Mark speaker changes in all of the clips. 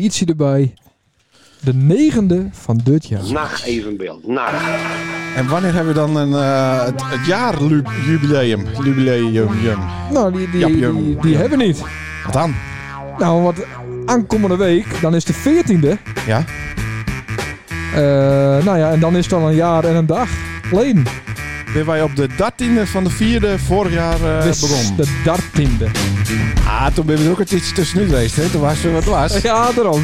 Speaker 1: ietsje erbij. De negende van dit jaar.
Speaker 2: Nacht evenbeeld. Nacht.
Speaker 3: En wanneer hebben we dan een, eh, het, het jaarjubileum? Jubileum.
Speaker 1: Nou, die, die,
Speaker 3: Jap,
Speaker 1: die,
Speaker 3: jum.
Speaker 1: die hebben we niet.
Speaker 3: Wat dan?
Speaker 1: Nou, want aankomende week, dan is de 14e.
Speaker 3: Ja?
Speaker 1: eh, nou ja, en dan is het al een jaar en een dag geleden.
Speaker 3: Eh, Ben wij op de 13e van de 4e vorig jaar eh
Speaker 1: Dus
Speaker 3: begonnen.
Speaker 1: de 13e.
Speaker 3: Ah, toen ben je ook het iets tussenuit geweest, hè? Toen was er wat was.
Speaker 1: Ja, daarom.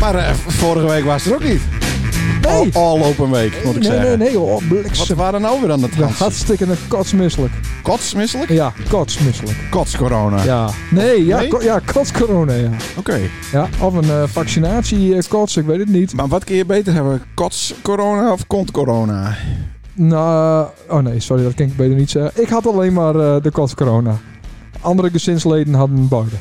Speaker 3: Maar eh, vorige week was er ook niet.
Speaker 1: Nee.
Speaker 3: Al, al open week, Oh, moet ik
Speaker 1: nee,
Speaker 3: zeggen.
Speaker 1: nee, nee, oh,
Speaker 3: Wat
Speaker 1: bliksem.
Speaker 3: waren nou weer aan de trans?
Speaker 1: Hartstikke een kotsmisselijk.
Speaker 3: Kotsmisselijk?
Speaker 1: Ja, kotsmisselijk.
Speaker 3: Kotscorona.
Speaker 1: Ja. Nee, ja,
Speaker 3: Nee?
Speaker 1: ko- ja kotscorona, ja.
Speaker 3: Oké.
Speaker 1: ja. Of een eh, vaccinatie eh, kots, ik weet het niet.
Speaker 3: Maar wat kun je beter hebben? Kotscorona of kontcorona?
Speaker 1: Nou, oh nee, sorry, dat kan ik beter niet zeggen. Ik had alleen maar eh, de kotscorona. Andere gezinsleden hadden beide.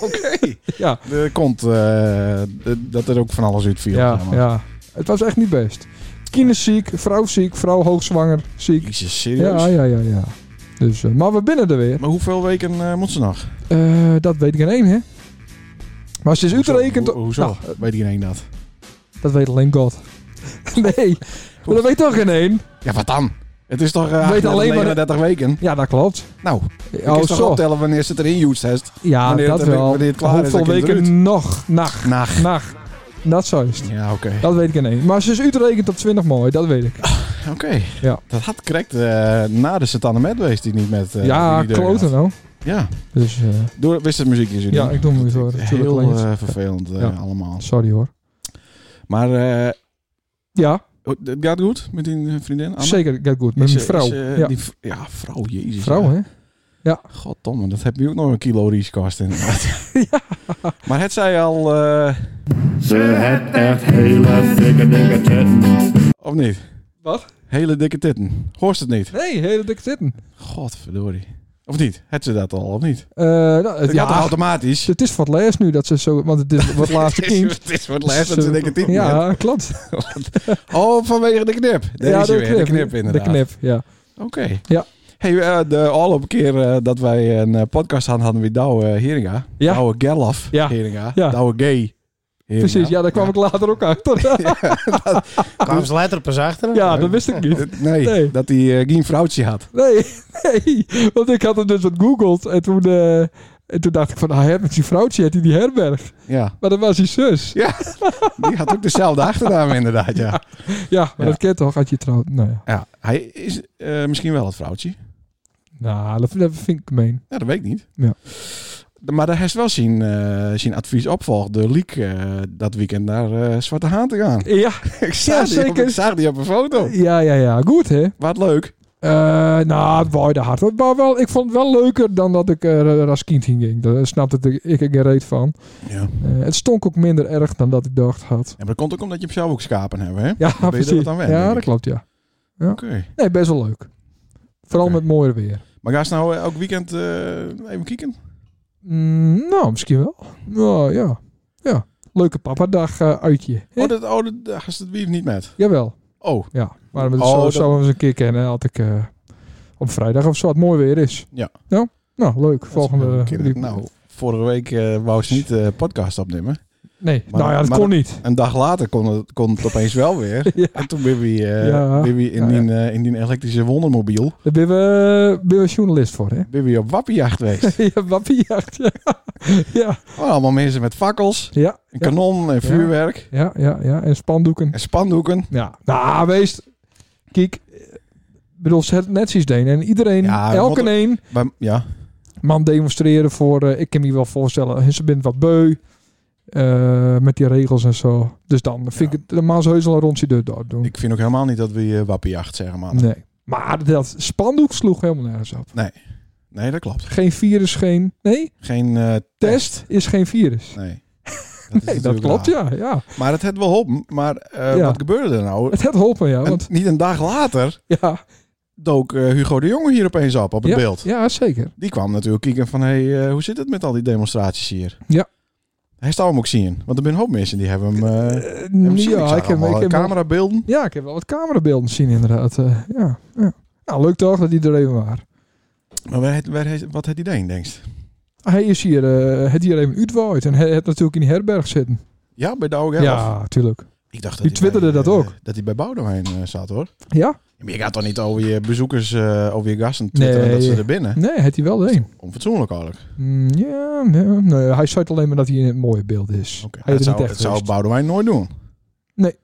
Speaker 3: Oké.
Speaker 1: Ja.
Speaker 3: De kont, eh, d- dat er ook van alles uitviel.
Speaker 1: Ja,
Speaker 3: zeg maar.
Speaker 1: ja. Het was echt niet best. Kinderziek, vrouw ziek, vrouw hoogzwanger ziek.
Speaker 3: Jezus, serieus?
Speaker 1: Ja, ja, ja, ja. Dus, eh, maar we binnen er weer.
Speaker 3: Maar hoeveel weken eh, moet ze nog?
Speaker 1: Eh, dat weet ik in één, hè? Maar ze is
Speaker 3: Hoezo?
Speaker 1: uitgerekend...
Speaker 3: Ho- hoezo?
Speaker 1: Nou,
Speaker 3: weet iedereen dat?
Speaker 1: dat weet alleen God. nee, maar dat weet toch geen één?
Speaker 3: Ja, wat dan? Het is toch eh
Speaker 1: Weet alleen maar-
Speaker 3: 39 weken?
Speaker 1: Ja, dat klopt.
Speaker 3: Nou, ik
Speaker 1: Oh,
Speaker 3: kan toch
Speaker 1: zo.
Speaker 3: optellen wanneer ze het erin used heeft?
Speaker 1: Ja,
Speaker 3: wanneer
Speaker 1: dat
Speaker 3: het-
Speaker 1: wel.
Speaker 3: wanneer het klaar is,
Speaker 1: Hoeveel
Speaker 3: dan kun je
Speaker 1: weken
Speaker 3: eruit.
Speaker 1: nog? Nacht.
Speaker 3: Nacht.
Speaker 1: Nacht. Dat zo is het.
Speaker 3: Ja, oké.
Speaker 1: Nou. Dat weet ik in één. Maar ze is uitgerekend op 20 mooi, dat weet ik.
Speaker 3: Oké.
Speaker 1: Ja.
Speaker 3: Dat had correct eh, na de Satana Medwees die niet met... eh,
Speaker 1: ja,
Speaker 3: die deur
Speaker 1: kloten
Speaker 3: had.
Speaker 1: nou.
Speaker 3: Ja,
Speaker 1: Dus eh,
Speaker 3: Door, wist het muziekje zo
Speaker 1: ja,
Speaker 3: niet?
Speaker 1: ik doe hem weer zo. natuurlijk
Speaker 3: Heel
Speaker 1: alleen.
Speaker 3: eh, vervelend eh,
Speaker 1: Ja.
Speaker 3: allemaal.
Speaker 1: Sorry hoor.
Speaker 3: Maar eh,
Speaker 1: Ja,
Speaker 3: het gaat goed met die eh, vriendin? Anne?
Speaker 1: zeker. Gaat goed. Met
Speaker 3: Is,
Speaker 1: mijn
Speaker 3: eh,
Speaker 1: vrouw.
Speaker 3: is, eh,
Speaker 1: ja.
Speaker 3: die v- ja, vrouw, jezus.
Speaker 1: Vrouw,
Speaker 3: ja.
Speaker 1: hè?
Speaker 3: Goddomme, dat heb je ook nog een kilo rieskost inderdaad. Maar het zei al, eh,
Speaker 4: Ze het echt hele dikke, dikke titten.
Speaker 3: of niet?
Speaker 1: Wat?
Speaker 3: Hele dikke titten. Hoorst het niet?
Speaker 1: Nee, hele dikke zitten.
Speaker 3: Godverdorie. Of niet? Het ze dat al, of niet?
Speaker 1: Eh nou,
Speaker 3: Het
Speaker 1: het,
Speaker 3: gaat toch
Speaker 1: ja,
Speaker 3: automatisch?
Speaker 1: het is voor het laatst nu dat ze zo... Want het is wat laatste
Speaker 3: Het is-
Speaker 1: kind.
Speaker 3: Het is voor het laatst dat ze dikke titten hebben.
Speaker 1: Ja, klopt.
Speaker 3: Oh, vanwege de knip. Daar
Speaker 1: ja,
Speaker 3: is hij weer. De knip inderdaad.
Speaker 1: De knip, ja.
Speaker 3: Oké.
Speaker 1: Ja.
Speaker 3: Hey, eh, de afgelopen keer eh, dat wij een eh, podcast hadden, hadden we Douwe Heringa.
Speaker 1: Ja.
Speaker 3: Douwe Gerlof
Speaker 1: Ja.
Speaker 3: Heringa.
Speaker 1: Ja.
Speaker 3: Douwe Gay Heringa.
Speaker 1: Precies, ja, daar kwam ik later ook achter.
Speaker 5: Kwamen ze later pas achter?
Speaker 1: ja, dat wist ik niet.
Speaker 3: Nee,
Speaker 1: Nee.
Speaker 3: dat hij eh, geen vrouwtje had.
Speaker 1: Nee, nee. Want ik had hem dus wat googeld. En toen, eh, en toen dacht ik van, ah, hij heeft met zijn vrouwtje heeft hij die herberg.
Speaker 3: Ja,
Speaker 1: Maar dat was zijn zus.
Speaker 3: Ja, die had ook dezelfde achternaam inderdaad, ja.
Speaker 1: Ja, maar
Speaker 3: Ja.
Speaker 1: dat kent toch, had je trouwt. Nou ja,
Speaker 3: ja hij is eh, misschien wel het vrouwtje.
Speaker 1: nou, dat, dat vind ik gemeen.
Speaker 3: Ja, dat weet ik niet.
Speaker 1: Ja.
Speaker 3: Maar daar heeft wel zijn, eh, zijn advies opvolgd. De leak eh, dat weekend naar eh, Zwarte Haan te gaan.
Speaker 1: Ja,
Speaker 3: ik, zag
Speaker 1: Ja,
Speaker 3: die op-
Speaker 1: zeker.
Speaker 3: ik zag die op een foto.
Speaker 1: ja, ja, ja. Goed, hè?
Speaker 3: Wat leuk.
Speaker 1: Eh, nou, het waaide hard. hoor. Maar wel, ik vond het wel leuker dan dat ik er eh, als kind heen ging. Daar snapte ik, ik er geen reet van.
Speaker 3: Ja.
Speaker 1: Eh, het stonk ook minder erg dan dat ik dacht had.
Speaker 3: En dat komt ook omdat je hem zelf ook schapen hebt, hè?
Speaker 1: Ja,
Speaker 3: ben je er
Speaker 1: precies.
Speaker 3: wat aan wennen,
Speaker 1: ja,
Speaker 3: denk
Speaker 1: dat
Speaker 3: ik.
Speaker 1: klopt, ja.
Speaker 3: Oké.
Speaker 1: Nee, best wel leuk. Vooral
Speaker 3: Oké.
Speaker 1: met mooier weer.
Speaker 3: Maar ga ze nou eh, elk weekend eh, even kijken?
Speaker 1: Mm, nou, misschien wel. Nou ja. ja. Leuke papadag eh, uitje. Hè?
Speaker 3: Oh, dat, oh, dat daar gaat het wief niet met.
Speaker 1: Jawel.
Speaker 3: Oh,
Speaker 1: Ja. Maar we
Speaker 3: Oh,
Speaker 1: zo,
Speaker 3: dat-
Speaker 1: zouden we eens een keer kennen. Had ik eh, op vrijdag of zo. Het mooi weer is.
Speaker 3: Ja.
Speaker 1: Nou, nou leuk. Volgende. die-
Speaker 3: Nou, vorige week eh, wou ze niet eh podcast opnemen.
Speaker 1: Nee.
Speaker 3: Maar-
Speaker 1: nou ja, dat
Speaker 3: maar-
Speaker 1: kon niet.
Speaker 3: Een dag later kon het, kon het opeens wel weer.
Speaker 1: Ja.
Speaker 3: En toen ben we, eh,
Speaker 1: Ja.
Speaker 3: ben we in,
Speaker 1: Ja, ja.
Speaker 3: die, eh, in die elektrische wondermobiel
Speaker 1: Daar ben we, ben we journalist voor, hè?
Speaker 3: ben we op wappenjacht geweest.
Speaker 1: ja, wappiejacht. Ja. ja.
Speaker 3: Waren allemaal mensen met fakkels,
Speaker 1: Ja.
Speaker 3: een
Speaker 1: Ja.
Speaker 3: kanon en vuurwerk
Speaker 1: Ja, ja, ja. En spandoeken.
Speaker 3: en spandoeken.
Speaker 1: Ja. Nou, wees... Kijk... Ik bedoel, ze het netjes deen. En iedereen,
Speaker 3: Ja, we
Speaker 1: elke
Speaker 3: moeten-
Speaker 1: een...
Speaker 3: Maar, ja,
Speaker 1: man demonstreren voor. eh, ik kan me wel voorstellen, hun- ze bent wat beu. eh, met die regels en zo. Dus dan vind ik het normaal zo heus wel een rondje deur door doen.
Speaker 3: ik vind ook helemaal niet dat we eh wappenjacht zeggen, man. Nee.
Speaker 1: nee. Maar dat spandoek sloeg helemaal nergens op.
Speaker 3: dat klopt.
Speaker 1: Geen virus, geen. Nee,
Speaker 3: Geen eh,
Speaker 1: test is geen virus.
Speaker 3: Nee. Dat, is
Speaker 1: Nee, dat
Speaker 3: natuurlijk
Speaker 1: klopt, ja,
Speaker 3: waar.
Speaker 1: ja.
Speaker 3: Maar het had wel geholpen. Maar eh,
Speaker 1: Ja.
Speaker 3: wat gebeurde er nou?
Speaker 1: Het had geholpen, ja.
Speaker 3: En
Speaker 1: Want,
Speaker 3: niet een dag later
Speaker 1: ja,
Speaker 3: dook eh, Hugo de Jonge hier opeens op, op het
Speaker 1: ja,
Speaker 3: beeld.
Speaker 1: Ja, zeker.
Speaker 3: Die kwam natuurlijk kijken van, hé, hey, eh, hoe zit het met al die demonstraties hier?
Speaker 1: Ja.
Speaker 3: Hij zou hem ook zien, want er zijn een hoop mensen die hebben hem... eh, hebben
Speaker 1: Eh,
Speaker 3: hem zien.
Speaker 1: ja,
Speaker 3: zag
Speaker 1: ik heb,
Speaker 3: allemaal
Speaker 1: ik heb wel,
Speaker 3: camerabeelden.
Speaker 1: ja, ik heb wel wat camerabeelden zien, inderdaad. eh, ja, ja. Nou, leuk toch dat die er even waren.
Speaker 3: Maar waar, heeft- waar, heeft- wat had hij deed, denk je?
Speaker 1: Hij is hier, eh, het hier even uitwaaid en hij heeft natuurlijk in die herberg zitten.
Speaker 3: Ja, bij de oude
Speaker 1: Ja,
Speaker 3: helft.
Speaker 1: tuurlijk.
Speaker 3: Ik dacht dat
Speaker 1: Die
Speaker 3: hij
Speaker 1: twitterde
Speaker 3: bij,
Speaker 1: dat
Speaker 3: eh,
Speaker 1: ook.
Speaker 3: Dat hij bij Boudewijn eh, zat hoor.
Speaker 1: Ja?
Speaker 3: Maar je gaat toch niet over je bezoekers, eh over je gasten twitteren dat ze
Speaker 1: Nee.
Speaker 3: er binnen?
Speaker 1: Nee, heeft hij wel de een.
Speaker 3: Onfatsoenlijk eigenlijk.
Speaker 1: Mm, ja, nee, nee, hij zei alleen maar dat hij in het mooie beeld is.
Speaker 3: Oké.
Speaker 1: Hij
Speaker 3: Dat,
Speaker 1: is er
Speaker 3: zou,
Speaker 1: niet
Speaker 3: dat
Speaker 1: echt
Speaker 3: zou
Speaker 1: geweest.
Speaker 3: Boudewijn nooit doen.
Speaker 1: Nee.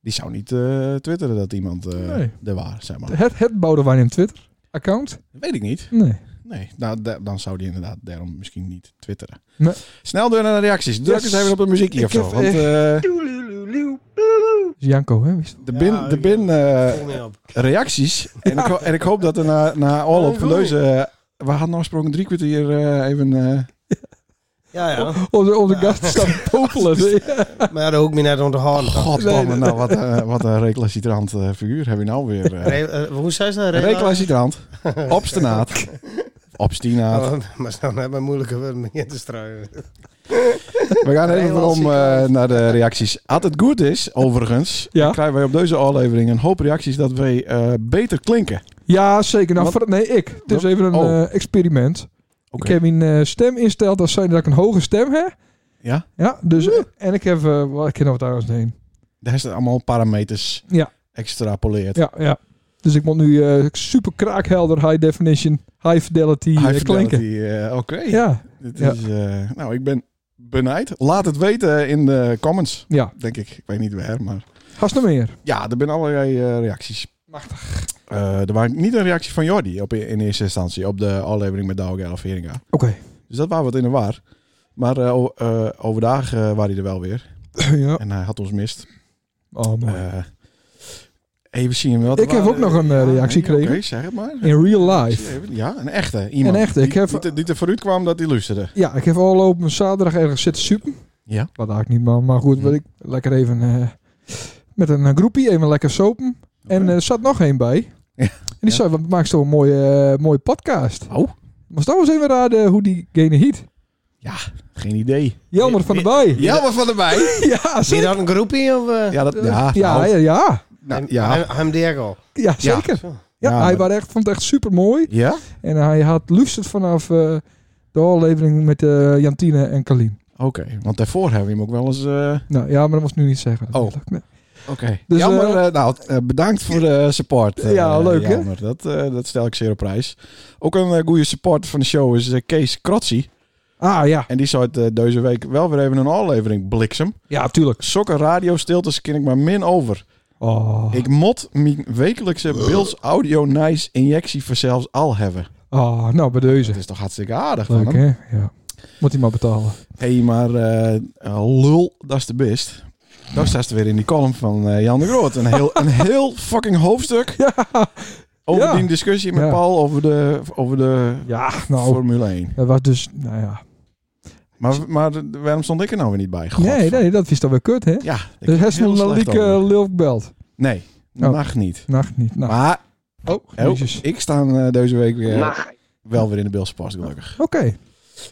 Speaker 3: Die zou niet eh, twitteren dat iemand eh,
Speaker 1: Nee.
Speaker 3: er was, zeg maar.
Speaker 1: Het, het Boudewijn in Twitter account?
Speaker 3: Weet ik niet.
Speaker 1: Nee.
Speaker 3: Nee, nou, da- dan zou die inderdaad daarom misschien niet twitteren.
Speaker 1: Nee.
Speaker 3: Snel door naar de reacties. Druk
Speaker 1: Yes.
Speaker 3: eens even op het muziekje
Speaker 1: Ik
Speaker 3: of zo.
Speaker 1: heb,
Speaker 3: Want
Speaker 1: Dat
Speaker 3: eh,
Speaker 1: is Janko, hè? wist-
Speaker 3: de bin,
Speaker 5: Ja,
Speaker 3: de
Speaker 5: ik-
Speaker 3: bin eh,
Speaker 5: Vol niet op.
Speaker 3: reacties. En, ik, ho- en ik hoop dat er na, na al op
Speaker 5: Ja,
Speaker 3: van
Speaker 1: Oh,
Speaker 5: goed.
Speaker 3: deze... eh, we hadden afgesproken drie kwartier eh, even... eh,
Speaker 5: Ja, ja.
Speaker 1: Onze, onze
Speaker 5: Ja.
Speaker 1: gast staat te popelen.
Speaker 5: Maar ja, dat hoek me net onder de hand.
Speaker 3: Godverdomme,
Speaker 1: Nee,
Speaker 3: nou, wat, eh, wat een reclassitrant eh, figuur heb je nou weer. eh.
Speaker 5: Re- eh, hoe zei ze dat?
Speaker 3: Een
Speaker 5: Rela-
Speaker 3: reclassitrant. Obstinaat. Obstinaat.
Speaker 5: Oh, maar dan hebben we moeilijke woorden om hier te struinen.
Speaker 3: We gaan even
Speaker 5: Relactie-
Speaker 3: om eh, naar de reacties. Als het goed is, overigens,
Speaker 1: Ja.
Speaker 3: dan krijgen wij op deze aflevering een hoop reacties dat wij eh, beter klinken.
Speaker 1: Ja, zeker. Nou,
Speaker 3: Wat-
Speaker 1: voor- nee, ik. Het is
Speaker 3: Wat?
Speaker 1: even een
Speaker 3: Oh.
Speaker 1: eh, experiment.
Speaker 3: Oké.
Speaker 1: Ik heb mijn eh, stem insteld als zijn dat ik een hoge stem heb.
Speaker 3: Ja?
Speaker 1: Ja, dus... En ik heb... eh, wat ik ken nog thuis heen.
Speaker 3: Daar staan allemaal parameters
Speaker 1: Ja.
Speaker 3: extrapoleerd.
Speaker 1: Ja, ja. Dus ik moet nu eh, super kraakhelder, high definition, high fidelity, eh,
Speaker 3: High fidelity,
Speaker 1: klinken.
Speaker 3: eh, Oké.
Speaker 1: Ja,
Speaker 3: Dit
Speaker 1: Ja.
Speaker 3: is, eh, nou, ik ben benijd. Laat het weten in de comments,
Speaker 1: ja.
Speaker 3: denk ik. Ik weet niet waar, maar...
Speaker 1: Hast nog meer?
Speaker 3: Ja, er zijn allerlei eh, reacties.
Speaker 1: Machtig.
Speaker 3: Eh, er waren niet een reactie van Jordi op, in eerste instantie op de aflevering met Douwe Gerlof Heringa.
Speaker 1: Oké.
Speaker 3: Dus dat was wat in de war. Maar eh, o- eh, overdag eh was hij er wel weer.
Speaker 1: ja.
Speaker 3: En hij had ons mist.
Speaker 1: Oh, mooi.
Speaker 3: Eh, even zien wat er
Speaker 1: ik heb
Speaker 3: waren.
Speaker 1: ook nog een eh, reactie
Speaker 3: Oké,
Speaker 1: gekregen.
Speaker 3: zeg het maar.
Speaker 1: In real life.
Speaker 3: Ja, een echte. Iemand
Speaker 1: Een echte,
Speaker 3: Die,
Speaker 1: ik heb-
Speaker 3: die, te- die er vooruit kwam dat hij luisterde.
Speaker 1: Ja, ik heb al op een zaterdag ergens zitten super.
Speaker 3: Ja.
Speaker 1: Wat eigenlijk niet, maar, maar goed.
Speaker 3: Hm.
Speaker 1: wat Ik, lekker even eh, met een eh, groepie, even lekker sopen. En eh, er zat nog één bij.
Speaker 3: Ja.
Speaker 1: En die zei, wat maak je toch een mooie, eh, mooie podcast.
Speaker 3: Oh.
Speaker 1: Maar dan eens even raden hoe diegene heet.
Speaker 3: Geen idee.
Speaker 1: Jelmer van de Bij.
Speaker 3: Ja, maar van erbij.
Speaker 1: Ja,
Speaker 5: Wie
Speaker 1: zeker.
Speaker 5: dan een groepie? Of, eh,
Speaker 3: Ja, dat, ja,
Speaker 1: Ja, ja,
Speaker 3: nou,
Speaker 1: ja, ja,
Speaker 3: nou,
Speaker 5: Hem,
Speaker 3: ja.
Speaker 5: hem Diego.
Speaker 1: zeker.
Speaker 5: Zo.
Speaker 1: Ja,
Speaker 3: Ja,
Speaker 1: hij
Speaker 3: maar-
Speaker 1: was echt, vond het echt super mooi.
Speaker 3: Ja?
Speaker 1: En hij had luisterd vanaf eh, de aflevering met eh, Jantine en Kalien.
Speaker 3: Oké, want daarvoor hebben we hem ook wel eens... eh,
Speaker 1: Nou ja, maar dat moest ik nu niet zeggen.
Speaker 3: Oh.
Speaker 1: natuurlijk. Nee.
Speaker 3: Oké.
Speaker 1: Dus,
Speaker 3: Jammer,
Speaker 1: eh,
Speaker 3: eh, nou, eh, bedankt voor de support. eh,
Speaker 1: Ja, leuk, hè?
Speaker 3: Jammer. Dat, eh, dat stel ik zeer op prijs. Ook een eh, goede supporter van de show is eh, Kees Krotsi.
Speaker 1: Ah ja,
Speaker 3: En die zou het eh, deze week wel weer even een aflevering bliksem.
Speaker 1: ja, tuurlijk.
Speaker 3: Sokken radio stiltes ken ik maar min over.
Speaker 1: Oh.
Speaker 3: Ik mot mijn wekelijkse Bills Audio Nice injectie voor zelfs al hebben.
Speaker 1: Oh, nou bij
Speaker 3: Dat
Speaker 1: deze.
Speaker 3: is toch hartstikke aardig
Speaker 1: Leuk
Speaker 3: van hem.
Speaker 1: hè? Ja. Moet hij maar betalen.
Speaker 3: Hé, hey, maar eh, eh, lul, dat is de best. Dat staat er weer in die column van eh, Jan de Groot. Een heel, een heel fucking hoofdstuk
Speaker 1: Ja,
Speaker 3: over
Speaker 1: Ja.
Speaker 3: die discussie met
Speaker 1: Ja.
Speaker 3: Paul over de, over de
Speaker 1: ja nou.
Speaker 3: Formule 1.
Speaker 1: Dat was dus, nou ja.
Speaker 3: Maar, maar de- waarom stond ik er nou weer niet bij? God,
Speaker 1: Nee,
Speaker 3: van-
Speaker 1: nee, dat is dan weer kut, hè?
Speaker 3: Ja, ik
Speaker 1: Dus
Speaker 3: heb
Speaker 1: hij is
Speaker 3: heel
Speaker 1: nog
Speaker 3: slecht
Speaker 1: Laliek
Speaker 3: over.
Speaker 1: Lilk belt.
Speaker 3: Nee,
Speaker 1: eh, Oh.
Speaker 3: mag niet.
Speaker 1: Nacht niet. Nacht.
Speaker 3: Maar
Speaker 1: Oh,
Speaker 3: oh,
Speaker 1: jezus.
Speaker 3: ik sta eh, deze week weer,
Speaker 2: Nacht.
Speaker 3: wel weer in de Bilsport, gelukkig.
Speaker 1: Oké.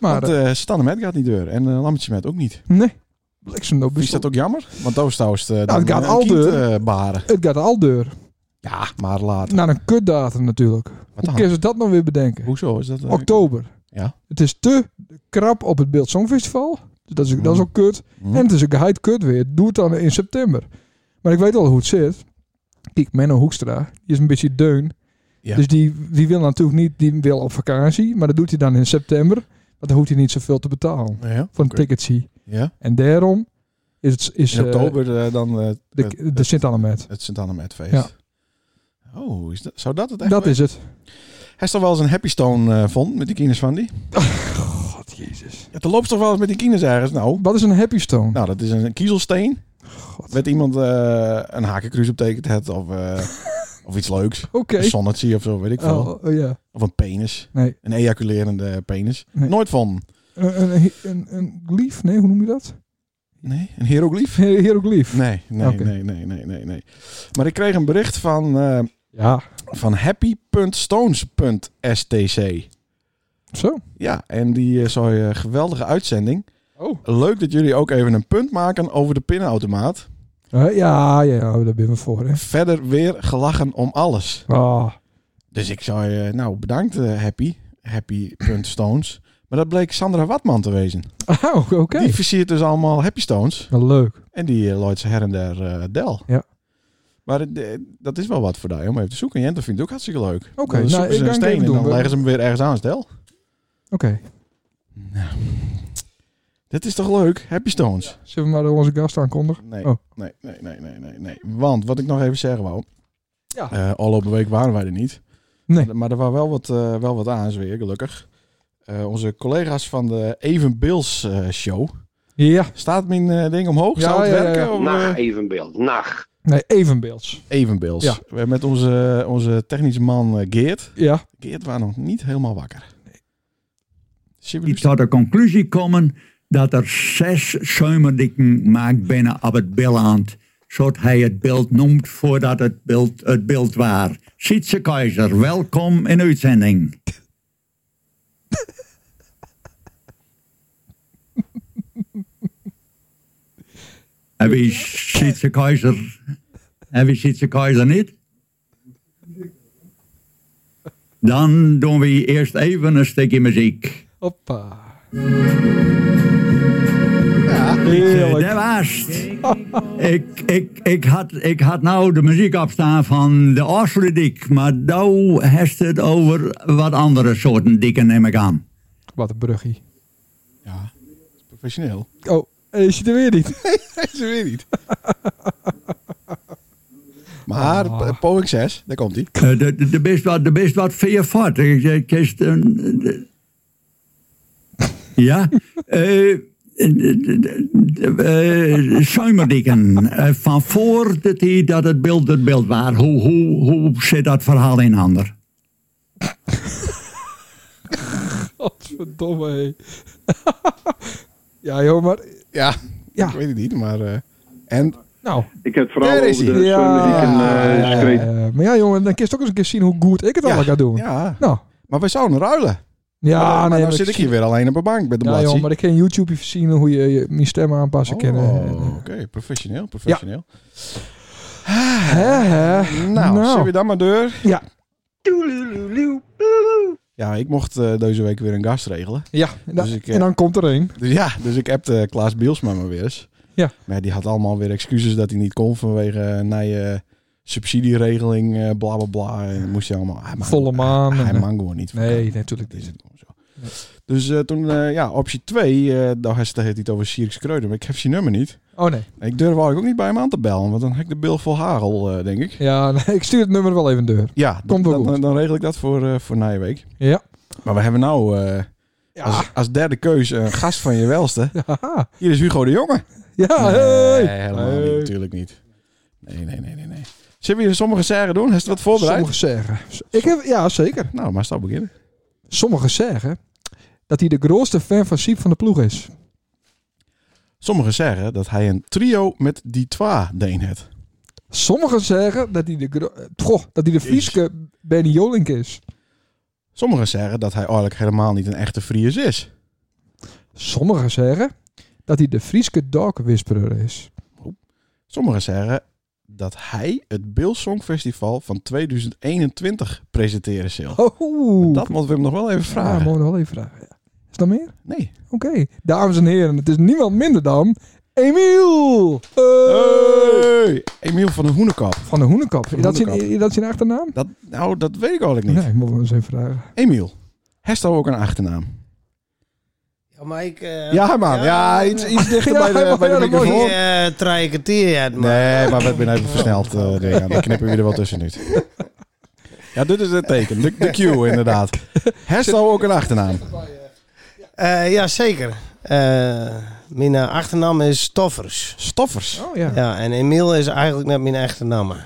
Speaker 1: Maar,
Speaker 3: Want
Speaker 1: eh,
Speaker 3: eh Stan de Met gaat niet deur en eh Lammetje Met ook niet.
Speaker 1: nee. Bliksem nou
Speaker 3: Is
Speaker 1: best.
Speaker 3: dat ook jammer? Want Oost is eh, dan
Speaker 1: Nou, het gaat
Speaker 3: een
Speaker 1: al
Speaker 3: kind,
Speaker 1: deur.
Speaker 3: eh, baren.
Speaker 1: Het gaat al deur.
Speaker 3: Ja, maar later.
Speaker 1: Naar een kutdatum natuurlijk.
Speaker 3: Wat dan?
Speaker 1: Kun je dat nou weer bedenken?
Speaker 3: Hoezo is dat? eh,
Speaker 1: Oktober.
Speaker 3: Ja.
Speaker 1: Het is te krap op het Beeld Songfestival. Dat is, dat is ook kut.
Speaker 3: Hm?
Speaker 1: En het is een geheid kut weer. Doe het dan in september. Maar ik weet al hoe het zit. Kijk, Menno Hoekstra, die is een beetje deun.
Speaker 3: Ja.
Speaker 1: Dus die, die wil natuurlijk niet, die wil op vakantie. Maar dat doet hij dan in september. Want dan hoeft hij niet zoveel te betalen
Speaker 3: Ja,
Speaker 1: voor een
Speaker 3: oké.
Speaker 1: ticketje.
Speaker 3: Ja.
Speaker 1: En daarom is het... Is,
Speaker 3: In
Speaker 1: eh,
Speaker 3: oktober eh, dan eh,
Speaker 1: de,
Speaker 3: het,
Speaker 1: de, sint anne met.
Speaker 3: het Sint-Anne Met feest.
Speaker 1: Ja.
Speaker 3: Oh, is dat, zou dat het echt
Speaker 1: Dat is het.
Speaker 3: Hij is toch wel eens een Happy Stone eh, vond met die kines van die?
Speaker 1: God, jezus.
Speaker 3: Ja, er loopt toch wel eens met die kines ergens? Nou,
Speaker 1: Wat is een happy stone?
Speaker 3: nou dat is een kiezelsteen.
Speaker 1: God.
Speaker 3: Werd iemand eh, een hakenkruis op tekent het of, eh, of iets leuks.
Speaker 1: Oké.
Speaker 3: Een zonnetje of zo, weet ik veel.
Speaker 1: Oh, oh, ja.
Speaker 3: Of een penis.
Speaker 1: Nee.
Speaker 3: Een ejaculerende penis.
Speaker 1: Nee.
Speaker 3: Nooit van.
Speaker 1: Een, een, een, een lief? Nee, hoe noem je dat?
Speaker 3: Nee, een hieroglyf?
Speaker 1: Hieroglyf.
Speaker 3: Nee, nee,
Speaker 1: Oké.
Speaker 3: nee, nee, nee, nee, nee. Maar ik kreeg een bericht van, eh
Speaker 1: Ja.
Speaker 3: van happy.stones.stc.
Speaker 1: Zo.
Speaker 3: Ja, en die eh, zou je geweldige uitzending.
Speaker 1: Oh.
Speaker 3: Leuk dat jullie ook even een punt maken over de pinautomaat.
Speaker 1: Eh, ja, ja, ja, daar ben ik voor. Hè.
Speaker 3: Verder weer gelachen om alles.
Speaker 1: Ah.
Speaker 3: Dus ik zou je, nou bedankt eh, Happy, eh, Happy.stones. Maar dat bleek Sandra Watman te wezen.
Speaker 1: Oh, oké.
Speaker 3: Die versiert dus allemaal Happy Stones.
Speaker 1: Wel leuk.
Speaker 3: En die eh, looit ze her en der eh, del.
Speaker 1: Ja.
Speaker 3: Maar het- eh, dat is wel wat voor daar om even te zoeken. Jente vindt het ook hartstikke leuk.
Speaker 1: Oké, nou,
Speaker 3: Dan zoeken
Speaker 1: ik
Speaker 3: ze
Speaker 1: ga
Speaker 3: een
Speaker 1: een
Speaker 3: steen
Speaker 1: game
Speaker 3: en
Speaker 1: doen.
Speaker 3: dan leggen ze hem weer ergens aan als del.
Speaker 1: Oké.
Speaker 3: Nou, dat is toch leuk? Happy Stones.
Speaker 1: Zullen we maar onze gast aankondigen?
Speaker 3: Nee,
Speaker 1: Oh.
Speaker 3: nee, nee, nee, nee, nee, nee. Want wat ik nog even zeggen wou.
Speaker 1: Ja.
Speaker 3: Eh, afgelopen week waren wij er niet.
Speaker 1: Nee.
Speaker 3: Maar er waren wel wat, eh, wel wat aans weer, gelukkig. Eh, onze collega's van de Even Bills eh, show.
Speaker 1: Ja.
Speaker 3: Staat mijn eh, ding omhoog?
Speaker 1: Ja,
Speaker 3: Zou het
Speaker 1: ja, ja,
Speaker 3: werken?
Speaker 1: ja.
Speaker 3: Of,
Speaker 2: Nacht
Speaker 3: eh,
Speaker 2: evenbeeld. Nacht.
Speaker 1: Nee, evenbeelds.
Speaker 3: Even Bills.
Speaker 1: Ja.
Speaker 3: We- Met onze, onze technische man eh, Geert.
Speaker 1: Ja.
Speaker 3: Geert was nog niet helemaal wakker.
Speaker 6: Ik
Speaker 3: Shibboleth.
Speaker 6: zou de conclusie komen dat er zes zuimerdikken maakt binnen op het Billand. Zodat hij het beeld noemt voordat het beeld het beeld waar. Sietse Keizer, welkom in de uitzending. en wie is Sietse Keizer? En wie is Sietse Keizer niet? Dan doen we eerst even een stukje muziek.
Speaker 1: Hoppa.
Speaker 6: Eh,
Speaker 1: Heerlijk.
Speaker 6: Daar was het. ik, ik, ik, had, ik had nou de muziek opstaan van de Osledik, maar nou heeft het over wat andere soorten dikken, neem ik aan.
Speaker 1: Wat een bruggie.
Speaker 3: Ja, professioneel.
Speaker 1: Oh, is hij er weer niet?
Speaker 3: Ze weer niet. maar
Speaker 1: Ah.
Speaker 3: po- poging 6, daar komt hij.
Speaker 6: Eh, de- de- de best wat, de best wat veer fort. Ik- ik- kist, eh, de- Ja? Eh, eh, Suimerdikken. Eh, Van voor de tijd dat het beeld het beeld was, hoe, hoe, hoe zit dat verhaal in ander?
Speaker 1: Godverdomme, hé. ja, joh, maar...
Speaker 3: Ja,
Speaker 1: Ja.
Speaker 3: ik weet het niet, maar... eh, en
Speaker 1: Nou,
Speaker 7: Ik heb het vooral
Speaker 3: Daar
Speaker 7: over
Speaker 3: is
Speaker 7: de
Speaker 3: hij.
Speaker 7: Sunny
Speaker 1: Ja,
Speaker 7: en Screet.
Speaker 1: eh, maar ja, jongen, dan kun je toch eens een keer zien hoe goed ik het
Speaker 3: ja,
Speaker 1: allemaal ga doen.
Speaker 3: Ja,
Speaker 1: Nou,
Speaker 3: maar wij zouden ruilen.
Speaker 1: ja,
Speaker 3: maar, maar
Speaker 1: Ah, nee,
Speaker 3: nou
Speaker 1: maar
Speaker 3: zit ik hier weer alleen op een bank met de
Speaker 1: Ja,
Speaker 3: bladsie.
Speaker 1: joh, maar ik kan YouTube even zien hoe je, je mijn stem aanpassen kan.
Speaker 3: Oh,
Speaker 1: eh.
Speaker 3: oké, professioneel, professioneel.
Speaker 1: eh, Hè, hè.
Speaker 3: Nou,
Speaker 1: Nou.
Speaker 3: zullen we dan maar deur?
Speaker 1: Ja.
Speaker 3: Ja, ik mocht eh, deze week weer een gast regelen.
Speaker 1: Ja, nou,
Speaker 3: ik, eh,
Speaker 1: en dan komt er een.
Speaker 3: Dus ja, dus ik appte Klaas Bielsma maar weer eens.
Speaker 1: Ja.
Speaker 3: Maar die had allemaal weer excuses dat hij niet kon vanwege eh, nije subsidieregeling, eh, bla bla bla. En moest hij allemaal... hij mag-
Speaker 1: Volle maan.
Speaker 3: Hij
Speaker 1: en, eh,
Speaker 3: mag gewoon niet.
Speaker 1: Nee, natuurlijk
Speaker 3: Dat is
Speaker 1: niet.
Speaker 3: het gewoon zo. Dus eh, toen, eh, ja, optie 2, daar had het iets over Sirks Kreuder, maar ik heb zijn nummer niet.
Speaker 1: Oh nee.
Speaker 3: En ik durf eigenlijk ook niet bij hem aan te bellen, want dan heb ik de bil vol hagel, eh, denk ik.
Speaker 1: Ja, nee, ik stuur het nummer wel even deur.
Speaker 3: Ja, d-
Speaker 1: Komt wel
Speaker 3: dat-
Speaker 1: goed.
Speaker 3: dan, dan regel ik dat voor, eh voor na je week.
Speaker 1: Ja.
Speaker 3: Maar we hebben nou eh,
Speaker 1: Ja.
Speaker 3: als, als derde keus een gast van je welste.
Speaker 1: Haha.
Speaker 3: Hier is Hugo de Jonge. Ah,
Speaker 1: Ja, hey.
Speaker 3: Nee, helemaal niet,
Speaker 1: Hey.
Speaker 3: natuurlijk niet. Nee, nee, nee, nee, nee. Zullen we hier sommige zeggen doen? Heeft je wat voorbereid?
Speaker 1: Sommigen zeggen. Ik heb, ja, zeker.
Speaker 3: Nou, maar stap beginnen.
Speaker 1: Sommigen zeggen dat hij de grootste fan van Siep van de ploeg is.
Speaker 3: Sommigen zeggen dat hij een trio met die twa deen het.
Speaker 1: Sommigen zeggen dat hij de, gro- eh, goh, dat hij de Frieske Benny Jolink is.
Speaker 3: Sommigen zeggen dat hij eigenlijk helemaal niet een echte Fries is.
Speaker 1: Sommigen zeggen dat hij de Frieske Dogwhisperer is.
Speaker 3: Sommigen zeggen dat hij het Bill Songfestival van 2021 presenteren zal.
Speaker 1: Oh,
Speaker 3: Dat moeten we hem nog wel even
Speaker 1: ja,
Speaker 3: vragen.
Speaker 1: mogen we wel even vragen. ja. Is dat meer?
Speaker 3: Nee.
Speaker 1: Oké. Dames en heren, het is niemand minder dan Emiel Hey!
Speaker 3: Hey! Emiel van de Hoenekap.
Speaker 1: van de Hoenekap. Is dat, zijn,
Speaker 3: Hoenekap.
Speaker 1: is dat zijn achternaam?
Speaker 3: Dat, nou, dat weet ik eigenlijk niet.
Speaker 1: Nee, moeten we eens even vragen.
Speaker 3: Emiel. Hesto ook een achternaam.
Speaker 5: Ja, maar ik... eh,
Speaker 3: Ja, man. Ja, iets, iets dichter bij de,
Speaker 1: Ja,
Speaker 3: bij de
Speaker 1: ja, dat
Speaker 5: Die
Speaker 3: microfoon.
Speaker 5: eh traai ik het hier uit, man.
Speaker 3: Nee, maar we zijn even versneld. eh dingen aan. Dan knippen we er wel tussen nu. Ja, dit is het teken. De, de cue, inderdaad. Hesto ook een achternaam.
Speaker 5: Eh, ja, zeker. Eh, mijn eh, achternaam is Stoffers.
Speaker 3: Stoffers.
Speaker 1: Oh ja.
Speaker 5: Ja, en Emiel is eigenlijk net mijn echte naam.
Speaker 1: Oh,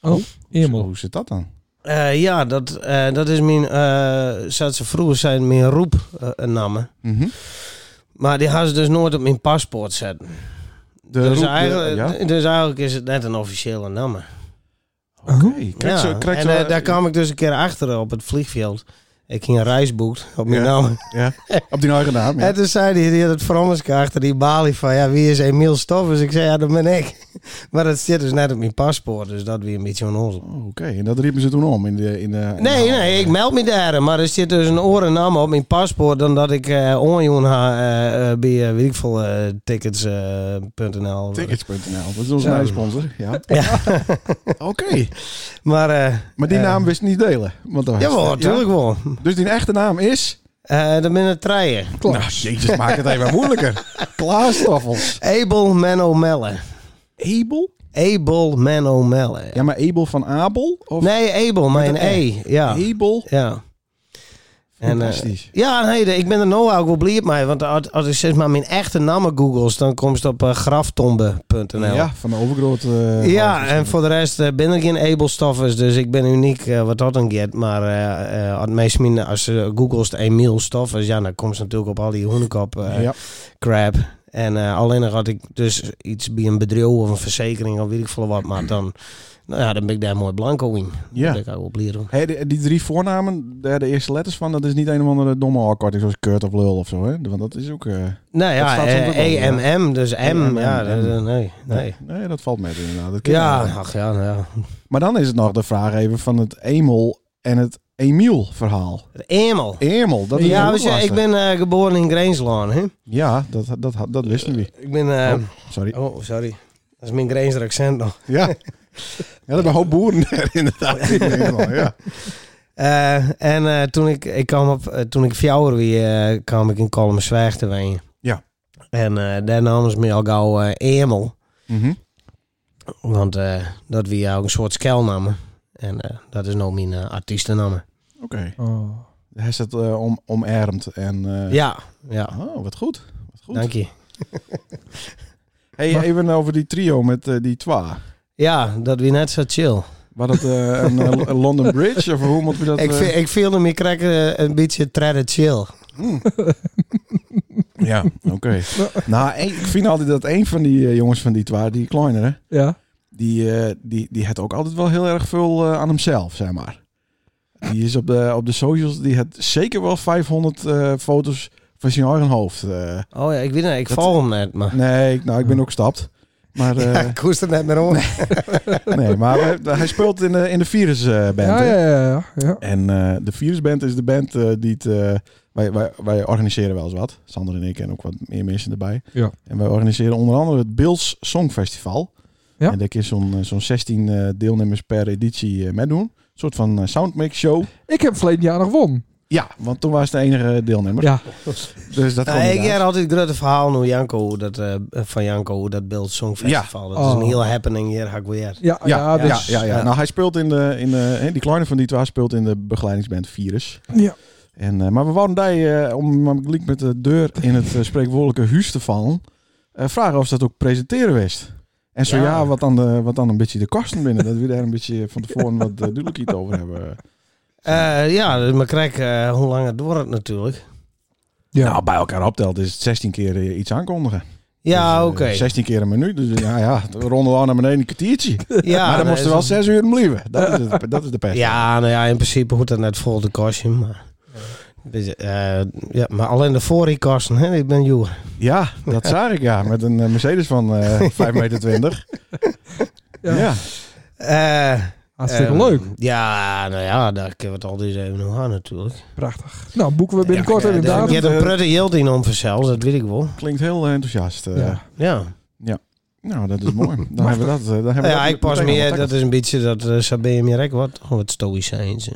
Speaker 3: Zo,
Speaker 1: Emel.
Speaker 3: Hoe zit dat dan?
Speaker 5: Eh, ja, dat, eh, dat is mijn, eh zoals ze vroeger zijn, mijn roepnamen.
Speaker 3: Mhm.
Speaker 5: maar die hadden ze dus nooit op mijn paspoort zetten.
Speaker 3: De
Speaker 5: dus,
Speaker 3: roep- de-
Speaker 5: eigenlijk,
Speaker 3: ja.
Speaker 5: dus eigenlijk is het net een officiële naam.
Speaker 3: Oké,
Speaker 5: Ja,
Speaker 3: krijg zo, krijg
Speaker 5: en
Speaker 3: zo,
Speaker 5: eh, daar kwam ik dus een keer achter op het vliegveld. Ik ging een reis boekt op mijn
Speaker 3: Ja.
Speaker 5: naam.
Speaker 3: Ja, op die eigen naam. Ja.
Speaker 5: En toen zei hij, die had het voor ons achter die balie van, ja, wie is Emiel Stoffers? Ik zei, ja, dat ben ik. Maar dat zit dus net op mijn paspoort, dus dat weer een beetje onnozel.
Speaker 3: Oké, en dat riepen ze toen om in de... In de in de
Speaker 5: Nee,
Speaker 3: hal.
Speaker 5: nee, ik meld me daar. Maar er zit dus een orennaam op mijn paspoort dan dat ik eh onjoen ha eh, eh, bij, eh, weet ik veel, tickets.nl.
Speaker 3: Tickets.nl, dat is onze
Speaker 5: Ja.
Speaker 3: nieuwe sponsor. Ja.
Speaker 5: Ja,
Speaker 3: Oké,
Speaker 5: maar eh
Speaker 3: maar die naam wist niet delen. Want dat was-
Speaker 5: jawel, natuurlijk wel.
Speaker 3: Dus die echte naam is...
Speaker 5: Eh dan ben ik treien.
Speaker 1: Klaas.
Speaker 3: Nou, jezus, maak het even moeilijker. Klaas Toffels.
Speaker 5: Abel Menno Melle.
Speaker 3: Abel?
Speaker 5: Abel Menno Melle.
Speaker 3: Ja, maar Abel van Abel? Of
Speaker 5: Nee, Abel, maar een
Speaker 3: Met een
Speaker 5: E. Ja.
Speaker 3: Abel?
Speaker 5: ja. En, eh,
Speaker 3: Fantastisch.
Speaker 5: ja, nee, de- ik ben er nou ook wel blij mee. Want als, als ik zeg maar mijn echte namen googles, dan komt het op eh, graftombe.nl.
Speaker 3: Ja, van de overgrote... eh,
Speaker 5: Ja,
Speaker 3: halve-
Speaker 5: en voor de rest eh, ben ik geen Abelstoffers, dus ik ben uniek eh, wat dat dan gaat. Maar eh eh, als meest min als ze googelst Emiel Stoffers, ja, dan komt ze natuurlijk op al die hoenekop eh,
Speaker 3: ja.
Speaker 5: crap. En eh, alleen nog had ik dus iets bij een bedrijf of een verzekering of weet ik veel wat, maar dan, nou ja, dan ben ik daar mooi blanco in.
Speaker 3: Ja.
Speaker 5: Dat ben ik ook wel blij om.
Speaker 3: Hey, die, die drie voornamen, daar de eerste letters van, dat is niet een of andere domme afkorting zoals Kurt of Lul of zo, hè? Want dat is ook... eh,
Speaker 5: Nou
Speaker 3: Dat
Speaker 5: ja,
Speaker 3: staat soms ook wel,
Speaker 5: eh, EMM, dus M,
Speaker 3: EMM,
Speaker 5: ja, dat- eh,
Speaker 3: M.
Speaker 5: nee, nee.
Speaker 3: nee, dat valt met inderdaad. Dat ken
Speaker 5: Ja,
Speaker 3: ik wel.
Speaker 5: ach ja, nou ja.
Speaker 3: Maar dan is het nog de vraag even van het Emel en het Emiel verhaal.
Speaker 5: Emel.
Speaker 3: Emel, dat is
Speaker 5: Ja,
Speaker 3: ook
Speaker 5: weet je, ik
Speaker 3: lastig.
Speaker 5: ben eh, geboren in Greenslaan, hè.
Speaker 3: Ja, dat, dat, dat, dat wisten we.
Speaker 5: Ik ben... eh,
Speaker 3: Sorry.
Speaker 5: Oh, sorry. Dat is mijn Granger accent nog.
Speaker 3: Ja. ja, dat hebben een hoop boeren daar
Speaker 5: Oh,
Speaker 3: inderdaad. ja.
Speaker 5: Eh, en eh, toen ik, ik kwam op, eh, toen ik vier weer eh, kwam ik in Kolmsweg te ween.
Speaker 3: Ja.
Speaker 5: En eh, daar namen ze me al gauw eh, Emel.
Speaker 3: Mhm.
Speaker 5: Want eh, dat wie ook een soort skelnamen. En eh, dat is nou mijn eh, artiestennaam.
Speaker 3: Oké.
Speaker 1: Oh.
Speaker 3: Hij is het eh, om, omarmd en... eh,
Speaker 5: Ja, ja.
Speaker 3: Oh, wat goed. Wat goed.
Speaker 5: Dank je.
Speaker 3: Hey, even over die trio met eh, die twa.
Speaker 5: Ja, dat wie net zo chill.
Speaker 3: Was dat eh, een, eh, een London Bridge? Of hoe moeten we dat...
Speaker 5: ik,
Speaker 3: eh,
Speaker 5: ve- ik voelde me krakken een beetje tredden chill.
Speaker 3: Ja, oké. nou, ik vind altijd dat een van die eh, jongens van die twa, die kleinere...
Speaker 1: Ja.
Speaker 3: die, eh, die, die had ook altijd wel heel erg veel eh, aan hemzelf, zeg maar. Die is op de, op de socials, die had zeker wel 500 eh, foto's van zijn eigen hoofd. eh.
Speaker 5: Oh ja, ik weet het, ik
Speaker 3: Dat-
Speaker 5: val hem net, maar...
Speaker 3: nee, ik, nou, ik ben ook gestapt. Maar, eh,
Speaker 5: Ja, ik koest er net meer om.
Speaker 3: nee, maar hij- hij speelt in de, in de Virusband.
Speaker 1: Ja, ja, ja, ja, ja.
Speaker 3: En eh, de Virusband is de band eh, die het... eh, wij, wij, wij organiseren wel eens wat. Sander en ik en ook wat meer mensen erbij.
Speaker 1: Ja.
Speaker 3: En wij organiseren onder andere het Bills Songfestival.
Speaker 1: Ja.
Speaker 3: En daar kun je zo'n eh, zo'n 16 eh, deelnemers per editie eh meedoen. Een soort van eh, soundmix show.
Speaker 1: Ik heb verleden jaar nog won.
Speaker 3: Ja, want toen was de enige deelnemer.
Speaker 1: Ja.
Speaker 3: Dus dat kon
Speaker 5: Nee, ik
Speaker 3: inderdaad.
Speaker 5: heb altijd het grote verhaal hoe Janko, hoe dat, eh, van Janko, hoe dat beeld Songfestival. Dat is
Speaker 1: Oh.
Speaker 5: een heel happening hier, ga ik weer.
Speaker 1: Ja, ja,
Speaker 3: Ja, ja, ja,
Speaker 1: dus,
Speaker 3: ja,
Speaker 5: ja.
Speaker 3: Nou, hij speelt in de, in de, hè, die kleine van die twee speelt in de begeleidingsband Virus.
Speaker 1: Ja.
Speaker 3: En, eh, maar we wouden daar, eh, om maar gelijk met de deur in het eh, spreekwoordelijke huis te vallen, eh, vragen of ze dat ook presenteren wist. En zo ja,
Speaker 5: Ja.
Speaker 3: wat, dan de, wat dan een beetje de kosten binnen. dat we daar een beetje van tevoren wat eh, duidelijk iets over hebben.
Speaker 5: Eh, ja, dus maar kijk, eh, hoe lang het doorgaat natuurlijk.
Speaker 1: Ja.
Speaker 3: Nou, bij elkaar optelt is het 16 keer eh, iets aankondigen.
Speaker 5: Ja,
Speaker 3: Dus, eh,
Speaker 5: oké.
Speaker 3: 16 keer een minuut. Dus eh, ja, ja, we ronden al naar beneden een kwartiertje.
Speaker 5: Ja,
Speaker 3: maar dan
Speaker 5: nee,
Speaker 3: moesten we
Speaker 5: zo-
Speaker 3: wel 6 uur blijven. Dat is, het, dat is de pest.
Speaker 5: Ja, nou ja, in principe hoort dat net vol de kosten, maar... Dus, eh, ja, maar alleen de voorriekosten, hè, ik ben joer.
Speaker 3: Ja, dat zag ik ja. Met een eh, Mercedes van eh 5,20 meter.
Speaker 1: Ja.
Speaker 3: Ja.
Speaker 5: Eh,
Speaker 1: Hartstikke
Speaker 5: eh,
Speaker 3: ehm,
Speaker 1: leuk.
Speaker 5: Ja, nou ja, daar kunnen we het al die even nog aan natuurlijk.
Speaker 1: Prachtig. Nou, boeken we binnenkort
Speaker 5: ja,
Speaker 1: even
Speaker 5: dus
Speaker 1: daar. eh,
Speaker 5: Je hebt een prutte yield in om vanzelf, dat weet ik wel.
Speaker 3: Klinkt heel eh, enthousiast. eh.
Speaker 1: Ja.
Speaker 5: Ja.
Speaker 3: Nou, dat is mooi. Dan hebben we dat. eh, dan hebben we
Speaker 5: ja,
Speaker 3: dat
Speaker 5: ik pas
Speaker 3: meteen
Speaker 5: meer,
Speaker 3: al
Speaker 5: dat is een beetje dat uh, Sabine Mirek wat, gewoon wat stoïcijns. hè.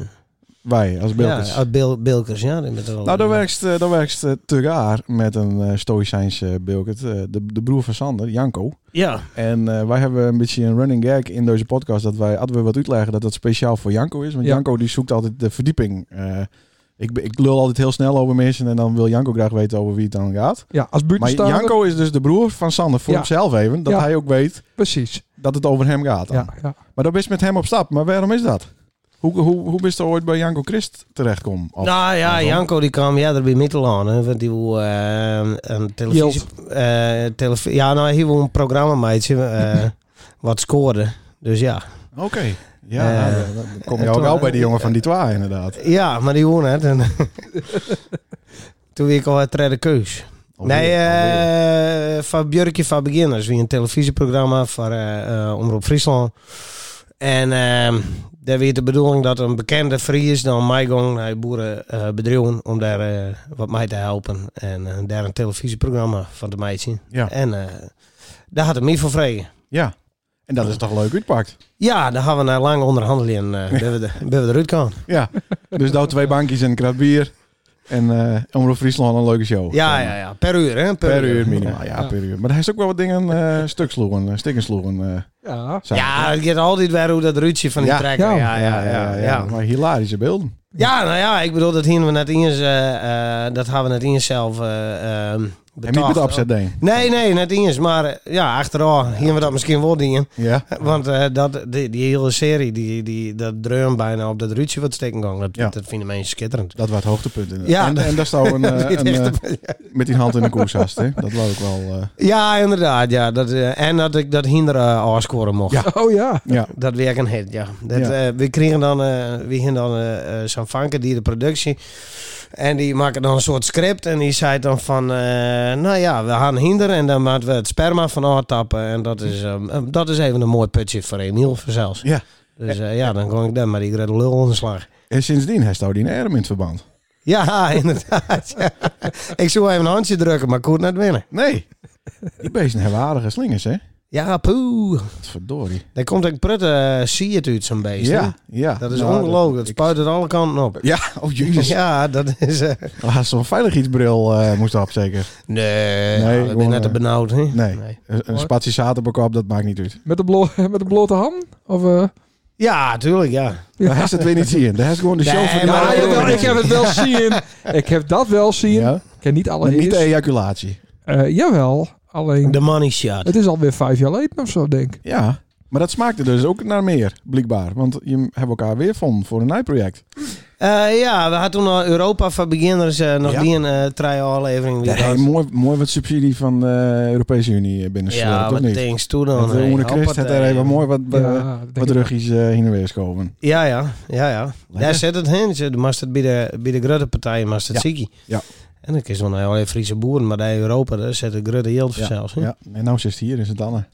Speaker 3: Wij, als beeldjes.
Speaker 5: Ja, uit Bil- Bilkers, ja. die met er al-
Speaker 3: nou, dan werkt, eh, dan werkt eh, Tegaar met een eh Stoïcijnse Bilkert. eh, de, de broer van Sander, Janko.
Speaker 5: Ja,
Speaker 3: En eh, wij hebben een beetje een running gag in deze podcast. Dat wij, hadden we wat uitleggen, dat dat speciaal voor Janko is. Want
Speaker 1: Ja.
Speaker 3: Janko die zoekt altijd de verdieping. Eh, ik, be- ik lul altijd heel snel over mensen. En dan wil Janko graag weten over wie het dan gaat.
Speaker 1: Ja, als
Speaker 3: Maar
Speaker 1: buitenstaander.
Speaker 3: Janko is dus de broer van Sander voor
Speaker 1: Ja.
Speaker 3: hemzelf even. Dat
Speaker 1: Ja.
Speaker 3: hij ook weet
Speaker 1: Precies.
Speaker 3: dat het over hem gaat. dan.
Speaker 1: Ja, ja.
Speaker 3: Maar dan is met hem op stap. Maar waarom is dat? Hoe, hoe, hoe bist er ooit bij Janko Christ terechtgekomen? Of-
Speaker 5: nou ja,
Speaker 3: Of-
Speaker 5: Janko die kwam ja, er bij Middelaan. hè, Want die wil eh, een televisie... eh, televi- ja, nou, hij wil een programma meidje eh, wat scoorde. Dus ja.
Speaker 3: Oké. Ja,
Speaker 5: Eh,
Speaker 3: nou, dan- dan kom je
Speaker 5: eh,
Speaker 3: ook
Speaker 5: toen-
Speaker 3: wel bij die jongen van die twa inderdaad.
Speaker 5: Ja, maar die won het. En toen werd ik al het derde keus.
Speaker 3: Oké.
Speaker 5: Nee, eh, van Björkje van Beginners, wie een televisieprogramma van eh, eh, Omroep Friesland. En ehm daar weer de bedoeling dat een bekende Fries dan mij ging naar boeren eh bedrijven om daar eh, wat mij te helpen. En eh, daar een televisieprogramma van de meidje.
Speaker 3: Ja.
Speaker 5: En eh, daar had ik me voor vregen.
Speaker 3: Ja. En dat is toch leuk uitpakt.
Speaker 5: Ja, daar gaan we naar lange onderhandelingen eh ben we de- ben we eruit gaan.
Speaker 3: Ja. dus daar twee bankjes en een krat bier. En eh Omroep Friesland een leuke show.
Speaker 5: Ja, ja, ja. Per uur, hè?
Speaker 3: Per uur minimaal, ja,
Speaker 1: Ja.
Speaker 3: per uur. Maar hij is ook wel wat dingen eh stuk sloegen, eh, stikken sloegen. eh,
Speaker 1: Ja.
Speaker 3: zijn.
Speaker 5: Ja, het gaat altijd weer hoe dat ruitje van die
Speaker 3: Ja.
Speaker 5: trekker.
Speaker 1: Ja.
Speaker 5: Ja, ja, ja. ja,
Speaker 3: Maar hilarische beelden.
Speaker 5: Ja, nou ja, ik bedoel, dat hingen we net eens, eh, eh, dat hebben we net eens zelf eh ehm,
Speaker 3: En niet met
Speaker 5: betaald.
Speaker 3: de opzet ding.
Speaker 5: Nee, nee, net eens. Maar eh, ja, achteraf hingen we dat misschien wel dingen.
Speaker 3: Ja.
Speaker 5: Want eh, dat, die, die hele serie, die, die, dat dreun bijna op dat ruitje wat steken gang. Dat,
Speaker 3: Ja.
Speaker 5: dat vinden mensen schitterend.
Speaker 3: Dat was het hoogtepunt. inderdaad.
Speaker 5: Ja.
Speaker 3: En, en daar staan een, eh,
Speaker 5: Dit
Speaker 3: een,
Speaker 5: echt
Speaker 3: eh,
Speaker 5: een-
Speaker 3: met die hand in de koershast. Hè? Dat was ook wel... eh,
Speaker 5: ja, inderdaad. Ja, dat, eh, en dat ik dat hinder eh, afscoren mocht.
Speaker 1: Oh ja.
Speaker 3: ja.
Speaker 5: Dat werkt een hit, ja. Dat,
Speaker 3: Ja.
Speaker 5: eh, we kregen dan, eh we gingen dan eh eh, zo'n vanker, die de productie. En die maken dan een soort script. En die zei dan van, eh, nou ja, we gaan hinder. En dan moeten we het sperma van aftappen. En dat is, ehm, eh, dat is even een mooi putje voor Emiel voor zelfs.
Speaker 3: ja.
Speaker 5: Dus eh, ja, dan kon ik daar maar die de lul onderslag.
Speaker 3: En sindsdien heeft hij die erm in het verband.
Speaker 5: Ja, inderdaad. ja. Ik zou even een handje drukken, maar koert net winnen.
Speaker 3: Nee. Die beesten hebben aardige slingers, hè?
Speaker 5: Ja, poeh.
Speaker 3: Verdorie.
Speaker 5: Daar komt een prutte eh, zie het uit zo'n beest. hè?
Speaker 3: Ja, ja.
Speaker 5: Dat is
Speaker 3: Nou,
Speaker 5: ongelooflijk. Dat
Speaker 3: ik-
Speaker 5: spuit het alle kanten op.
Speaker 3: Ja, oh jezus. Ja.
Speaker 5: Ja, dat is... eh,
Speaker 3: zo'n veiligheidsbril eh moest op, zeker. Nee,
Speaker 5: Nee, nou, ik ben
Speaker 3: gewoon,
Speaker 5: net te
Speaker 3: eh,
Speaker 5: benauwd. Hè?
Speaker 3: Nee, een, een spatie zaterbekop, dat maakt niet uit.
Speaker 1: Met de, blo met de blote ham? Of, eh,
Speaker 5: Ja, tuurlijk, ja.
Speaker 3: Daar heeft het weer niet zien. Daar heeft gewoon de
Speaker 5: Nee,
Speaker 3: show van...
Speaker 5: maar-
Speaker 1: ja,
Speaker 5: dat-
Speaker 1: jawel, ik heb het wel zien. Ik heb dat wel zien.
Speaker 5: Oh,
Speaker 3: Ja.
Speaker 1: Ik ken niet alle
Speaker 3: Maar niet de
Speaker 1: hits.
Speaker 3: ejaculatie.
Speaker 1: Eh, jawel, alleen
Speaker 5: De money shot.
Speaker 1: het is alweer vijf jaar geleden of zo, denk ik.
Speaker 3: Ja, maar dat smaakte dus ook naar meer, blijkbaar. Want je hebt elkaar weer van voor een nijproject.
Speaker 5: Eh, ja, we hadden toen al Europa van Beginners eh, nog
Speaker 3: Ja.
Speaker 5: die een eh try-all levering. weer
Speaker 3: Nee,
Speaker 5: gehad.
Speaker 3: mooi, mooi wat subsidie van de Europese Unie eh, binnen
Speaker 5: ja,
Speaker 3: toch
Speaker 5: wat
Speaker 3: niet?
Speaker 5: thanks toe dan.
Speaker 3: Want de
Speaker 5: hey.
Speaker 3: Oene Christ had
Speaker 5: Hoppatee.
Speaker 3: daar even mooi wat, eh,
Speaker 1: Ja, dat denk
Speaker 3: wat
Speaker 1: ik
Speaker 3: ruggies eh, heen en weer schoven.
Speaker 5: Ja, ja, ja, ja. Daar zit het heen. Ze- De mastert bij de, bij de grote partijen, mastert
Speaker 3: Ja.
Speaker 5: zieke.
Speaker 3: Ja.
Speaker 5: En dan is wel een hele Friese boer, maar daar in Europa, daar zit de grote hield
Speaker 3: Ja,
Speaker 5: zelfs. hè.
Speaker 3: ja. En nou zit het hier in sint Anne.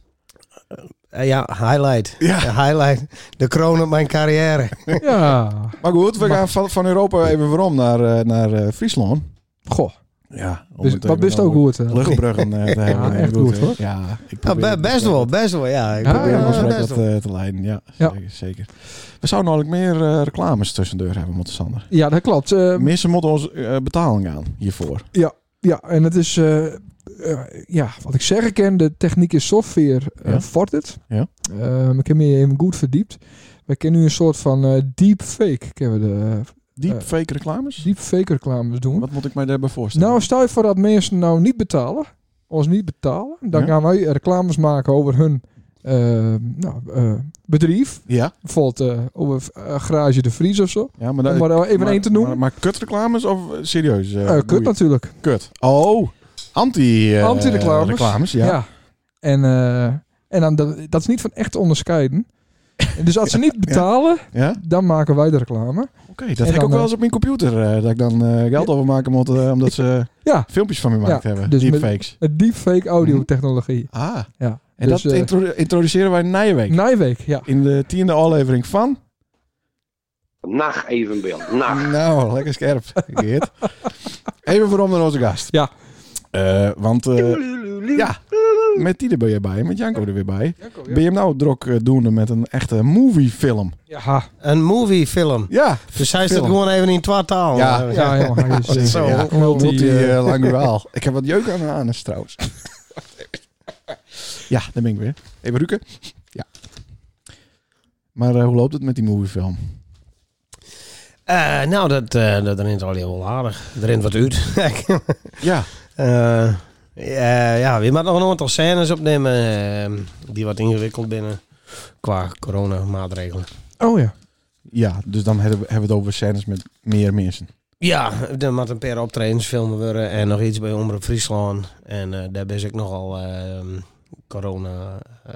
Speaker 5: Eh, ja, highlight.
Speaker 3: Ja.
Speaker 5: De highlight. De kroon op mijn carrière.
Speaker 1: Ja,
Speaker 3: Maar goed, we gaan van, van Europa even waarom naar, eh, naar eh, Friesland.
Speaker 1: goh.
Speaker 3: Ja, om
Speaker 1: Dus,
Speaker 3: het
Speaker 1: dat
Speaker 3: even
Speaker 1: wist ook
Speaker 3: over
Speaker 1: goed. hè?
Speaker 3: Luchtbruggen eh, te hebben.
Speaker 1: echt
Speaker 3: Goed,
Speaker 1: goed,
Speaker 3: hè?
Speaker 1: hoor.
Speaker 3: Ja, ik
Speaker 5: Ja,
Speaker 3: probeer
Speaker 5: be-
Speaker 3: het,
Speaker 5: best
Speaker 3: eh,
Speaker 5: wel, best wel, ja. Ik
Speaker 1: Ja,
Speaker 5: probeer
Speaker 1: ja,
Speaker 3: Probeer een
Speaker 5: het
Speaker 3: gesprek
Speaker 5: best
Speaker 3: dat
Speaker 5: wel.
Speaker 3: eh, te leiden, ja.
Speaker 1: Ja.
Speaker 3: Zeker, zeker. We zouden eigenlijk meer eh, reclames tussendoor hebben moeten, Sander.
Speaker 1: Ja, dat klopt. Eh,
Speaker 3: Mensen moeten ons eh, betaling aan hiervoor.
Speaker 1: ja, en het is, eh, eh, ja, wat ik zeggen kan, de techniek is software eh
Speaker 3: Ja.
Speaker 1: Fortit.
Speaker 3: Ja.
Speaker 1: Eh, ik heb me even goed verdiept. We kennen nu een soort van eh, deepfake, kennen we de eh,
Speaker 3: Deepfake reclames?
Speaker 1: deepfake reclames doen.
Speaker 3: Wat moet ik mij daarbij voorstellen?
Speaker 1: Nou, stel je voor dat mensen nou niet betalen, ons niet betalen, dan
Speaker 3: Ja.
Speaker 1: gaan wij reclames maken over hun eh, nou, eh, bedrijf.
Speaker 3: ja,
Speaker 1: Bijvoorbeeld eh, over eh, Garage de Vries of zo.
Speaker 3: ja, maar,
Speaker 1: Om
Speaker 3: daar-
Speaker 1: maar even
Speaker 3: maar-
Speaker 1: één te noemen.
Speaker 3: Maar, maar kutreclames of eh, serieus? eh,
Speaker 1: Eh, kut
Speaker 3: boeien?
Speaker 1: natuurlijk.
Speaker 3: Kut. Oh, anti, eh
Speaker 1: Anti-reclames.
Speaker 3: reclames, ja.
Speaker 1: Ja. En, eh, en dan, dat, dat is niet van echt te onderscheiden. En dus als ze niet betalen,
Speaker 3: Ja?
Speaker 1: dan maken wij de reclame.
Speaker 3: Oké, dat heb ik
Speaker 1: dan,
Speaker 3: ook wel
Speaker 1: eh,
Speaker 3: eens op mijn computer. eh, dat ik dan eh, geld overmaken moet, eh, omdat ze
Speaker 1: Ja.
Speaker 3: filmpjes van me gemaakt
Speaker 1: Ja,
Speaker 3: hebben.
Speaker 1: dus met-
Speaker 3: Deepfakes.
Speaker 1: Het deepfake audiotechnologie.
Speaker 3: Ah,
Speaker 1: Ja.
Speaker 3: Mhm. en
Speaker 1: dus,
Speaker 3: dat
Speaker 1: eh,
Speaker 3: intro- introduceren wij Nijweek.
Speaker 1: Nijweek, ja.
Speaker 3: in de tiende aflevering van...
Speaker 2: Nacht evenbeeld. Nacht.
Speaker 3: Nou, lekker scherp. Geert. Even waarom naar onze gast.
Speaker 1: Ja.
Speaker 3: Eh, want eh, ja, met die er ben je bij, met Janko er weer bij. Ben je hem nou druk eh, doende met een echte moviefilm?
Speaker 1: Ja,
Speaker 5: Een moviefilm.
Speaker 3: Ja,
Speaker 5: Dus hij staat
Speaker 3: film.
Speaker 5: gewoon even in twaalf talen.
Speaker 3: Ja,
Speaker 5: Eh,
Speaker 1: ja, jongen, hij is, eh,
Speaker 5: Zo,
Speaker 3: Dus ja.
Speaker 1: multi,
Speaker 3: Multi,
Speaker 1: eh,
Speaker 3: eh, languraal. Ik heb wat jeuk aan mijn anus trouwens. ja, daar ben ik weer. Even ruiken. Ja. Maar eh, hoe loopt het met die moviefilm?
Speaker 5: eh, nou, dat, eh dat rent al heel aardig. Er rent wat uit.
Speaker 3: Ja,
Speaker 5: Eh, eh, ja, we moeten nog een aantal scènes opnemen eh, die wat ingewikkeld binnen qua coronamaatregelen.
Speaker 1: Oh ja.
Speaker 3: ja dus dan hebben we, hebben we het over scènes met meer mensen.
Speaker 5: Ja, er moet een paar optredens filmen worden en nog iets bij Omroep Friesland. En eh, daar ben ik nogal eh, corona... eh,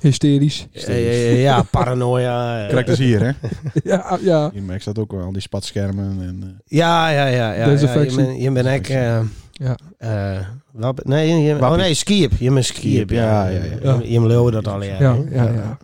Speaker 1: Hysterisch.
Speaker 5: eh, eh, ja, paranoia. eh.
Speaker 3: Krijg dus hier, hè?
Speaker 1: Ja, ah, ja.
Speaker 3: Hier merk staat ook wel al die spatschermen en... eh,
Speaker 5: Ja, ja, ja. ja, ja. Je
Speaker 1: Desinfectie.
Speaker 5: bent je bent ook, eh,
Speaker 1: Ja.
Speaker 5: Eh, Wab- nee, je- je- oh
Speaker 3: Wappie.
Speaker 5: nee, skiep. Je bent skiep.
Speaker 3: Ja, ja, ja.
Speaker 5: Je- Je leeuwen dat al, ja.
Speaker 1: Ja, ja, ja.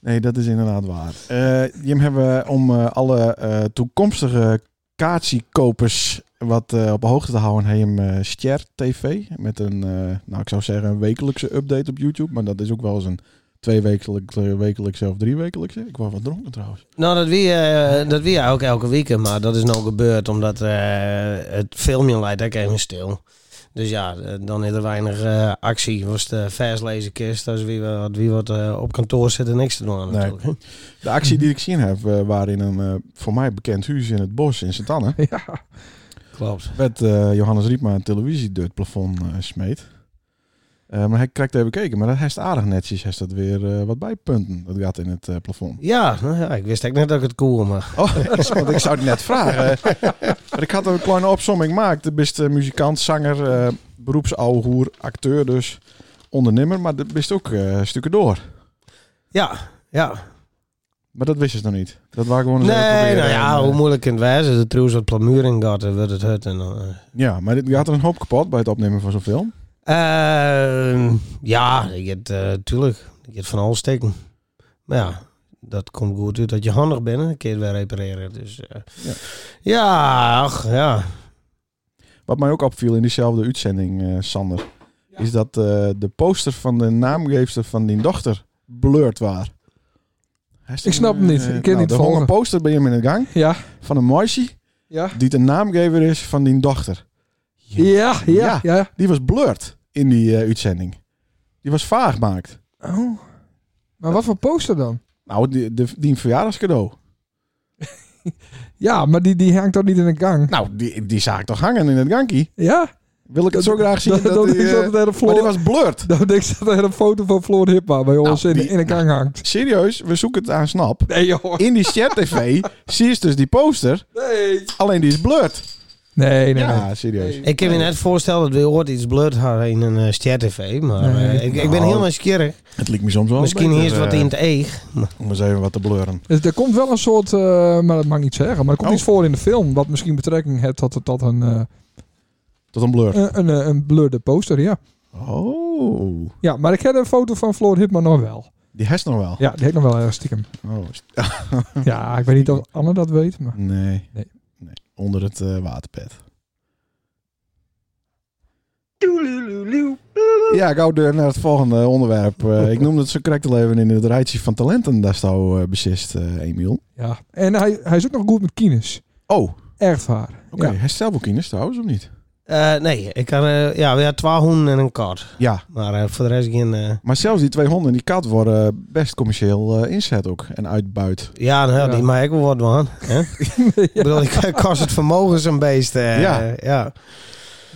Speaker 3: Nee, dat is inderdaad waar. Eh, Jim, hebben we om eh, alle eh, toekomstige kaartsiekopers wat eh, op hoogte te houden, heeft hem eh Ster TV met een, eh, nou ik zou zeggen een wekelijkse update op YouTube, maar dat is ook wel eens een twee wekelijkse, wekelijkse of drie wekelijkse. Ik was wat dronken trouwens.
Speaker 5: Nou, dat wie, eh dat wie ook elke week, maar dat is nou gebeurd omdat eh, het filmpje leidt ook even stil. Dus ja, eh, dan is er weinig eh, actie. Was de verslezenkist, dus wie, wat, wie wat eh, op kantoor zit en niks te doen.
Speaker 3: Nee.
Speaker 5: natuurlijk.
Speaker 3: De actie die ik
Speaker 1: Mhm.
Speaker 3: gezien heb, eh waren in een eh, voor mij bekend huis in het bos in Sint-Anne.
Speaker 1: ja.
Speaker 5: Klopt.
Speaker 3: werd eh, Johannes Riepma een televisie door het plafond eh, smeet. Eh, maar hij krijgt even kijken, maar dat heeft aardig netjes. Hij staat weer eh, wat bijpunten. Dat gaat in het eh, plafond.
Speaker 5: Ja, nou ja, ik wist echt net dat ik het cool mag.
Speaker 3: Oh, want ik zou het net vragen. maar ik had een kleine opsomming gemaakt. De beste muzikant, zanger, eh beroepsouwehoer, acteur dus, ondernemer. Maar dat wist ook eh, stukken door.
Speaker 5: Ja, ja.
Speaker 3: Maar dat wist ze nog niet. Dat waren gewoon eens even
Speaker 5: Nee,
Speaker 3: proberen.
Speaker 5: nou ja,
Speaker 3: En, eh,
Speaker 5: hoe moeilijk kan het wijzen. De trouwens wat plamuring gaat, dan wordt het hut. En, dan, eh.
Speaker 3: ja, maar dit gaat er een hoop kapot bij het opnemen van zo'n film.
Speaker 5: Ehm, ja, ik heb eh tuurlijk. Ik heb van alles steken. Maar ja, dat komt goed uit dat je handig bent. Een keer weer repareren. Dus eh,
Speaker 3: Ja.
Speaker 5: ja. ach, ja.
Speaker 3: Wat mij ook opviel in diezelfde uitzending, eh, Sander, is dat eh, de poster van de naamgeefster van die dochter blurred was.
Speaker 1: Ik snap hem niet. Ik ken niet
Speaker 3: Er hong
Speaker 1: volgen.
Speaker 3: een poster bij hem in de gang
Speaker 1: Ja,
Speaker 3: van een meisje
Speaker 1: ja.
Speaker 3: die de naamgever is van die dochter.
Speaker 1: Ja, ja, ja.
Speaker 3: Die was blurred in die eh, uitzending. Die was vaag gemaakt.
Speaker 1: Oh. Maar wat voor poster dan?
Speaker 3: Nou, die, de, die een verjaardagscadeau.
Speaker 1: Ja, maar die, die hangt toch niet in de gang?
Speaker 3: Nou, die, die zag ik toch hangen in het gankie.
Speaker 1: Ja?
Speaker 3: Wil ik het zo graag zien
Speaker 1: Dat,
Speaker 3: dat,
Speaker 1: dat, dat,
Speaker 3: die,
Speaker 1: is
Speaker 3: eh,
Speaker 1: altijd een
Speaker 3: Maar die
Speaker 1: Floor-
Speaker 3: was blurred.
Speaker 1: dan denk Nou, ik dat er een foto van Floor Hippa bij
Speaker 5: Nou,
Speaker 1: ons in,
Speaker 3: die-
Speaker 1: in de gang hangt.
Speaker 3: Serieus, we zoeken het aan Snap.
Speaker 1: Nee, joh.
Speaker 3: In die chat tv zie je dus die poster.
Speaker 1: Nee.
Speaker 3: Alleen die is blurred.
Speaker 1: Nee, nee,
Speaker 3: Ja, serieus.
Speaker 5: Ik kan me net voorstellen dat we ooit iets blurred hadden in een eh, Ster TV. Maar
Speaker 1: Nee.
Speaker 5: eh, ik, ik ben
Speaker 3: Nou,
Speaker 5: heel nieuwsgierig.
Speaker 3: Het lijkt me soms wel.
Speaker 5: Misschien
Speaker 3: beter,
Speaker 5: hier is wat
Speaker 3: eh,
Speaker 5: in het eeg.
Speaker 3: Om eens even wat te blurren.
Speaker 1: Dus er komt wel een soort, eh, maar dat mag ik niet zeggen, maar er komt
Speaker 3: Oh.
Speaker 1: iets voor in de film wat misschien betrekking heeft tot, tot een, eh,
Speaker 3: Tot een blur.
Speaker 1: een, een, eh, een blurde poster, ja.
Speaker 3: Oh.
Speaker 1: Ja, maar ik heb een foto van Floor Hipman nog wel.
Speaker 3: Die heeft nog wel.
Speaker 1: Ja, die heb ik nog wel ergens stiekem.
Speaker 3: Oh, is-
Speaker 1: Ja, ik weet niet of Anne dat weet, maar...
Speaker 3: nee.
Speaker 1: Nee.
Speaker 3: Nee. Onder het eh, waterbed. Ja, ik hou door naar het volgende onderwerp. Eh, ik noemde het zo correct al even in het rijtje van talenten. Daar zou eh beslist, eh, Emiel.
Speaker 1: Ja. En hij, hij is ook nog goed met kines.
Speaker 3: Oh, oké.
Speaker 1: Echt waar.
Speaker 3: Okay.
Speaker 1: Ja.
Speaker 3: Hij is zelf ook kines trouwens, of niet?
Speaker 5: Eh, nee, ik kan, eh, ja, we hadden twee honden en een kat.
Speaker 3: Ja.
Speaker 5: Maar eh, voor de rest geen... eh,
Speaker 3: Maar zelfs die twee honden en die kat worden eh, best commercieel eh, inzet ook. En uitbuit.
Speaker 5: Ja, nou,
Speaker 1: Ja.
Speaker 5: die maak ik wel wat man. Hè? Ik bedoel, ik kost het vermogen zo'n beest. eh,
Speaker 3: Ja.
Speaker 5: ja.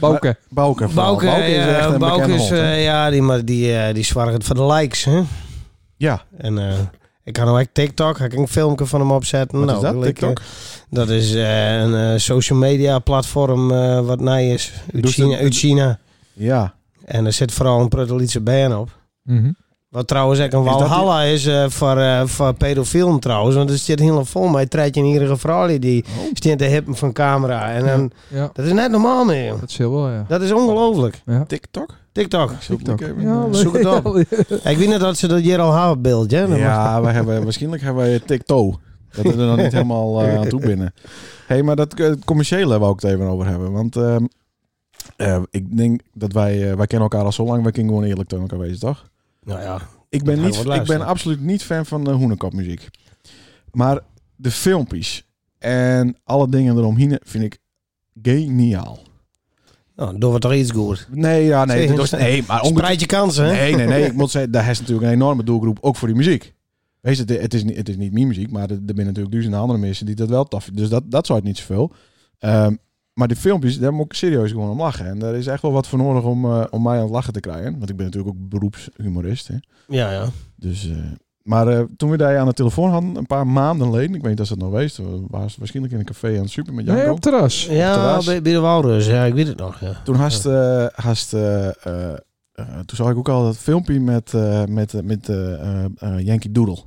Speaker 1: Bouke.
Speaker 3: Bouke. vooral.
Speaker 5: Bouke,
Speaker 3: is echt
Speaker 5: eh,
Speaker 3: een
Speaker 5: Bouke
Speaker 3: bekende
Speaker 5: is,
Speaker 3: hond, hè?
Speaker 5: eh, ja, die, maar die, eh die zwaar het van de likes. Hè?
Speaker 3: Ja.
Speaker 5: En eh, ik kan ook echt TikTok, ik kan een filmpje van hem opzetten.
Speaker 3: Wat
Speaker 5: nou,
Speaker 3: is dat,
Speaker 5: wil ik,
Speaker 3: TikTok?
Speaker 5: eh, dat is eh, een eh, social media platform eh, wat nij is. Uit
Speaker 3: Dus
Speaker 5: China,
Speaker 3: dat-
Speaker 5: uit China.
Speaker 3: Ja.
Speaker 5: En er zit vooral een Prutelietse band op.
Speaker 1: Mhm.
Speaker 5: Wat trouwens echt een
Speaker 3: Is dat die-
Speaker 5: walhalla is, eh, voor, eh voor pedofielen trouwens. Want er zit helemaal vol mee. Treitje in iedere vrouw die
Speaker 3: Oh,
Speaker 5: stint te hippen van camera. En dan
Speaker 1: Ja,
Speaker 5: Dat is net normaal meer, joh.
Speaker 1: dat is heel wel, ja.
Speaker 5: Dat is ongelooflijk.
Speaker 3: TikTok?
Speaker 5: TikTok.
Speaker 1: TikTok.
Speaker 3: Ja,
Speaker 1: Ja,
Speaker 5: zoek het
Speaker 1: ja,
Speaker 5: op. Ik weet niet dat ze dat hier al hebben, beeld, hè? Dat mag-
Speaker 3: ja we hebben, waarschijnlijk hebben wij TikTok. Dat we er nog niet helemaal eh, aan toe binnen. hey, maar dat eh, het commerciële wou ik het even over hebben. Want ehm, eh, ik denk dat wij, eh, wij kennen elkaar al zo lang. Wij kunnen gewoon eerlijk tegen elkaar wezen, toch?
Speaker 5: Nou ja.
Speaker 3: Ik ben,
Speaker 5: Hij
Speaker 3: niet,
Speaker 5: wordt
Speaker 3: ik ben
Speaker 5: luisteren.
Speaker 3: absoluut niet fan van de hoenekopmuziek. Maar de filmpjes en alle dingen eromheen vind ik geniaal.
Speaker 5: Nou, doen we toch iets goed.
Speaker 3: Nee, ja, nee,
Speaker 5: Zeg,
Speaker 3: dat is- nee maar onge-
Speaker 5: Spreid je kansen, hè?
Speaker 3: Nee, nee, nee. Ik moet zeggen, daar is natuurlijk een enorme doelgroep, ook voor die muziek. Wees het, het is niet, het is niet mijn muziek, maar er er zijn natuurlijk duizenden andere mensen die dat wel tof vinden. Dus dat, dat zou het niet zoveel. Ehm, maar die filmpjes, daar moet ik serieus gewoon om lachen. En daar is echt wel wat voor nodig om, eh, om mij aan het lachen te krijgen. Want ik ben natuurlijk ook beroepshumorist. Hè?
Speaker 5: Ja, ja.
Speaker 3: Dus, eh, maar eh, toen we daar aan de telefoon hadden, een paar maanden geleden, ik weet niet of dat nog geweest, we waren waarschijnlijk in een café aan het super met Janko.
Speaker 1: Nee, op het terras.
Speaker 5: Ja,
Speaker 3: terras.
Speaker 5: bij, bij de Walrus. Ja, ik weet het nog, ja.
Speaker 3: Toen hast, eh hast eh, eh, eh, toen zag ik ook al dat filmpje met, eh, met, eh, met eh, eh, eh, Yankee Doodle.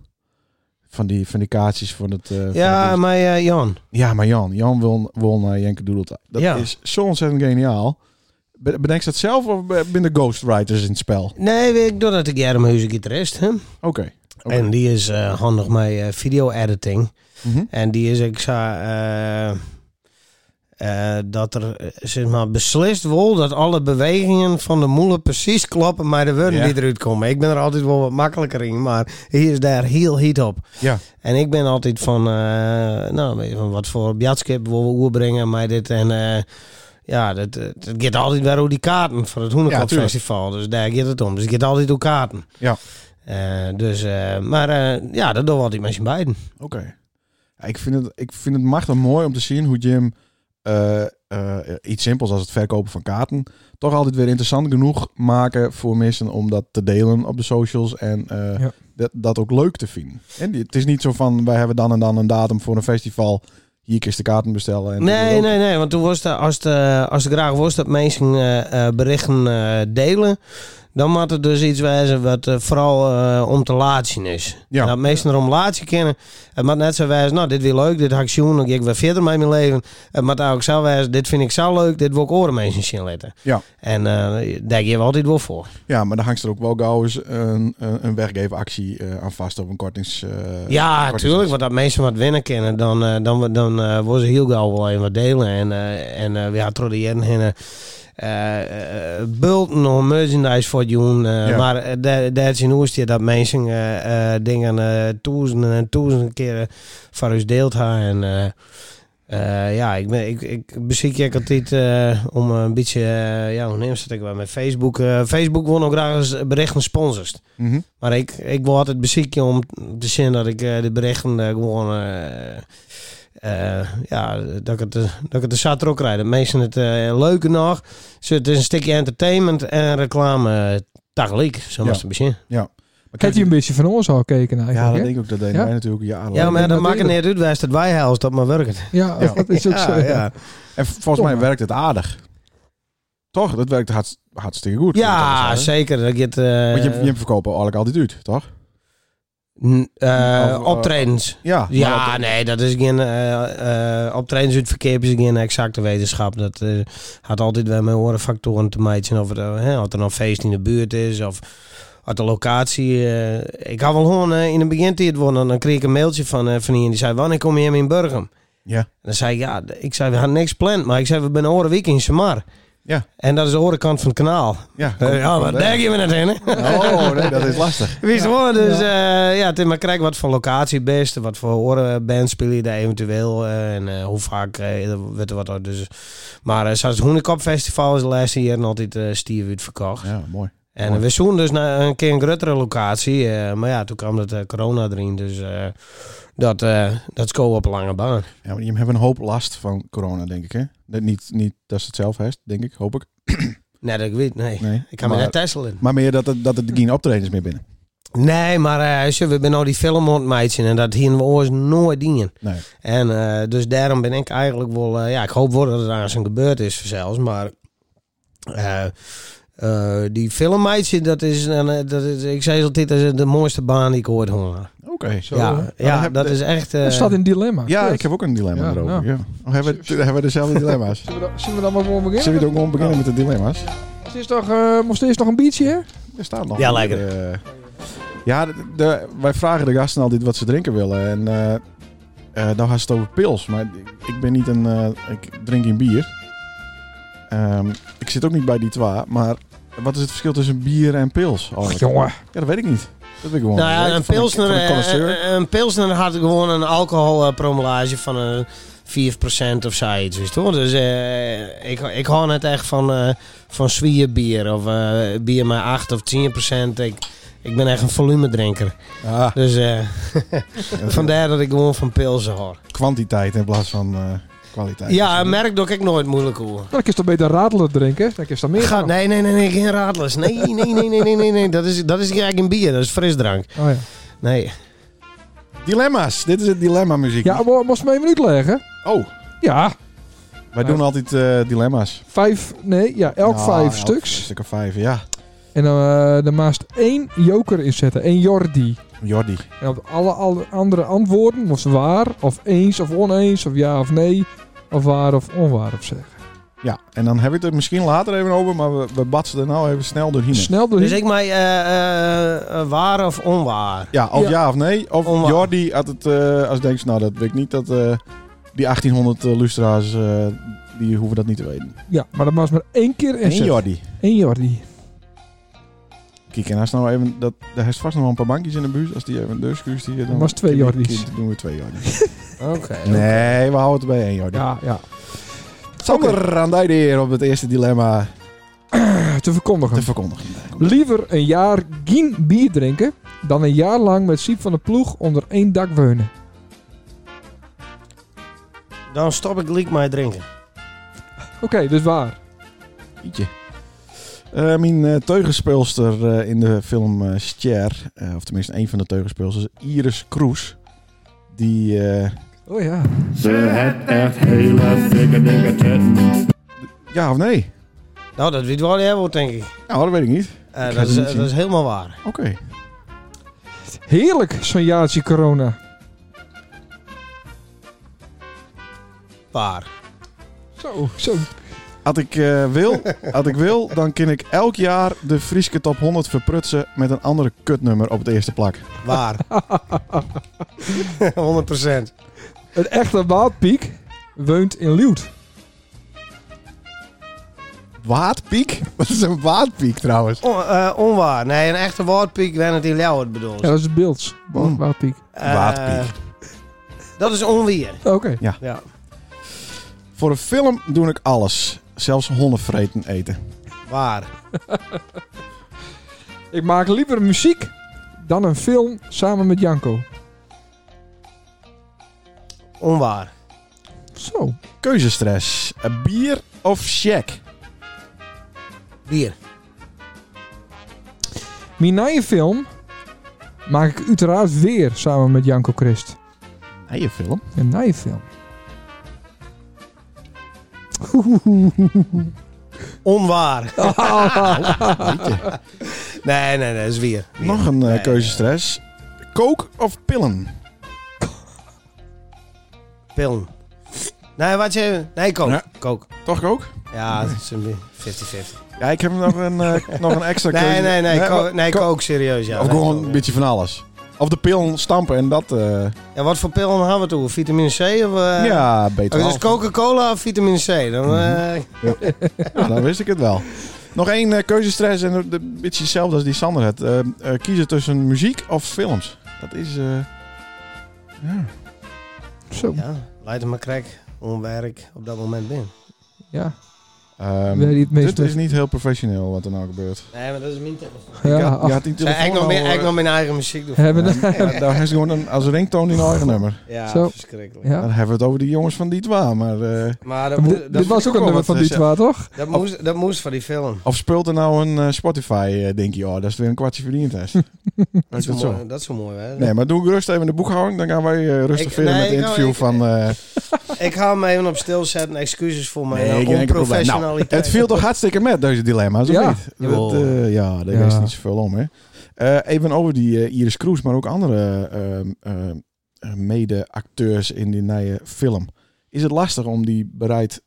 Speaker 3: Van die, van die kaartjes van het... eh, van het
Speaker 5: Ja, maar eh, Jan.
Speaker 3: Ja, maar Jan, Jan wil, wil naar Jenke Doedelta. Dat
Speaker 5: Ja.
Speaker 3: is zo ontzettend geniaal. Be- Bedenk je dat zelf of be- binnen de ghostwriters in het spel?
Speaker 5: Nee, ik doe dat ik Jerm Huizen gitarist. Hè?
Speaker 3: Oké. Oké.
Speaker 5: En die is eh, handig met eh, video editing.
Speaker 3: Mhm.
Speaker 5: En die is, ik zei, eh, eh, dat er eh, zeg maar, beslist wordt dat alle bewegingen van de moelen precies kloppen met de woorden
Speaker 3: Ja.
Speaker 5: die eruit komen. Ik ben er altijd wel wat makkelijker in, maar hij is daar heel heet op.
Speaker 3: Ja.
Speaker 5: En ik ben altijd van, eh, nou, weet je, van wat voor bjatskip wil we oerbrengen met dit. En eh, ja, dat, dat, dat gaat altijd weer over die kaarten voor het Hoenekamp
Speaker 3: tuurlijk.
Speaker 5: Festival. Dus daar gaat het om. Dus het gaat altijd door kaarten.
Speaker 3: Ja.
Speaker 5: Eh, dus, eh, maar eh, ja, dat doen we altijd met z'n beiden.
Speaker 3: Oké. Ja, ik, vind het, ik vind het machtig mooi om te zien hoe Jim eh, eh, iets simpels als het verkopen van kaarten toch altijd weer interessant genoeg maken voor mensen om dat te delen op de socials en eh,
Speaker 1: Ja.
Speaker 3: dat, dat ook leuk te vinden. En die- het is niet zo van wij hebben dan en dan een datum voor een festival. Hier is de kaarten bestellen. En
Speaker 5: Nee, nee, nee. Want toen was het, als, de, als het graag was dat mensen eh, eh, berichten eh, delen, dan moet het dus iets wijzen wat eh, vooral eh, om te laten zien is.
Speaker 3: Ja.
Speaker 5: Dat mensen erom laten zien kennen. Het moet net zo wijzen, nou, dit weer leuk, dit ga ik zien, dan ga ik weer verder met mijn leven. Het moet ook zo wijzen, dit vind ik zo leuk, dit wil ik oren mensen zien laten.
Speaker 3: Ja.
Speaker 5: En eh, daar geven we altijd wel voor.
Speaker 3: Ja, maar dan hangt er ook wel gauw eens een, eh, een, een weggevenactie eh, aan vast op een kortings. eh,
Speaker 5: Ja,
Speaker 3: kortings-
Speaker 5: tuurlijk. Want dat mensen wat winnen kennen, dan, eh, dan, dan eh worden ze heel gauw wel even wat delen. En, eh en eh we hadden door de jaren heen eh, eh, eh, bulten om merchandise voor doen. eh,
Speaker 3: Ja.
Speaker 5: Maar eh, daar- daar is in Oestje dat mensen eh, eh, dingen eh, duizenden en duizenden keren van ons deelt haar. En eh, eh, ja, ik, ben, ik, ik beziek je altijd eh, om een beetje, eh, ja, hoe neemt het ik wel met Facebook. eh, Facebook wil ook graag eens berichten sponsors.
Speaker 3: Mhm.
Speaker 5: Maar ik, ik wil altijd bezieken om te zien dat ik eh, de berichten eh, gewoon. eh, eh, ja, dat ik, het, eh, dat ik het er zat ook rijd. Dat mensen het eh, leuke nog. Dus het is een stukje entertainment en reclame tegelijk. Zo
Speaker 3: Ja.
Speaker 5: was het begin.
Speaker 3: Maar
Speaker 1: Kijk je een
Speaker 3: kijk,
Speaker 1: beetje van ons al keken
Speaker 3: ja,
Speaker 1: eigenlijk.
Speaker 3: dat
Speaker 1: hè?
Speaker 3: denk ik ook. Dat deden
Speaker 1: Ja?
Speaker 3: wij natuurlijk jaren.
Speaker 5: Ja, maar
Speaker 1: dat
Speaker 5: dat maakt
Speaker 1: eerlijk.
Speaker 5: niet uit wijst dat wij helst dat maar werkt.
Speaker 1: Ja,
Speaker 3: Ja.
Speaker 1: dat is ook zo.
Speaker 5: Ja, ja.
Speaker 3: En v- volgens mij werkt het aardig. Toch? Dat werkt hartst- hartstikke goed.
Speaker 5: Ja,
Speaker 3: Moet
Speaker 5: zeker. Dat je het, eh,
Speaker 3: Want je, je verkopen eigenlijk altijd uit, toch?
Speaker 5: n- eh,
Speaker 3: Of, eh,
Speaker 5: optredens.
Speaker 3: Ja. maar
Speaker 5: Ja,
Speaker 3: dat-
Speaker 5: nee, dat is geen. eh eh optredens uit het verkeer is geen exacte wetenschap. Dat eh, had altijd wel met horenfactoren te maken. Of het, eh, hè, of er een feest in de buurt is of uit de locatie. eh. ik had wel gewoon eh, in het begin die het wonen. Dan kreeg ik een mailtje van, eh van iemand die zei: Wanneer kom je hem in Burgum?
Speaker 3: Ja.
Speaker 5: En dan zei ik: Ja, d- ik zei, we hadden niks gepland, maar ik zei: We zijn een week in Samar.
Speaker 3: Ja.
Speaker 5: En dat is de andere kant van het kanaal.
Speaker 3: Ja,
Speaker 5: Eh,
Speaker 3: kom-
Speaker 5: ja,
Speaker 3: kom
Speaker 5: maar
Speaker 3: daar.
Speaker 5: daar gaan we net heen. hè?
Speaker 3: Oh, nee, dat is lastig.
Speaker 5: Wist gewoon, dus ja, ja Tim, maar kijk wat voor locatie het beste, wat voor orenband speel je daar eventueel eh, en eh, hoe vaak eh, er werd er wat uit. Dus, maar eh, zoals het Hoenekop Festival is de laatste jaren altijd eh stier verkocht.
Speaker 3: Ja, mooi.
Speaker 5: En we zoen dus naar een keer een grotere locatie, eh, maar ja, toen kwam dat eh, corona erin, dus eh, dat, eh dat is gewoon op een lange baan.
Speaker 3: Ja, maar je hebt een hoop last van corona, denk ik, hè? Dat niet, niet dat ze het zelf heeft, denk ik, hoop ik.
Speaker 5: Nee, dat ik weet, nee.
Speaker 3: Nee.
Speaker 5: Ik kan me
Speaker 3: maar,
Speaker 5: net Tesla in.
Speaker 3: maar meer dat, het- dat er geen optredens meer binnen.
Speaker 5: Nee, maar eh zo, we zijn al die film ontmeidje en dat hier we ons nooit dingen.
Speaker 3: Nee.
Speaker 5: En eh, dus daarom ben ik eigenlijk wel... eh, ja, ik hoop wel dat het aan zijn gebeurd is zelfs, maar... eh, eh, die filmmeidje, dat is, een, eh, dat is... Ik zei altijd, dat is de mooiste baan die ik ooit hoor.
Speaker 3: Oké.
Speaker 1: Zo, hè?
Speaker 5: Ja,
Speaker 3: dan
Speaker 5: ja
Speaker 3: heb
Speaker 5: dat
Speaker 3: de-
Speaker 5: is echt... eh,
Speaker 1: Dat staat in dilemma.
Speaker 3: Ja,
Speaker 1: Kut.
Speaker 3: ik heb ook een dilemma
Speaker 1: Ja,
Speaker 3: erover. Ja.
Speaker 1: ja.
Speaker 3: Oh, hebben, we, hebben we dezelfde dilemma's?
Speaker 1: Zullen we dan- Zullen we dan maar gewoon beginnen?
Speaker 3: Zullen we het ook gewoon beginnen met de dilemma's?
Speaker 1: Het is toch, eh, moest eerst nog een biertje, hè?
Speaker 3: Er staat nog.
Speaker 5: Ja,
Speaker 3: een,
Speaker 5: lekker.
Speaker 3: eh, ja, de- de- wij vragen de gasten altijd wat ze drinken willen. En eh eh, dan gaat het over pils. Maar ik, ik ben niet een... eh, ik drink geen bier. Ehm, ik zit ook niet bij die twa. Maar wat is het verschil tussen bier en pils?
Speaker 1: Och,
Speaker 3: eigenlijk?
Speaker 1: jongen.
Speaker 3: Ja, dat weet ik niet. Dat weet ik gewoon.
Speaker 5: nou
Speaker 3: niet.
Speaker 5: ja, een
Speaker 3: Van
Speaker 5: pilsner,
Speaker 3: Van een
Speaker 5: eh,
Speaker 3: connoisseur.
Speaker 5: eh, een pilsner had gewoon een alcoholpromulage van een 4% of zoiets, weet je wel. Dus eh, ik, ik hou net echt van, eh van zwier bier of eh, bier met 8 of 10%. Ik, ik ben echt een volumedrinker.
Speaker 3: Ah,
Speaker 5: Dus eh,
Speaker 3: ja,
Speaker 5: vandaar dat ik gewoon van pilsen hoor.
Speaker 3: kwantiteit in plaats van eh, kwaliteit.
Speaker 5: Ja, een merk doe ik nooit moeilijk over.
Speaker 1: Dan kun je toch beter radelen drinken? Dan kun je toch meer
Speaker 5: Gaat,
Speaker 1: gaan.
Speaker 5: nee, nee, nee, nee, geen radlers. Nee, nee, nee, nee, nee, nee, nee. Dat is, dat is eigenlijk een bier, dat is frisdrank.
Speaker 1: Oh, ja.
Speaker 5: Nee.
Speaker 3: Dilemma's. Dit is het dilemma muziek.
Speaker 1: ja, mo- moest me een minuut leggen?
Speaker 3: Oh,
Speaker 1: Ja,
Speaker 3: wij doen altijd eh, dilemma's.
Speaker 1: vijf, nee, ja, elk
Speaker 3: Nou,
Speaker 1: vijf
Speaker 3: elk
Speaker 1: stuks.
Speaker 3: Stukken vijf, ja.
Speaker 1: En dan eh er maast één joker inzetten, één Jordi.
Speaker 3: Jordi.
Speaker 1: En op alle, alle andere antwoorden moest waar, of eens of oneens, of ja of nee, of waar of onwaar of zeggen.
Speaker 3: Ja, en dan heb ik het er misschien later even over, maar we, we batsen er nou even snel doorheen.
Speaker 1: Snel door
Speaker 5: Dus ik mij eh, eh, eh, waar of onwaar?
Speaker 3: ja, of ja.
Speaker 1: Ja.
Speaker 3: of nee. Of
Speaker 5: Onwaar.
Speaker 3: Jordi had het, eh, als denkt, nou dat weet ik niet, dat eh, die 1800 eh, lustra's, eh, die hoeven dat niet te weten.
Speaker 1: Ja, maar dat maast maar één keer
Speaker 3: En
Speaker 1: inzetten.
Speaker 3: Jordi.
Speaker 1: Eén Jordi.
Speaker 3: Kijk, en als nou even, dat, daar is vast nog wel een paar bankjes in de buurt. Als die even een deur schuurt hier, dan...
Speaker 1: was twee Jordi's.
Speaker 3: Dan doen we twee Jordi's.
Speaker 5: Oké.
Speaker 3: Nee, we houden het bij één Jordi.
Speaker 1: Ja, ja.
Speaker 3: Sander, aan die de heer op het eerste dilemma
Speaker 1: Te verkondigen.
Speaker 3: te verkondigen.
Speaker 1: Liever een jaar geen bier drinken dan een jaar lang met Siep van de Ploeg onder één dak wonen.
Speaker 5: Dan stop ik liek mij drinken.
Speaker 1: Oké, dus waar.
Speaker 3: Ietje. Eh, mijn eh, teugenspeelster eh, in de film eh Cher, eh, of tenminste een van de teugenspeelsters, Iris Kroes. Die, eh,
Speaker 1: Oh ja.
Speaker 4: Ze het echt hele dikke dikke titten.
Speaker 3: ja of nee?
Speaker 5: Nou, dat weet wel jij wordt, denk ik.
Speaker 3: Nou, dat weet ik niet.
Speaker 5: Eh,
Speaker 3: Ik ga
Speaker 5: dat, is,
Speaker 3: het niet
Speaker 5: eh,
Speaker 3: zien.
Speaker 5: dat is helemaal waar.
Speaker 3: Oké.
Speaker 1: Heerlijk zo'n jaartje corona.
Speaker 5: Waar.
Speaker 1: Zo, zo.
Speaker 3: Als ik, eh, wil, als ik wil, dan kan ik elk jaar de Frieske Top 100 verprutsen met een andere kutnummer op het eerste plak.
Speaker 5: Waar. 100 procent.
Speaker 1: Het echte Waadpiek woont in Liut.
Speaker 3: Waadpiek? Dat is een waadpiek trouwens.
Speaker 5: eh, onwaar. Nee, een echte woordpiek werd het in Leeuwarden bedoeld.
Speaker 1: Ja, dat is het beeld. Wa-
Speaker 3: Mm.
Speaker 1: Waadpiek.
Speaker 5: Eh,
Speaker 3: waardpiek.
Speaker 5: Dat is onweer.
Speaker 1: Oké.
Speaker 5: Ja.
Speaker 3: Voor een film doe ik alles. Zelfs hondenvreten eten.
Speaker 5: Waar.
Speaker 1: Ik maak liever muziek dan een film samen met Janko.
Speaker 5: Onwaar.
Speaker 1: Zo.
Speaker 3: Keuzestress. Eh, Bier of shack?
Speaker 5: Bier.
Speaker 1: Mijn nieuwe film maak ik uiteraard weer samen met Janko Christ.
Speaker 3: Nee, je film.
Speaker 1: Een nieuwe film.
Speaker 5: Onwaar. nee, nee, nee. Dat is weer. Weer.
Speaker 3: Nog een eh,
Speaker 5: Nee.
Speaker 3: keuzestress. Kook of pillen?
Speaker 5: Pillen. Nee, wat je... Nee, kook.
Speaker 3: Ja.
Speaker 5: Kook.
Speaker 3: Toch ook?
Speaker 5: Ja, het is een bi- 50-50.
Speaker 3: Ja, ik heb nog een, eh, nog een extra keuze.
Speaker 5: Nee, nee, nee.
Speaker 3: wa-
Speaker 5: Kook, nee, kook serieus. Ja,
Speaker 3: Of
Speaker 5: Nee,
Speaker 3: gewoon
Speaker 5: kook.
Speaker 3: een beetje van alles. Of de pillen stampen en dat... eh,
Speaker 5: Ja, wat voor pillen hebben we toe? Vitamine C of... eh,
Speaker 3: ja, Mhm. beter
Speaker 5: Oh,
Speaker 3: wel.
Speaker 5: dus Coca-Cola of vitamine C? Dan, eh,
Speaker 3: Ja, dan wist ik het wel. Nog één eh, keuzestress en een een beetje hetzelfde als die Sander had. Eh, eh, kiezen tussen muziek of films. Dat is... eh, ja.
Speaker 1: Zo. Ja.
Speaker 5: ja, leid hem maar krek. Onwerk op dat moment ben.
Speaker 3: Ehm,
Speaker 1: Weet je het meest
Speaker 3: dit
Speaker 1: met-
Speaker 3: is niet heel professioneel wat er nou gebeurt.
Speaker 5: Nee, maar dat is mijn telefoon.
Speaker 1: Ja,
Speaker 3: Je had- je
Speaker 1: ach,
Speaker 3: had die
Speaker 5: Zou
Speaker 3: telefoon
Speaker 5: eigenlijk nog,
Speaker 3: al,
Speaker 5: meer,
Speaker 3: eh,
Speaker 5: eigenlijk nog mijn eigen muziek doen?
Speaker 1: hebben we
Speaker 3: Ja, maar daar is gewoon een, als ringtoon in eigen nummer.
Speaker 5: Ja,
Speaker 1: Zo.
Speaker 5: verschrikkelijk.
Speaker 1: ja.
Speaker 3: Dan hebben we het over die jongens van Dietwa, maar... eh,
Speaker 5: Maar dat,
Speaker 1: Maar
Speaker 5: moe-
Speaker 1: dit-
Speaker 5: dat,
Speaker 1: dit was ook
Speaker 3: ik
Speaker 1: een
Speaker 3: ook wel
Speaker 1: nummer van
Speaker 3: wat,
Speaker 1: die
Speaker 3: eh,
Speaker 1: twa, toch?
Speaker 5: dat, moest, dat moest van die film.
Speaker 3: of speelt er nou een eh, Spotify, eh, denk je, oh, dat is weer een kwartje verdiend hè? Werkt
Speaker 5: Dat is,
Speaker 3: dat
Speaker 5: mooi,
Speaker 3: zo?
Speaker 5: dat is zo mooi, hè?
Speaker 3: Nee, maar doe gerust even de boekhouding, dan gaan wij eh, rustig
Speaker 5: Ik-
Speaker 3: verder
Speaker 5: nee,
Speaker 3: met het
Speaker 5: ik-
Speaker 3: interview
Speaker 5: ik-
Speaker 3: van... eh,
Speaker 5: Ik ga hem even op stil zetten. Excuses voor mijn eh,
Speaker 3: geen enkel probleem. Nou,
Speaker 5: onprofessionaliteit.
Speaker 3: het viel toch hartstikke met, deze dilemma's, of
Speaker 1: Ja.
Speaker 3: niet? Dat, eh, ja, daar
Speaker 1: Ja.
Speaker 3: is niet zoveel om, hè? Eh, even over die eh, Iris Kroes, maar ook andere eh, eh, eh, mede-acteurs in die nieuwe film. Is het lastig om die bereid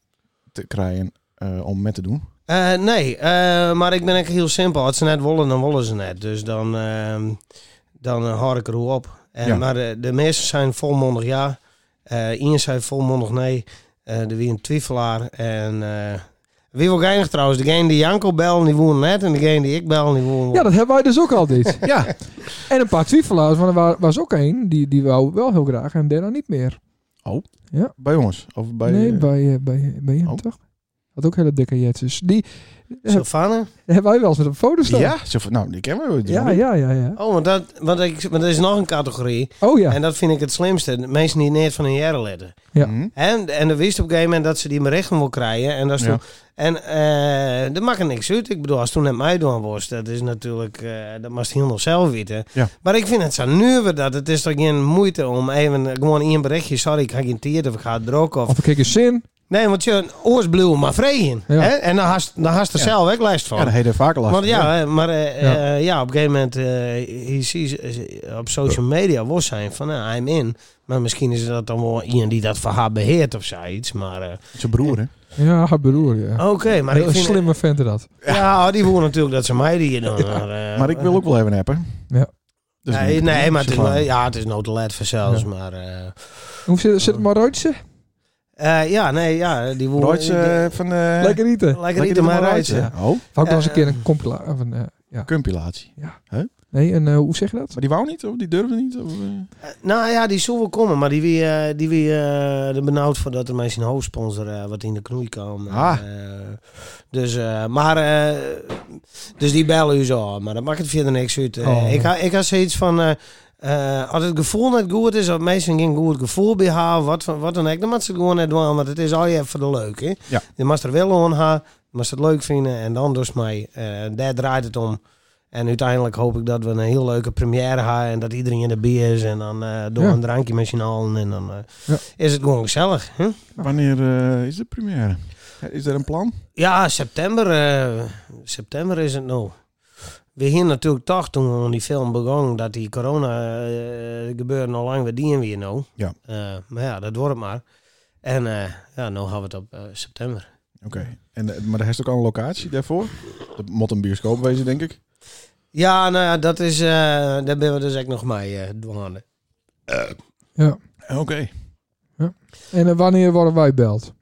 Speaker 3: te krijgen eh, om met te doen?
Speaker 5: Eh, nee, eh, maar ik ben echt heel simpel. Als ze net wollen, dan wollen ze net. Dus dan, ehm dan eh, hou ik er hoe op. En,
Speaker 3: Ja.
Speaker 5: Maar eh, de meesten zijn volmondig ja. Eh Ian zei volmondig nee. Eh er wie een twijfelaar. En eh, wie wil geinig trouwens? Degene die Janko bel, die woont net. En degene die ik bel, die woont
Speaker 1: Ja, dat hebben wij dus ook altijd.
Speaker 3: Ja.
Speaker 1: En een paar twijfelaars, want er wa- was ook één die, die wou wel heel graag en daarna niet meer.
Speaker 3: Bij ons? Of bij,
Speaker 1: nee,
Speaker 3: eh,
Speaker 1: bij, eh, bij, bij hem
Speaker 3: Oh.
Speaker 1: toch? Had ook hele dikke jetjes. Die
Speaker 5: Sylvana.
Speaker 1: hebben wij wel eens met een foto staan.
Speaker 3: Ja, zo van, nou, die kennen we.
Speaker 1: ja, ja, ja. ja.
Speaker 5: Oh, want dat, want, ik, want er is nog een categorie.
Speaker 1: Oh ja.
Speaker 5: En dat vind ik het slimste. De Mensen die neer van hun jaren letten.
Speaker 1: Ja.
Speaker 3: Mhm.
Speaker 5: En, en dan wist op een gegeven moment dat ze die maar recht wil krijgen. En dat is
Speaker 3: Ja.
Speaker 5: toen- en eh dat maakt er niks uit. Ik bedoel, als toen net mij doen was, dat is natuurlijk, eh, dat moest heel nog zelf weten.
Speaker 3: Ja.
Speaker 5: Maar ik vind het zo nu dat het is toch geen moeite om even eh, gewoon in een berichtje, sorry, ik ga geen tieren of ik ga het roken. Of,
Speaker 1: Of ik kijk eens zin.
Speaker 5: Nee, want je oors bleef maar vregen.
Speaker 1: Ja.
Speaker 5: hè? En dan haast dan haast er
Speaker 3: Ja.
Speaker 5: zelf ook lijst van.
Speaker 3: Ja, dan heb je er vaak last
Speaker 5: Want
Speaker 3: van.
Speaker 5: ja, hè, maar eh,
Speaker 1: Ja.
Speaker 5: eh, ja, op een gegeven moment, eh, je ziet eh, op social media was zijn van, nou, I'm in. Maar misschien is dat dan wel iemand die dat voor haar beheert of zoiets. Maar eh,
Speaker 3: Zijn broer, hè?
Speaker 1: Ja, haar broer, ja.
Speaker 3: Oh,
Speaker 5: oké, maar
Speaker 1: Heel
Speaker 5: ik vind...
Speaker 1: slimme vent dat.
Speaker 5: Ja, die horen natuurlijk dat ze mij die hier doen. Maar, eh,
Speaker 3: Maar ik wil ook wel even appen.
Speaker 1: Ja.
Speaker 3: Dus
Speaker 5: nee,
Speaker 3: niet-
Speaker 5: nee, maar het is,
Speaker 3: Ze gaan-
Speaker 5: wel- ja, het is no te laat voor zelfs,
Speaker 1: Ja.
Speaker 5: maar... eh,
Speaker 1: Hoe zit, zit het maar uitje?
Speaker 5: eh, ja, nee, ja, die woorden...
Speaker 3: Royce, eh, van... eh,
Speaker 1: Lekker eten.
Speaker 5: Lekker niet in mijn rijtje.
Speaker 3: Royce. Oh,
Speaker 1: Wou ik nog eens een
Speaker 5: Eh,
Speaker 1: keer een compilatie. Of een, eh, ja.
Speaker 3: compilatie.
Speaker 1: Nee, en eh, hoe zeg je dat?
Speaker 3: Maar die wou niet, of die durfde niet? Of, eh?
Speaker 5: Eh, Nou ja, die zou wel komen, maar die wie, eh, die wie eh, er benauwd voor dat er mij zijn hoofdsponsor eh, wat in de knoei kan.
Speaker 3: Ah.
Speaker 5: Eh, dus, eh, maar, eh, dus die bellen u zo, maar dat maakt het verder niks uit. Eh,
Speaker 1: Oh.
Speaker 5: ik, ha, ik had zoiets van, eh, eh, als het gevoel net goed is, of mensen geen goed gevoel bij haar, wat, van- wat dan ook, dan moet ze het gewoon net doen, want het is al je voor de leuk. Hè?
Speaker 3: Ja.
Speaker 5: Je mag er wel aan haar, je mag het leuk vinden en dan dus mij. Eh, daar draait het om. En uiteindelijk hoop ik dat we een heel leuke première hebben. En dat iedereen in de bier is. En dan eh door
Speaker 1: Ja.
Speaker 5: een drankje met z'n allen. En dan eh,
Speaker 1: Ja.
Speaker 5: is het gewoon gezellig. Hè?
Speaker 3: Wanneer eh, is de première? Is er een plan?
Speaker 5: Ja, september. eh, september is het nou. We hier natuurlijk toch toen we aan die film begonnen. Dat die corona eh gebeuren al lang weer die en weer nou.
Speaker 3: Ja.
Speaker 5: Eh, maar ja, dat wordt het maar. En eh, ja, nou gaan we het op eh, september.
Speaker 3: Oké. En, eh, maar er is ook al een locatie daarvoor? Dat moet een bioscoop wezen, denk ik.
Speaker 5: Ja, nou ja, dat is, eh, daar ben we dus ook nog mee eh dwaande.
Speaker 1: Ja.
Speaker 3: Oké.
Speaker 1: En eh, wanneer worden wij beld?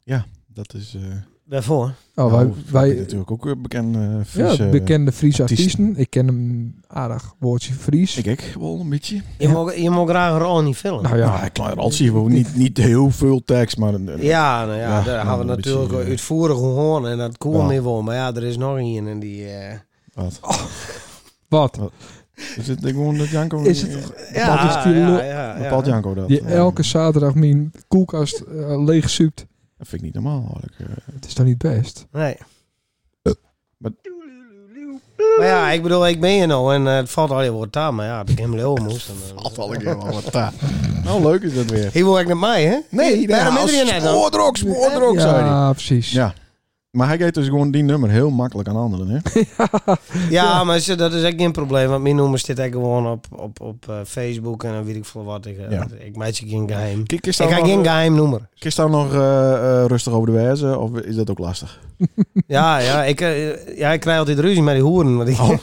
Speaker 3: Dat is... eh,
Speaker 5: Daarvoor.
Speaker 1: Oh,
Speaker 3: nou,
Speaker 1: wij,
Speaker 3: Frank is
Speaker 1: wij
Speaker 3: natuurlijk ook eh, een bekende Friese...
Speaker 1: ja, bekende Friese
Speaker 3: eh, artiesten.
Speaker 1: artiesten. Ik ken hem aardig woordje Fries.
Speaker 3: Ik, ik wel een beetje. eh,
Speaker 5: Je,
Speaker 1: Ja.
Speaker 5: mag, je mag graag een rol in die film.
Speaker 1: nou
Speaker 3: Ja,
Speaker 1: ja,
Speaker 3: een Ah, klein ratsie. We hoeven niet, niet heel veel tekst, maar... eh, een- een-
Speaker 5: Ja, nou ja,
Speaker 3: Ja,
Speaker 5: daar
Speaker 3: nou,
Speaker 5: gaan we
Speaker 3: een
Speaker 5: natuurlijk
Speaker 3: beetje, eh,
Speaker 5: uitvoerig gehoord en dat
Speaker 3: Ja.
Speaker 5: komt meer wel. Maar ja, er is nog een en die... eh,
Speaker 3: Wat?
Speaker 1: wat?
Speaker 3: Is het gewoon dat Janko...
Speaker 1: Is het- Bepaalt is die lo-
Speaker 5: ja,
Speaker 3: Bepaalt Janko dat? eh.
Speaker 1: Je elke zaterdag mijn koelkast eh, leegzuipt.
Speaker 3: Dat vind ik niet normaal. eigenlijk. Eh,
Speaker 1: Het is dan niet best.
Speaker 5: Nee.
Speaker 3: Maar-
Speaker 5: Maar ja, ik bedoel, ik ben hier nou en eh, het valt al je woord aan. Maar ja, dat ik hem heel moest. dan, eh,
Speaker 3: Altijd al een keer wel wat daar. Nou, leuk is dat weer.
Speaker 5: Hier wil ik naar mij, hè?
Speaker 3: Nee,
Speaker 5: daarom
Speaker 3: nou,
Speaker 5: is er hier net al.
Speaker 3: spoordrok, spoordrok, zei hij.
Speaker 1: Ja, precies.
Speaker 3: Ja. Maar hij geeft dus gewoon die nummer heel makkelijk aan anderen, hè?
Speaker 5: Ja, maar ze- dat is echt geen probleem. Want mijn noemer zit echt gewoon op, op, op eh, Facebook en dan weet ik veel wat. Ik, eh,
Speaker 3: Ja.
Speaker 5: ik maak je geen geheim.
Speaker 3: Kijk, is
Speaker 5: Ik
Speaker 3: daar
Speaker 5: ga
Speaker 3: nog,
Speaker 5: geen geheim noemen.
Speaker 3: is daar nog eh, eh, rustig over de wijze, of is dat ook lastig?
Speaker 5: Ja, ja, ik, eh, ja, ik krijg altijd ruzie met die hoeren. Want die,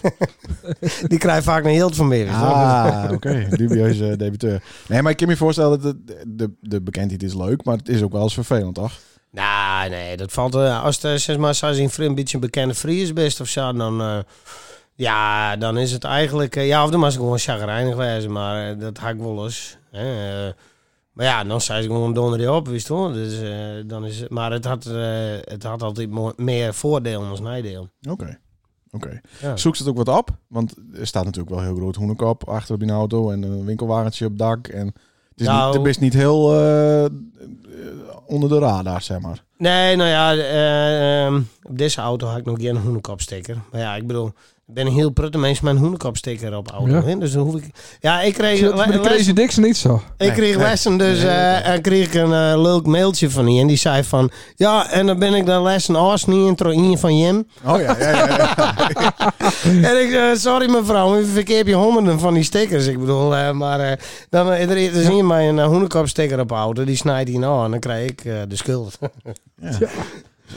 Speaker 5: die krijgen vaak een hield van meer.
Speaker 3: Oh. Ah, oké. Dubieuze debuteur. Nee, maar ik kan me voorstellen dat het- de, de bekendheid is leuk, maar het is ook wel eens vervelend, toch?
Speaker 5: Nou, nee, dat valt... eh, als de zeg maar, als een vriend een beetje een bekende Fries best of zo, dan... eh, ja, dan is het eigenlijk... eh, ja, of dan was ik gewoon chagrijnig wijzen, maar eh, dat hak ik wel eens. hè, eh. maar ja, dan zei ze gewoon donder die op, wist je wel. Dus, eh, dan is het, maar het had, eh, het had altijd mo- meer voordeel dan nadeel.
Speaker 3: Oké. Oké.
Speaker 5: Ja.
Speaker 3: Zoek ze het ook wat op? Want er staat natuurlijk wel heel groot hoenekop achter op je auto en een winkelwagentje op het dak. En het is
Speaker 5: Nou.
Speaker 3: niet, het is niet heel eh, eh, onder de radar, zeg maar.
Speaker 5: Nee, nou ja, eh, ehm, op deze auto had ik nog geen hoenekopstekker. Maar ja, ik bedoel, ik ben een heel prutte mens met een hoenekopstekker op auto.
Speaker 1: Ja.
Speaker 5: hè. Dus dan hoef ik... Ja, ik kreeg,
Speaker 1: Zit met de
Speaker 5: les-
Speaker 1: Crazy Dicks niet zo.
Speaker 3: Oh.
Speaker 5: ik kreeg lessen dus, eh, en kreeg ik een eh, leuk mailtje van die. En die zei van, ja, en dan ben ik dan lessen als niet intro in van Jim.
Speaker 3: Oh ja, ja, ja.
Speaker 5: en ik zei, sorry mevrouw, ik verkeer je honderden van die stickers. Ik bedoel, eh, maar eh, dan eh, er is hier mij een eh, hoenekopstekker op auto. Die snijdt hij nou en dan krijg ik eh, de schuld.
Speaker 3: Ja.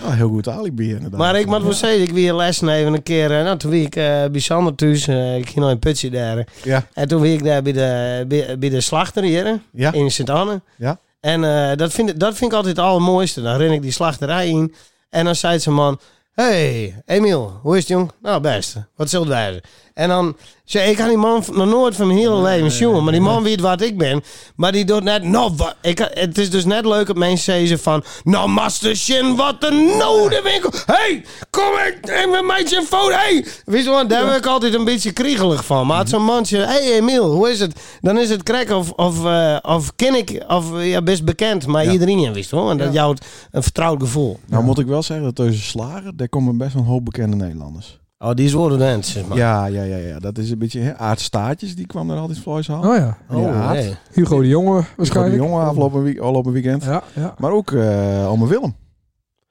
Speaker 3: Ja, heel goed alibi inderdaad.
Speaker 5: Maar ik moet wel zeggen, ik weer les nemen een keer. eh, Nou, toen wie ik eh, bij Sander thuis, eh, ik ging naar een putje daar.
Speaker 3: Ja,
Speaker 5: En toen wie ik daar bij de, bij, bij de slachter hier eh,
Speaker 3: ja.
Speaker 5: in Sint-Anne.
Speaker 3: Ja.
Speaker 5: En eh, dat, vind, ik- dat vind ik altijd het allermooiste. Dan ren ik die slachterij in en dan zei ze man... hey, Emiel, hoe is het jong? Nou, best. Wat zult wij doen? En dan zei ik had die man nog nooit van mijn hele leven jongen, maar die man weet wat ik ben. Maar die doet net, nou wat. Ik, het is dus net leuk dat mensen zeggen van, nou master Shin, wat een node winkel. hey, kom ik, en met mijn telefoon, hey. Weet je wat, daar ben ik altijd een beetje kriegelig van. Maar als zo'n man zegt, hey Emiel, hoe is het? Dan is het crack of, of, eh, of ken ik, of eh, ja, best bekend, maar iedereen wist hoor. En dat jouwt een vertrouwd gevoel.
Speaker 3: Nou moet ik wel zeggen dat tussen Slagen, daar komen best wel een hoop bekende Nederlanders.
Speaker 5: Oh, die is worden mensen, man.
Speaker 3: Ja, ja, ja, ja. Dat is een beetje hè, Aart Staartjes, die kwam daar altijd vlees halen.
Speaker 1: Oh ja.
Speaker 5: Oh,
Speaker 3: ja,
Speaker 5: nee.
Speaker 1: Hugo de Jonge
Speaker 3: Hugo de
Speaker 1: waarschijnlijk.
Speaker 3: jongen afgelopen week, afgelopen weekend.
Speaker 1: Ja, ja.
Speaker 3: Maar ook eh Ome Willem.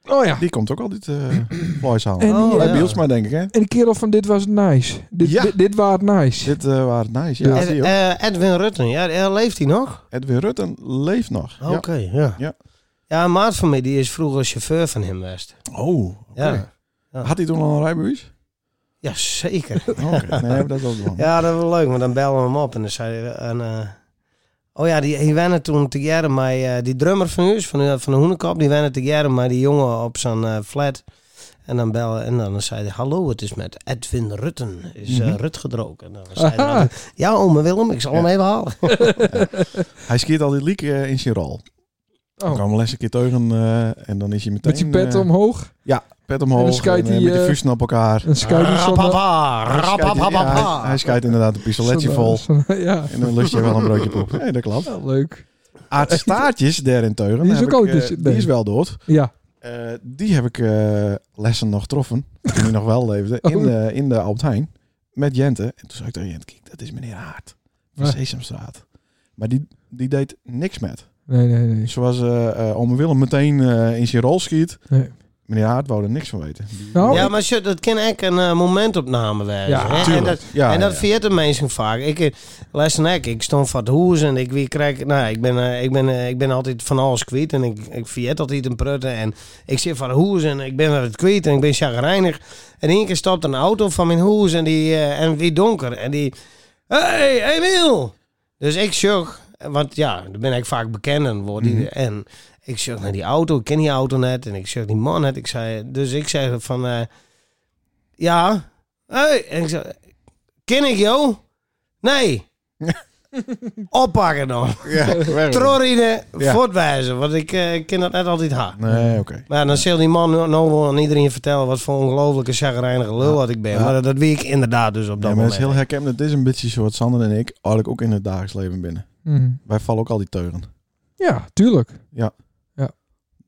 Speaker 1: Oh ja.
Speaker 3: Die komt ook altijd eh vlees halen.
Speaker 1: En,
Speaker 5: Oh,
Speaker 1: die, eh,
Speaker 3: Bij
Speaker 5: ja.
Speaker 3: Bielsma denk ik, hè?
Speaker 1: en de kerel van dit was nice. Dit,
Speaker 3: Ja.
Speaker 1: dit, dit was nice.
Speaker 3: Dit eh waren nice. Ja,
Speaker 1: Ja.
Speaker 3: zie
Speaker 5: Ed-
Speaker 3: je ook.
Speaker 5: eh, Edwin Rutten, ja, eh, leeft hij nog?
Speaker 3: Edwin Rutten leeft nog.
Speaker 5: Oké, ja.
Speaker 3: Ja.
Speaker 5: Ja, een maat van mij die is vroeger chauffeur van hem geweest.
Speaker 3: Ja. Oh, oké.
Speaker 5: Ja.
Speaker 3: Had hij toen al een rijbewijs?
Speaker 5: Ja, zeker.
Speaker 3: Oké, nee, maar dat is wel belangrijk.
Speaker 5: ja, dat was leuk, want dan bellen we hem op en dan zei hij... En, eh, oh ja, die, die wennen toen te jaren mij... eh, die drummer van huis, van, de- van de Hoenekop, die wennen te jaren mij die jongen op zijn eh, flat. En dan bellen en dan zei hij... Hallo, het is met Edwin Rutten. Is
Speaker 3: Mhm.
Speaker 5: eh, Rut gedroken. En dan zei hij...
Speaker 1: Aha.
Speaker 5: nou, Ja, ome Willem, ik zal hem even halen.
Speaker 3: Hij schiet al die leak eh, in zijn rol. Dan
Speaker 1: Oh.
Speaker 3: kan hem les een keer teugen eh, en dan is hij meteen...
Speaker 1: Met je pet
Speaker 3: eh,
Speaker 1: omhoog.
Speaker 3: pet omhoog
Speaker 1: En
Speaker 3: en,
Speaker 1: dan schuift
Speaker 3: eh,
Speaker 1: hij,
Speaker 3: met de
Speaker 1: eh,
Speaker 3: vuisten op elkaar.
Speaker 1: Een
Speaker 3: Ah,
Speaker 1: skydief zonder...
Speaker 5: Rapapa,
Speaker 3: Hij schuift- ja,
Speaker 5: rapapapapa.
Speaker 3: hij- Hij schijt inderdaad een pistoletje vol.
Speaker 1: Ja,
Speaker 3: En dan lust je wel een broodje poep. Nee, dat klopt.
Speaker 1: wel leuk.
Speaker 3: Aad Staartjes daarenteugen.
Speaker 1: Die is ook
Speaker 3: heb ik,
Speaker 1: al
Speaker 3: eh,
Speaker 1: dus-
Speaker 3: Die
Speaker 1: nee.
Speaker 3: is wel dood.
Speaker 1: Ja,
Speaker 3: Eh, die heb ik eh, lessen nog getroffen. Toen hij nog wel leefde.
Speaker 1: Oh.
Speaker 3: In, de, in de Albert Heijn. Met Jente. En toen zei ik tegen Jente, kijk, dat is meneer Haart. Van
Speaker 1: Ja.
Speaker 3: Sesamstraat. Maar die, die deed niks met.
Speaker 1: nee, nee, nee.
Speaker 3: Zoals eh eh ome Willem meteen eh, in zijn rol schiet.
Speaker 1: Nee.
Speaker 3: Meneer Haart wou er niks van weten. Die-
Speaker 1: Nou,
Speaker 5: Ja, maar shit, dat kan echt een eh, momentopname zijn.
Speaker 1: Ja,
Speaker 5: hè? en
Speaker 3: tuurlijk.
Speaker 5: dat,
Speaker 3: Oh. Ja,
Speaker 5: en dat
Speaker 3: ja.
Speaker 5: viert de mensen vaak. Ik, eh, luister, ik, ik stond van het hoes en ik weer krijg, nou, ik ben, eh, ik ben, eh, ik ben altijd van alles kwijt en ik, ik viert altijd een prutten en ik zit van het hoes en ik ben weer het kwijt en ik ben chagrijnig. En één keer stopt een auto van mijn hoes en die, eh, en wie donker en die, hey, Emiel! Dus ik zocht, want ja, dan ben ik vaak bekend en word die-
Speaker 3: Mhm.
Speaker 5: en ik zocht naar die auto, ik ken die auto net en ik zocht die man net. Ik zei, dus ik zei van, eh, ja, hey, en ik zei, ken ik jou? Nee. Oppakken dan.
Speaker 3: Ja, werk.
Speaker 5: Trorine
Speaker 3: Ja.
Speaker 5: voortwijzen, want ik eh, ken dat net altijd hard.
Speaker 3: Nee, oké.
Speaker 5: Maar ja, dan zal die man nou nou wel aan iedereen vertellen wat voor ongelofelijke chagrijnige lul wat ik ben.
Speaker 3: Ja.
Speaker 5: Maar dat, dat weet ik inderdaad dus op dat
Speaker 3: Nee, maar dat is
Speaker 5: moment.
Speaker 3: heel herkenbaar. Het is een beetje zoals Sander en ik eigenlijk ook in het dagelijks leven binnen.
Speaker 1: hm.
Speaker 3: Wij vallen ook al die teuren.
Speaker 1: ja, tuurlijk.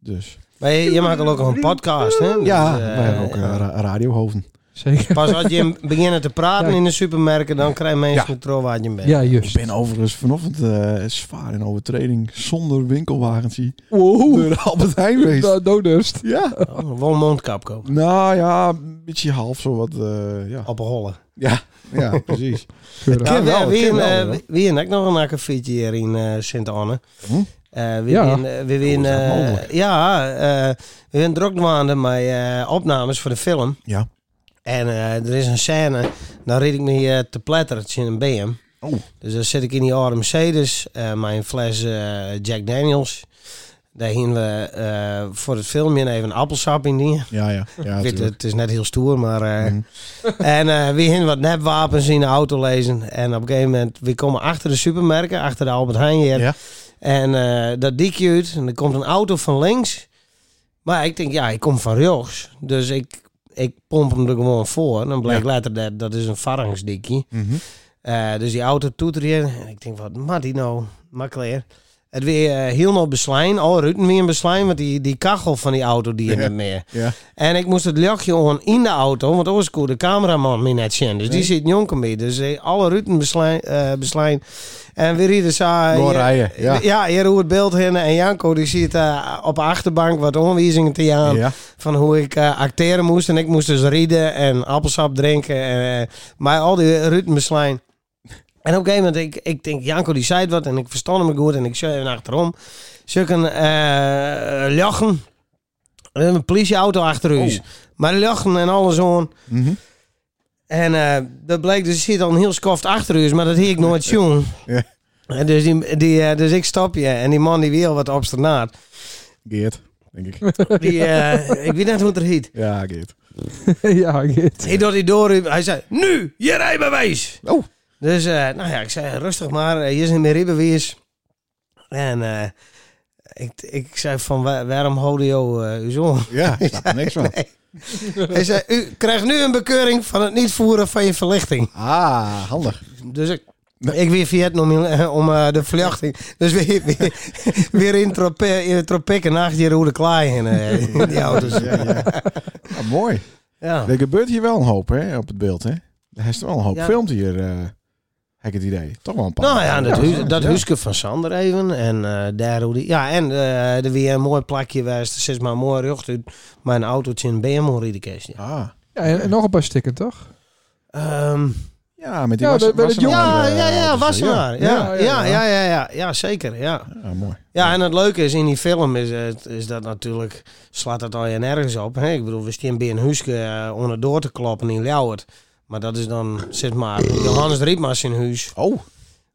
Speaker 3: Dus
Speaker 5: Maar je, je maakt ook een podcast, hè?
Speaker 3: ja,
Speaker 5: Dus, eh,
Speaker 3: wij hebben ook
Speaker 5: ja.
Speaker 3: eh, ra- radiohoven.
Speaker 1: Zeker.
Speaker 5: Pas als je beginnen te praten
Speaker 1: Ja.
Speaker 5: in de supermarkten, dan krijgen mensen controle waar je bent.
Speaker 1: Ja,
Speaker 3: Ik
Speaker 1: juist.
Speaker 3: ben overigens vanochtend eh, zwaar in overtreding zonder winkelwagentje door
Speaker 1: Wow.
Speaker 3: de Albert Heijn geweest.
Speaker 1: Nou, Dodust.
Speaker 3: Ja.
Speaker 5: Oh, wel een mondkap kopen.
Speaker 3: Nou ja, een beetje half zo wat. eh, ja.
Speaker 5: Op een holle.
Speaker 3: Ja, ja, precies.
Speaker 1: Keurig.
Speaker 5: Ja,
Speaker 3: Ken wel,
Speaker 5: we-
Speaker 3: ken
Speaker 5: weer,
Speaker 3: wel,
Speaker 5: eh,
Speaker 3: hoor.
Speaker 5: we- weer en ik nog een akkefietje hier in eh, Sint-Anne.
Speaker 3: Hm?
Speaker 5: Eh, we
Speaker 1: Ja.
Speaker 5: ja, weer, we weer,
Speaker 3: Hoe is dat
Speaker 5: eh,
Speaker 3: mogelijk?
Speaker 5: ja eh, we zijn druk maanden met eh, opnames voor de film.
Speaker 3: Ja.
Speaker 5: En eh, er is een scène, dan reed ik me eh, te pletteren in een BM.
Speaker 3: Oh.
Speaker 5: Dus dan zit ik in die oude Mercedes, eh, mijn fles eh, Jack Daniels. Daar gingen we eh, voor het filmpje even een appelsap in die.
Speaker 3: Ja, ja. ja
Speaker 5: Ik weet,
Speaker 3: tuurlijk.
Speaker 5: het is net heel stoer, maar... eh,
Speaker 3: Mhm.
Speaker 5: en eh, we gingen wat nepwapens in de auto lezen. En op een gegeven moment, we komen achter de supermerken, achter de Albert Heijn hier.
Speaker 3: Ja.
Speaker 5: En eh, dat diekje uit. En er komt een auto van links. Maar ik denk, ja, ik kom van rechts. Dus ik, ik pomp hem er gewoon voor. En dan blijkt later dat dat is een varrensdikkie.
Speaker 3: Mhm.
Speaker 5: Eh, dus die auto toetert hier. En ik denk, wat maakt die nou? Makkelijk. Het weer eh, helemaal beslijn. Al ruiten weer een beslijn. Want die, die kachel van die auto die in
Speaker 3: Ja.
Speaker 5: het meer.
Speaker 3: Ja.
Speaker 5: En ik moest het luchtje aan in de auto. Want anders kon de cameraman me net zien. Dus die zit jonken mee. Dus eh, alle ruiten beslijn. eh, beslijn. En we rieden zo...
Speaker 3: Door
Speaker 5: ja,
Speaker 3: rijden, ja.
Speaker 5: ja, hier hoe het beeld heen. En Janko die ziet eh, op de achterbank wat onwijzingen te jaan
Speaker 3: Ja.
Speaker 5: van hoe ik eh, acteren moest. En ik moest dus rieden en appelsap drinken. En, eh, maar al die ritmeslijn. En op een gegeven moment, ik, ik denk, Janko die zei wat en ik verstond hem goed. En ik zei even achterom, zulke eh lachen. En een politieauto achter ons. Maar lachen en alles aan.
Speaker 3: Mhm.
Speaker 5: En eh, dat bleek dus, er zit al een heel skoft achter u, maar dat hie ik nooit zien.
Speaker 3: Ja.
Speaker 5: En dus, die, die, eh, dus ik stap je en die man die weer al wat obstinaat.
Speaker 3: Geert, denk ik.
Speaker 5: Die, eh, ik weet net hoe het er heet.
Speaker 3: Ja, Geert.
Speaker 1: ja, Git.
Speaker 5: Ik dat hij doorriep. Hij zei, nu, je rijbewijs.
Speaker 3: Oh.
Speaker 5: Dus, eh, nou ja, ik zei, rustig maar, eh, hier zijn mijn rijbewijs. En eh, ik, ik zei van, "Wa- waarom houden jou eh uw zoon?
Speaker 3: Ja, ik snap er niks van.
Speaker 5: Hij zei, u krijgt nu een bekeuring van het niet voeren van je verlichting.
Speaker 3: Ah, handig.
Speaker 5: Dus ik... Ik weer Vietnam in- eh, om eh, de verlichting. Dus weer, weer, weer in, trope, in de tropieken nacht hier hoe de klaai in, eh, in die auto's.
Speaker 3: Ja, ja. Ah, mooi.
Speaker 5: Ja.
Speaker 3: Er gebeurt hier wel een hoop hè, op het beeld. Hè? Er is wel een hoop
Speaker 5: Ja.
Speaker 3: filmt hier. eh. Heb ik het idee. Toch wel een paar.
Speaker 5: Nou ja, dat,
Speaker 3: Ja,
Speaker 5: hu-
Speaker 3: ja,
Speaker 5: dat
Speaker 3: ja.
Speaker 5: huske van Sander even. En eh, daar hoe die... Ja, en eh er weer een mooi plakje was. Er zit maar mooi rug uit. Mijn autootje in BMW rieden kerst. Ja.
Speaker 3: Ah.
Speaker 1: Ja, en, en nog een paar stikken, toch?
Speaker 5: Ehm,
Speaker 3: Ja, met die
Speaker 1: Ja,
Speaker 3: was,
Speaker 1: bij- bij
Speaker 3: was
Speaker 1: de jongen,
Speaker 5: ja, ja, ja, was
Speaker 3: eh, ja.
Speaker 5: maar. Ja, ja,
Speaker 1: Ja, ja,
Speaker 5: ja,
Speaker 1: ja.
Speaker 5: ja, ja, ja, zeker. Ja.
Speaker 3: Ja, mooi.
Speaker 5: ja, en het leuke is in die film is, het- is dat natuurlijk... Slaat dat al je nergens op. Hè? Ik bedoel, we staan bij een huske eh, onderdoor te kloppen in Ljouwert. Maar dat is dan, zeg maar, Johannes Rietmans in huis.
Speaker 3: Oh,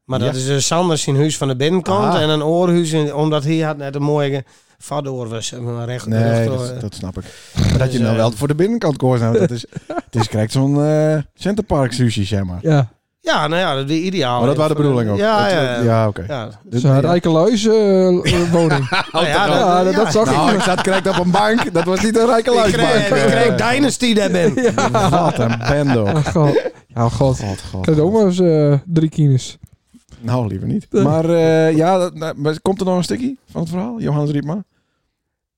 Speaker 5: Maar dat
Speaker 3: Ja.
Speaker 5: is dus Sanders in huis van de binnenkant
Speaker 3: Ah.
Speaker 5: en een oorhuis, in, omdat hij had net een mooie vadoor was. Een recht,
Speaker 3: nee,
Speaker 5: recht-
Speaker 3: dat, dat snap ik. Maar dat je nou
Speaker 5: eh,
Speaker 3: wel voor de binnenkant koos. Nou, dat is, het is correct zo'n eh Centerpark sushi, zeg maar.
Speaker 1: Ja.
Speaker 5: Ja, nou ja, dat is ideaal.
Speaker 3: Maar dat was de bedoeling ook.
Speaker 5: Ja,
Speaker 3: Dat-
Speaker 5: ja, ja.
Speaker 3: ja oké.
Speaker 5: ja.
Speaker 3: Dit-
Speaker 1: Zo'n rijke luis eh, eh, woning.
Speaker 5: Nou ja,
Speaker 1: Ja, dat, dat zag ik.
Speaker 3: Nou, ik zat correct op een bank. Dat was niet een rijke
Speaker 5: Ik
Speaker 3: luisbank.
Speaker 5: kreeg, ik kreeg Dynasty daar ben.
Speaker 3: Wat een bende. ook.
Speaker 1: Ah, god. Ja, god.
Speaker 3: God, Oh, god.
Speaker 1: Krijg je ook maar eens eh, drie kines.
Speaker 3: Nou, liever niet. Maar eh, ja, dat- nou, maar komt er nog een stukje van het verhaal? Johannes Riepma?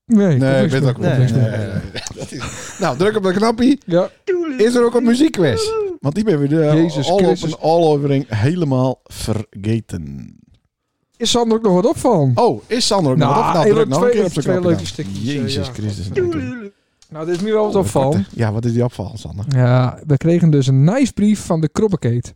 Speaker 1: Nee, komt
Speaker 3: Nee, ik
Speaker 1: niks meer,
Speaker 3: weet het ook
Speaker 1: komt
Speaker 3: niet.
Speaker 1: niks meer.
Speaker 3: Nee, nee, nee. Dat is- Nou, druk op dat knopje.
Speaker 1: Ja,
Speaker 3: Is er ook een muziekquiz? Want die ben we de
Speaker 1: Jezus
Speaker 3: all op
Speaker 1: Christus.
Speaker 3: een all-overing helemaal vergeten.
Speaker 1: is Sander ook nog wat op van?
Speaker 3: Oh, is Sander ook
Speaker 1: Nou,
Speaker 3: nog? op? Nou,
Speaker 1: heel
Speaker 3: druk nog een
Speaker 1: twee-
Speaker 3: keer op zijn
Speaker 1: twee
Speaker 3: knopje
Speaker 1: leuke
Speaker 3: dan.
Speaker 1: stukjes, eh,
Speaker 3: Jezus
Speaker 1: ja.
Speaker 3: Christus.
Speaker 1: Nou, dit is meer wel
Speaker 3: Oh,
Speaker 1: wat op van.
Speaker 3: Ja, wat is die opval, Sander?
Speaker 1: Ja, we kregen dus een nice brief van de Krobbekeet.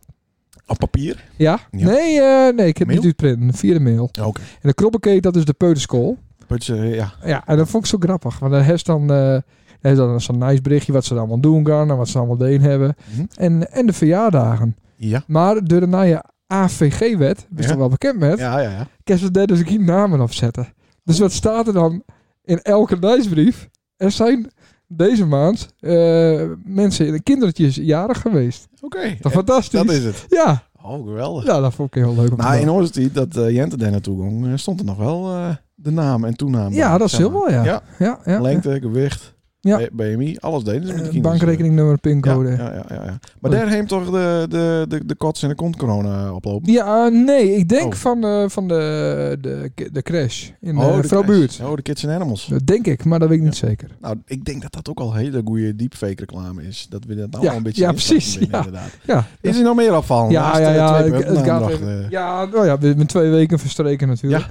Speaker 3: Op papier?
Speaker 1: Ja?
Speaker 3: Ja.
Speaker 1: Nee, eh, nee, ik heb
Speaker 3: Mail?
Speaker 1: niet uitprinten. Via de mail.
Speaker 3: Oké.
Speaker 1: En de Krobbekeet, dat is de peuterschool.
Speaker 3: Puts, eh, Ja.
Speaker 1: Ja, en dat vond ik zo grappig. Want daar heeft dan, eh daar is dan zo'n nice berichtje wat ze er allemaal doen gaan. En wat ze allemaal deen hebben.
Speaker 3: Mhm.
Speaker 1: En, en de verjaardagen.
Speaker 3: Ja.
Speaker 1: Maar door de nieuwe AVG-wet, ben je
Speaker 3: Ja.
Speaker 1: dus toch wel bekend met,
Speaker 3: Ja, ja, ja.
Speaker 1: kan ze daar dus ook geen namen op zetten. Dus wat staat er dan in elke reisbrief? Er zijn deze maand eh, mensen, kindertjes, jarig geweest.
Speaker 3: Oké.
Speaker 1: Toch
Speaker 3: Eh,
Speaker 1: fantastisch?
Speaker 3: Dat is het.
Speaker 1: Ja.
Speaker 3: Oh, geweldig.
Speaker 1: ja, dat vond ik heel leuk om te
Speaker 3: Maar
Speaker 1: doen.
Speaker 3: in onze tijd dat eh, Jente daar naartoe ging, eh, stond er nog wel eh, de naam en toenaam.
Speaker 1: Ja,
Speaker 3: bij,
Speaker 1: dat is
Speaker 3: zeg
Speaker 1: heel
Speaker 3: maar.
Speaker 1: mooi, ja.
Speaker 3: Ja.
Speaker 1: Ja, ja.
Speaker 3: Lengte, gewicht,
Speaker 1: Ja.
Speaker 3: B- BMI, alles deden ze met de
Speaker 1: Eh,
Speaker 3: kinderen.
Speaker 1: bankrekeningnummer,
Speaker 3: Ja,
Speaker 1: pincode.
Speaker 3: ja, ja, ja, ja. Maar daar heeft toch de, de, de, de kots en de kont corona oplopen?
Speaker 1: Ja, eh, nee, ik denk
Speaker 3: Oh.
Speaker 1: van, eh, van de, de, de crash in eh,
Speaker 3: de
Speaker 1: Vrouw
Speaker 3: kids-
Speaker 1: Buurt.
Speaker 3: Oh, de Kids and Animals.
Speaker 1: Dat denk ik, maar dat weet ik niet zeker.
Speaker 3: Nou, ik denk dat dat ook al hele goede deepfake reclame is. Dat we dat nou
Speaker 1: Ja,
Speaker 3: al een beetje
Speaker 1: ja,
Speaker 3: instarten
Speaker 1: precies,
Speaker 3: binnen,
Speaker 1: ja.
Speaker 3: inderdaad.
Speaker 1: Ja,
Speaker 3: Is er nog meer opvallen?
Speaker 1: ja,
Speaker 3: Naast
Speaker 1: ja,
Speaker 3: de
Speaker 1: ja.
Speaker 3: twee
Speaker 1: ik-
Speaker 3: punten
Speaker 1: het gaat
Speaker 3: aandacht,
Speaker 1: even-
Speaker 3: eh,
Speaker 1: ja, nou ja, we hebben twee weken verstreken natuurlijk.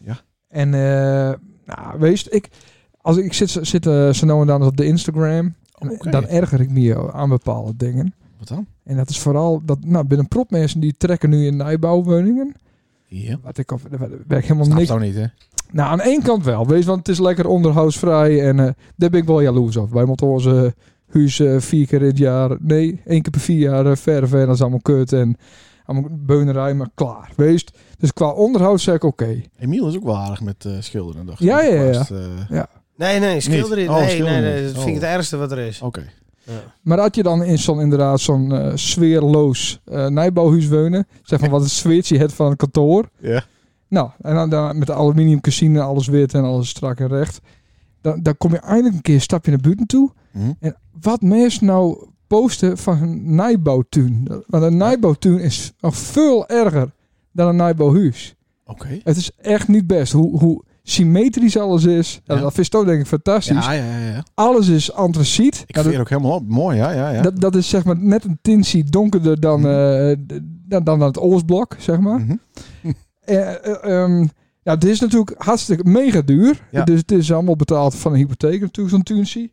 Speaker 3: Ja, ja.
Speaker 1: En eh nou, wees, ik, als ik, ik zit, zit eh, zo nou en dan op de Instagram, en
Speaker 3: Oké.
Speaker 1: dan erger ik me aan bepaalde dingen.
Speaker 3: Wat dan?
Speaker 1: En dat is vooral dat, nou, binnen propmensen die trekken nu in nijbouwwoningen.
Speaker 3: Ja.
Speaker 1: Wat ik op, daar ben ik helemaal
Speaker 3: Snap
Speaker 1: niks.
Speaker 3: zou niet, hè?
Speaker 1: Nou, aan één kant wel. Wees, want het is lekker onderhoudsvrij. En eh, daar ben ik wel jaloers op. Wij moeten onze huis eh, vier keer in het jaar... Nee, één keer per vier jaar eh, verven. En dat is allemaal kut. En allemaal beunerij, maar klaar. Wees, dus qua onderhoud zeg ik oké.
Speaker 3: Emiel is ook wel aardig met eh, schilderen, dacht ik.
Speaker 1: Ja, ja, ja.
Speaker 3: Vast, eh,
Speaker 5: Nee, nee, schilder
Speaker 3: Niet.
Speaker 5: niet.
Speaker 3: Oh,
Speaker 5: nee,
Speaker 3: schilder
Speaker 5: nee,
Speaker 3: niet.
Speaker 5: nee, dat vind ik
Speaker 3: Oh.
Speaker 5: het ergste wat er is.
Speaker 3: Oké.
Speaker 1: Maar had je dan in zo'n inderdaad zo'n eh, sfeerloos eh nijbouwhuis wonen... Zeg van wat een sfeertje het van een kantoor...
Speaker 3: Ja.
Speaker 1: Nou, en dan, dan met de aluminium casino, alles wit en alles strak en recht. Dan, dan kom je eindelijk een keer een stapje naar buiten toe.
Speaker 3: Mhm.
Speaker 1: En wat mensen nou posten van hun nijbouwtuin. Want een nijbouwtuin is nog veel erger dan een nijbouwhuis.
Speaker 3: Oké.
Speaker 1: Het is echt niet best hoe, hoe symmetrisch alles is. En
Speaker 3: Ja.
Speaker 1: Dat vind ik toch denk ik fantastisch.
Speaker 3: Ja, ja, ja, ja.
Speaker 1: Alles is antraciet.
Speaker 3: Ik
Speaker 1: Nou,
Speaker 3: veer ook helemaal op. Mooi, ja, ja, ja.
Speaker 1: dat, dat is zeg maar net een tintie donkerder dan,
Speaker 3: Mhm.
Speaker 1: eh, d- dan, dan het Oostblok, zeg maar.
Speaker 3: Mhm.
Speaker 1: Eh, eh, ehm, ja, het is natuurlijk hartstikke mega duur.
Speaker 3: Ja.
Speaker 1: Dus het is allemaal betaald van een hypotheek natuurlijk, zo'n tunsie.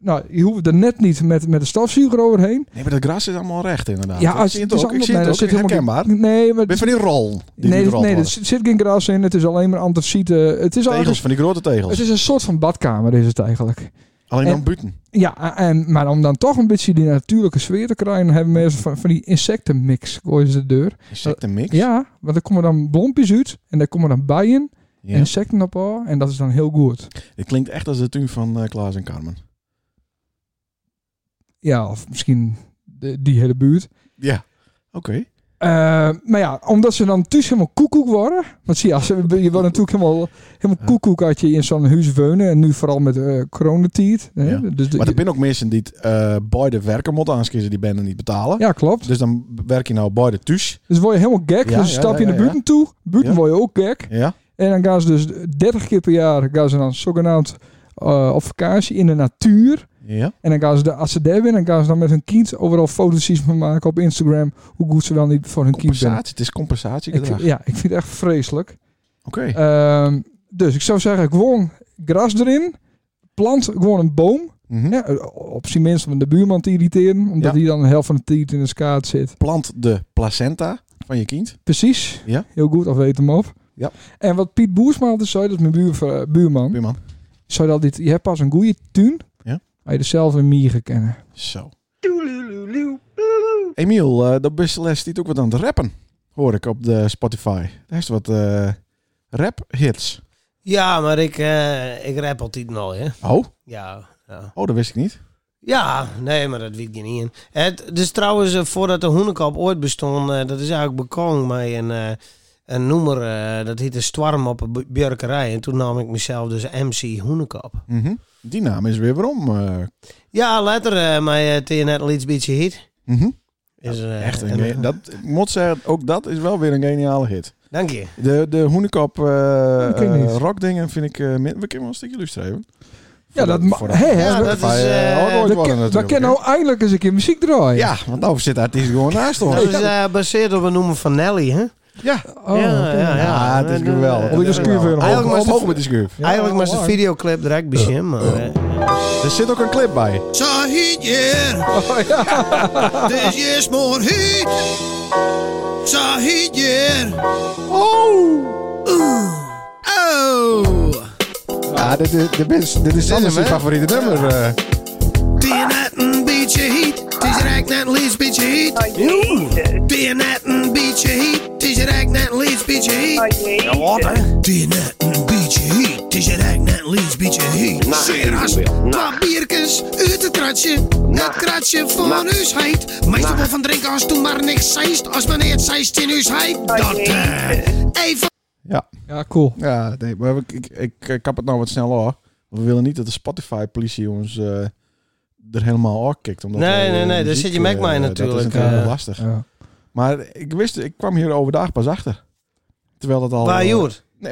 Speaker 1: Nou, je hoeft er net niet met, met een stofzuiger overheen.
Speaker 3: Nee, maar dat gras is allemaal recht, inderdaad.
Speaker 1: Ja,
Speaker 3: ik zie het ook. Ik
Speaker 1: allemaal-
Speaker 3: zie
Speaker 1: nee,
Speaker 3: het
Speaker 1: daar
Speaker 3: ook.
Speaker 1: zit
Speaker 3: Zit
Speaker 1: helemaal
Speaker 3: herkenbaar.
Speaker 1: geen- Nee, maar
Speaker 3: Ben van die rol. Die
Speaker 1: nee,
Speaker 3: die erop
Speaker 1: nee er
Speaker 3: was.
Speaker 1: zit zit geen gras in. Het is alleen maar antraciete. Het is,
Speaker 3: Tegels,
Speaker 1: eigenlijk,
Speaker 3: van die grote tegels.
Speaker 1: het is een soort van badkamer, is het eigenlijk.
Speaker 3: Alleen
Speaker 1: en-
Speaker 3: dan buiten.
Speaker 1: Ja, en, maar om dan toch een beetje die natuurlijke sfeer te krijgen, hebben mensen van, van die insectenmix gooien ze de deur.
Speaker 3: Insectenmix.
Speaker 1: Oh, Ja, want er komen dan blompjes uit en daar komen dan bijen
Speaker 3: Ja.
Speaker 1: en insecten op haar, en dat is dan heel goed.
Speaker 3: Dit klinkt echt als de tuin van eh, Klaas en Carmen.
Speaker 1: Ja, of misschien de- die hele buurt.
Speaker 3: Ja. Oké.
Speaker 1: Eh, maar ja, omdat ze dan thuis helemaal koekoek worden. Want zie je, als, je je wordt natuurlijk helemaal, helemaal koekoek als je in zo'n huis wonen. En nu vooral met eh coronatijd. hè.
Speaker 3: Ja.
Speaker 1: Dus de-
Speaker 3: Maar er zijn ook mensen die het, eh bij de werken moeten aanskiezen die benden niet betalen.
Speaker 1: ja, klopt.
Speaker 3: Dus dan werk je nou bij de thuis.
Speaker 1: Dus word je helemaal gek.
Speaker 3: Ja,
Speaker 1: dus
Speaker 3: ja,
Speaker 1: stap je
Speaker 3: ja,
Speaker 1: naar
Speaker 3: ja, ja.
Speaker 1: buiten toe. Buiten
Speaker 3: Ja.
Speaker 1: word je ook gek.
Speaker 3: Ja.
Speaker 1: En dan gaan ze dus 30 keer per jaar gaan ze dan zogenaamd eh, op vakantie in de natuur.
Speaker 3: Ja.
Speaker 1: En dan gaan ze, de, als ze daar winnen, gaan ze dan met hun kind overal foto's van maken op Instagram. Hoe goed ze wel niet voor hun kind zijn.
Speaker 3: Compensatie. Het is
Speaker 1: Ik,
Speaker 3: compensatiegedrag.
Speaker 1: vind-
Speaker 3: Oké.
Speaker 1: ja, ik vind het echt vreselijk. Ehm, dus ik zou zeggen, gewoon gras erin. Plant gewoon een boom.
Speaker 3: Mhm.
Speaker 1: Ja, op zijn minst om de buurman te irriteren. Omdat
Speaker 3: Ja.
Speaker 1: hij dan de helft van de tijd in de skaat zit.
Speaker 3: Plant de placenta van je kind.
Speaker 1: Precies.
Speaker 3: Ja.
Speaker 1: Heel goed, of weet hem op.
Speaker 3: Ja.
Speaker 1: En wat Piet Boersma altijd zei, dat is mijn buur, eh, buurman.
Speaker 3: Buurman.
Speaker 1: Zei dat dit, je hebt pas een goede tuin.
Speaker 3: Ja.
Speaker 1: Maar je er zelf een mier kennen.
Speaker 3: Zo. Emiel, eh dat beste les die doet ook wat aan het rappen. Hoor ik op de Spotify. Daar is wat eh, rap hits.
Speaker 5: Ja, maar ik, eh, ik rap altijd al, hè.
Speaker 3: Oh,
Speaker 5: Ja, ja.
Speaker 3: oh, dat wist ik niet.
Speaker 5: Ja, nee, maar dat weet ik niet. Het, dus trouwens, eh, voordat de Hoenekop ooit bestond, eh, dat is eigenlijk bekomen bij een, eh, een noemer, eh, dat heette Storm op een bu- Björkerij. En toen nam ik mezelf dus MC Hoenekop.
Speaker 3: Mhm. Die naam is weer waarom. eh
Speaker 5: Ja, later, eh maar eh TNT Leeds Beach Heat.
Speaker 3: mhm.
Speaker 5: Is, eh,
Speaker 3: Echt, een
Speaker 5: en,
Speaker 3: ge-
Speaker 5: eh,
Speaker 3: dat, ik moet zeggen, ook dat is wel weer een geniale hit.
Speaker 5: Dank je.
Speaker 3: De, de Hoenekop eh
Speaker 1: dat ken ik
Speaker 3: eh,
Speaker 1: niet.
Speaker 3: rockdingen vind ik... eh, min- we kunnen wel een stukje illustreren.
Speaker 1: Ja, dat ma- hè, hè,
Speaker 5: Ja, dat is, eh,
Speaker 1: Dat ken- Dat kan nou eindelijk eens een keer muziek draaien.
Speaker 3: Ja, want nou zit de artiest gewoon naast ons.
Speaker 5: Dat is eh, gebaseerd op een noemer van Nelly, hè?
Speaker 3: Ja,
Speaker 1: Oh, oké.
Speaker 3: ja, Ah, het is
Speaker 5: En, eh,
Speaker 3: geweldig.
Speaker 1: Om die de schuur weer
Speaker 5: Eigenlijk
Speaker 3: omhoog.
Speaker 5: was de-
Speaker 3: Omhoog met die schuur.
Speaker 1: Ja,
Speaker 5: Eigenlijk was de
Speaker 1: waar.
Speaker 5: videoclip er ook bij Jim, maar... eh,
Speaker 3: Er zit ook een clip bij.
Speaker 5: Oh.
Speaker 3: Ja, dit is, dit is, dit is Sanders'
Speaker 5: hem, hè?
Speaker 3: favoriete nummer. eh.
Speaker 5: Ben je net een beetje heat? Het is rijk net een liefst beetje heat. Ben je net een beetje heat? Het is rijk net een liefst beetje heat. Ja, wat hè? Ben je net een beetje heat? Het is rijk net een liefst beetje heat.
Speaker 2: Nacht
Speaker 5: Zeras,
Speaker 2: evenbeeld, nacht.
Speaker 5: wat bierkens uit het kratje. Het
Speaker 2: Nacht.
Speaker 5: kratje van
Speaker 2: Nacht.
Speaker 5: huis heet. Meestal
Speaker 2: Nacht.
Speaker 5: wel van drinken als toen maar niks zeist. Als men het zeist in huis heet, dat eh... Even...
Speaker 3: Ja,
Speaker 1: Ja, cool.
Speaker 3: ja nee, maar ik, ik, ik, eh, kap het nou wat snel af. We willen niet dat de Spotify-politie ons eh, er helemaal afkikt. omdat
Speaker 5: Nee,
Speaker 3: wij, eh,
Speaker 5: nee, nee, daar
Speaker 3: muziek,
Speaker 5: zit je Mac
Speaker 3: eh,
Speaker 5: mij
Speaker 3: Dat is
Speaker 5: natuurlijk,
Speaker 3: natuurlijk
Speaker 5: eh.
Speaker 3: lastig.
Speaker 1: Ja.
Speaker 3: Maar ik wist, ik kwam hier overdag pas achter. Terwijl dat al... eh, Nee,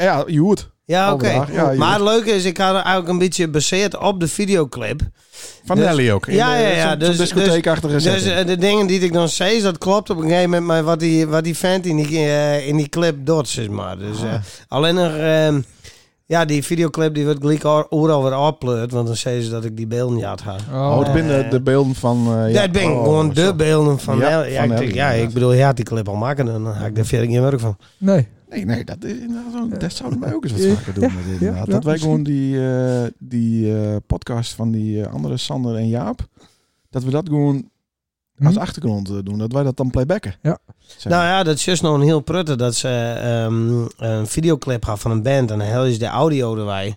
Speaker 3: ja, je hoort.
Speaker 5: Ja, oké.
Speaker 3: Overdag, ja, je
Speaker 5: maar het
Speaker 3: moet-
Speaker 5: leuke is, ik had er eigenlijk een beetje baseerd op de videoclip.
Speaker 3: Van
Speaker 5: Dus-
Speaker 3: Nelly ook. in
Speaker 5: ja,
Speaker 3: de-
Speaker 5: ja, ja,
Speaker 3: zo'n-
Speaker 5: dus-
Speaker 3: Zo'n discotheekachtige
Speaker 5: Dus
Speaker 3: setting.
Speaker 5: eh, de dingen die ik dan zei, dat klopt op een gegeven moment. Maar wat die, wat die vent in die, eh, in die clip doet, zeg maar. Dus,
Speaker 3: Ah.
Speaker 5: eh, alleen nog, ehm, ja, die videoclip die wordt gelijk oor- overal weer opleurd. Want dan zeiden ze dat ik die beelden niet had gehad.
Speaker 1: Oh,
Speaker 3: Oh, het binnen de beelden van... eh, ja.
Speaker 5: dat ben ik,
Speaker 3: Oh,
Speaker 5: gewoon de
Speaker 3: zo.
Speaker 5: beelden van
Speaker 3: Ja,
Speaker 5: Nelly. Ja,
Speaker 3: van
Speaker 5: ik, denk,
Speaker 3: Nelly,
Speaker 5: ja, ik
Speaker 3: inderdaad.
Speaker 5: bedoel, je had die clip al maken. Dan had ik daar verder geen werk van.
Speaker 1: Nee.
Speaker 3: Nee, nee, dat is inderdaad zo. Dat zouden wij ook eens
Speaker 1: Ja,
Speaker 3: wat vaker doen. met dit,
Speaker 1: ja,
Speaker 3: inderdaad.
Speaker 1: ja,
Speaker 3: dat wij
Speaker 1: misschien.
Speaker 3: gewoon die, eh, die eh, podcast van die eh, andere Sander en Jaap, dat we dat gewoon als
Speaker 1: Hm?
Speaker 3: achtergrond eh, doen. Dat wij dat dan playbacken.
Speaker 1: Ja.
Speaker 3: Zeg.
Speaker 5: Nou ja, dat is juist nog een heel prutte dat ze ehm, een videoclip had van een band en dan hel je de audio erbij.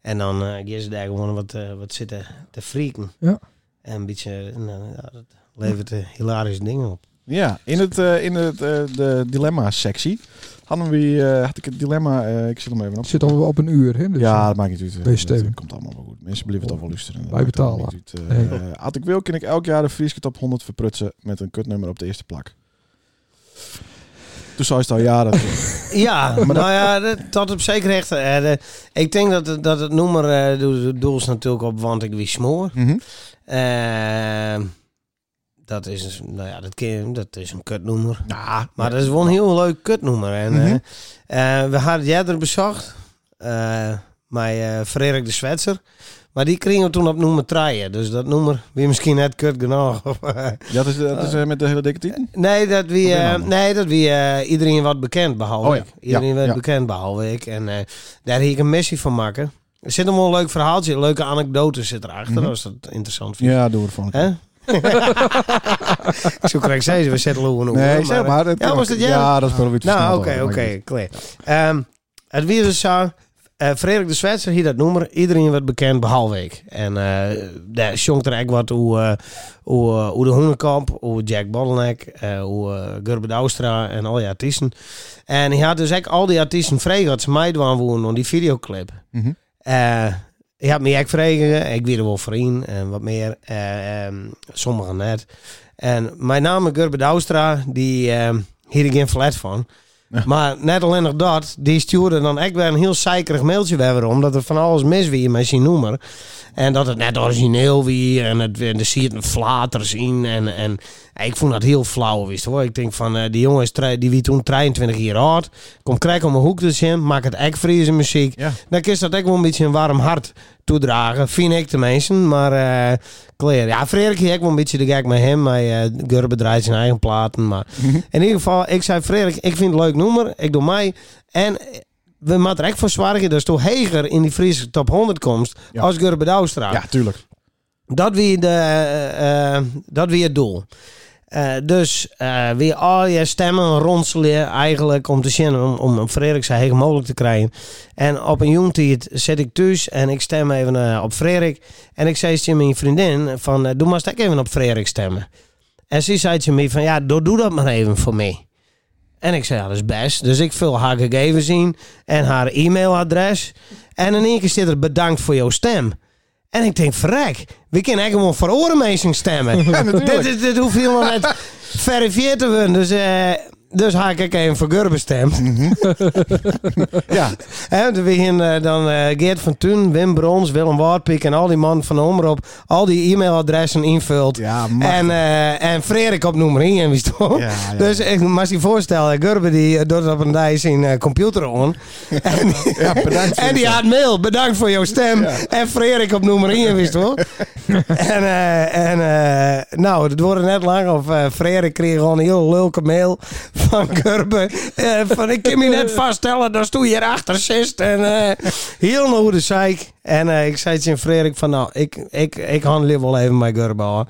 Speaker 5: En dan eh gaan ze daar gewoon wat, eh, wat zitten te freaken.
Speaker 1: Ja.
Speaker 5: En een beetje, nou, ja, dat levert eh, hilarische dingen op.
Speaker 3: Ja, in, het, eh, in het, eh, de dilemma-sectie hadden we, eh, had ik het dilemma, eh, ik zit hem even op.
Speaker 1: Het zit al op een uur, hè? Dus
Speaker 5: eh,
Speaker 3: ja, dat maakt niet uit. eh,
Speaker 1: Wees stevig.
Speaker 3: Dat komt allemaal wel goed. Mensen blijven toch wel luisteren. Dat
Speaker 1: Wij
Speaker 3: maakt allemaal
Speaker 1: betalen.
Speaker 3: niet uit.
Speaker 1: Nee.
Speaker 3: Eh, eh, Had ik wil, kan ik elk jaar de Friese top 100 verprutsen met een kutnummer op de eerste plak. Toen zei ze al, ja, dat
Speaker 5: Ja, nou ja, dat, tot op zeker recht. eh, de- ik denk dat, het- dat het noemer eh doe- doel is natuurlijk op want ik wie smoor.
Speaker 3: Mhm.
Speaker 5: Eh, dat is, nou ja, dat, ken je, dat is een kutnoemer.
Speaker 3: Nou,
Speaker 5: Maar dat is wel een heel leuk kutnoemer. En,
Speaker 3: Mhm.
Speaker 5: eh, eh, we hadden jij er bezocht. eh mij eh, Frederik de Zwetser. Maar die kregen we toen op nummer 3. Dus dat nummer weer misschien net kut genoeg.
Speaker 3: Ja, dat is, dat is eh, met de hele dikke tieten?
Speaker 5: nee, dat wie,
Speaker 3: Oké,
Speaker 5: eh,
Speaker 3: man.
Speaker 5: nee, dat wie eh, iedereen wat bekend behalve
Speaker 3: Oh ja,
Speaker 5: ik. Iedereen
Speaker 3: ja,
Speaker 5: werd
Speaker 3: ja.
Speaker 5: bekend behalve ik. En eh, daar heb ik een missie van maken. Er zit nog wel een leuk verhaaltje, een leuke anekdote zit erachter.
Speaker 3: Mhm.
Speaker 5: Als dat interessant vindt.
Speaker 3: Ja, doen we ervan.
Speaker 5: Hè? Zo krijg ik zei ze, we zetten loeren op.
Speaker 3: Nee, zeg maar. Dat
Speaker 5: Ja,
Speaker 3: kan
Speaker 5: was
Speaker 3: ook.
Speaker 5: dat jij?
Speaker 3: Ja, dat is wel weer te snel,
Speaker 5: Nou,
Speaker 3: dat
Speaker 5: oké,
Speaker 3: maakt
Speaker 5: oké,
Speaker 3: niet
Speaker 5: klaar. Ehm, Het weer dus zo. eh, Frederik de Zwitser, hier dat noemer. Iedereen werd bekend, behalve ik. En eh daar zong er eigenlijk wat hoe, eh, hoe, eh, hoe de Hoenenkamp, hoe Jack Bottleneck, eh, hoe eh Gerben Douwstra en al die artiesten. En hij had dus eigenlijk al die artiesten vrij gehad. Ze mij doen wonen om die videoclip.
Speaker 3: Mhm.
Speaker 5: Eh, je had me echt vragen, ik weer wel vriend en wat meer. eh, ehm, sommigen net. En mijn naam is Gerben Douwstra, die ehm hier ik geen flat van. Maar net alleen nog dat, die stuurde dan echt weer een heel zeikerig mailtje weer weer om. Dat er van alles mis wie met zijn noemer. En dat het net origineel wie en het en er zie je het een flater zien. En, en ik vond dat heel flauw, wist je hoor. Ik denk van eh, die jongen is tre- die wie toen 23 jaar oud. Kom krijg om een hoek dus in, maak het echt Friese muziek.
Speaker 3: Ja.
Speaker 5: Dan kun je dat echt wel een beetje een warm hart toedragen, vind ik de mensen. Maar eh clear. Ja, Frederik hier ook wel een beetje de gek met hem. Hij eh Gurbe draait zijn eigen platen. Maar in ieder geval, ik zei Frederik, ik vind het leuk nummer. Ik doe mij. En eh, we moeten er echt voor zwaargen dat is toch heger in die Friese top 100 komst
Speaker 3: Ja.
Speaker 5: als Gurbe Douwstra.
Speaker 3: Ja, tuurlijk.
Speaker 5: Dat wie, de, eh, eh, dat wie het doel. Eh, dus eh weer al je stemmen ronselen eigenlijk om te zien, om, om een Frederik zo heeg mogelijk te krijgen. En op een jongtijd zit ik thuis en ik stem even eh, op Frederik. En ik zei tegen mijn vriendin van, eh, doe maar stek even op Frederik stemmen. En ze zei ze me van, ja, doe, doe dat maar even voor mij. En ik zei, ja, dat is best. Dus ik vul haar gegevens in en haar e-mailadres. En in één keer zit er bedankt voor jouw stem. En ik denk, verrek, we kunnen echt gewoon voor orenmeesting stemmen. dit, is- dit hoeft helemaal net verifieerd te worden. Dus, eh, dus haak ik even voor Gurbe stemd.
Speaker 3: Ja,
Speaker 5: Hè, er begin eh, dan eh, Geert van Toen, Wim Brons, Willem Waardpiek en al die mannen van de omroep. Al die e-mailadressen invult.
Speaker 3: Ja, machtig.
Speaker 5: en, eh en Frederik op nummer 1, wist je wel.
Speaker 3: Ja, ja.
Speaker 5: Dus ik moet je voorstellen, Gurbe die eh, doet het op een dag zijn eh, computer on. en,
Speaker 3: ja bedankt. voor
Speaker 5: en die
Speaker 3: dit.
Speaker 5: had mail, bedankt voor jouw stem. En Frederik op nummer 1, wist je wel. en eh, en eh, nou, het wordt net lang of eh Frederik kreeg gewoon een heel lulke mail van Kurbe. Eh, van ik kan me net vaststellen, dat stoe je erachter zit. En eh, heel nou de zeik. En eh, ik zei tegen Frederik van nou, ik, ik, ik handel wel even bij Kurbe hoor.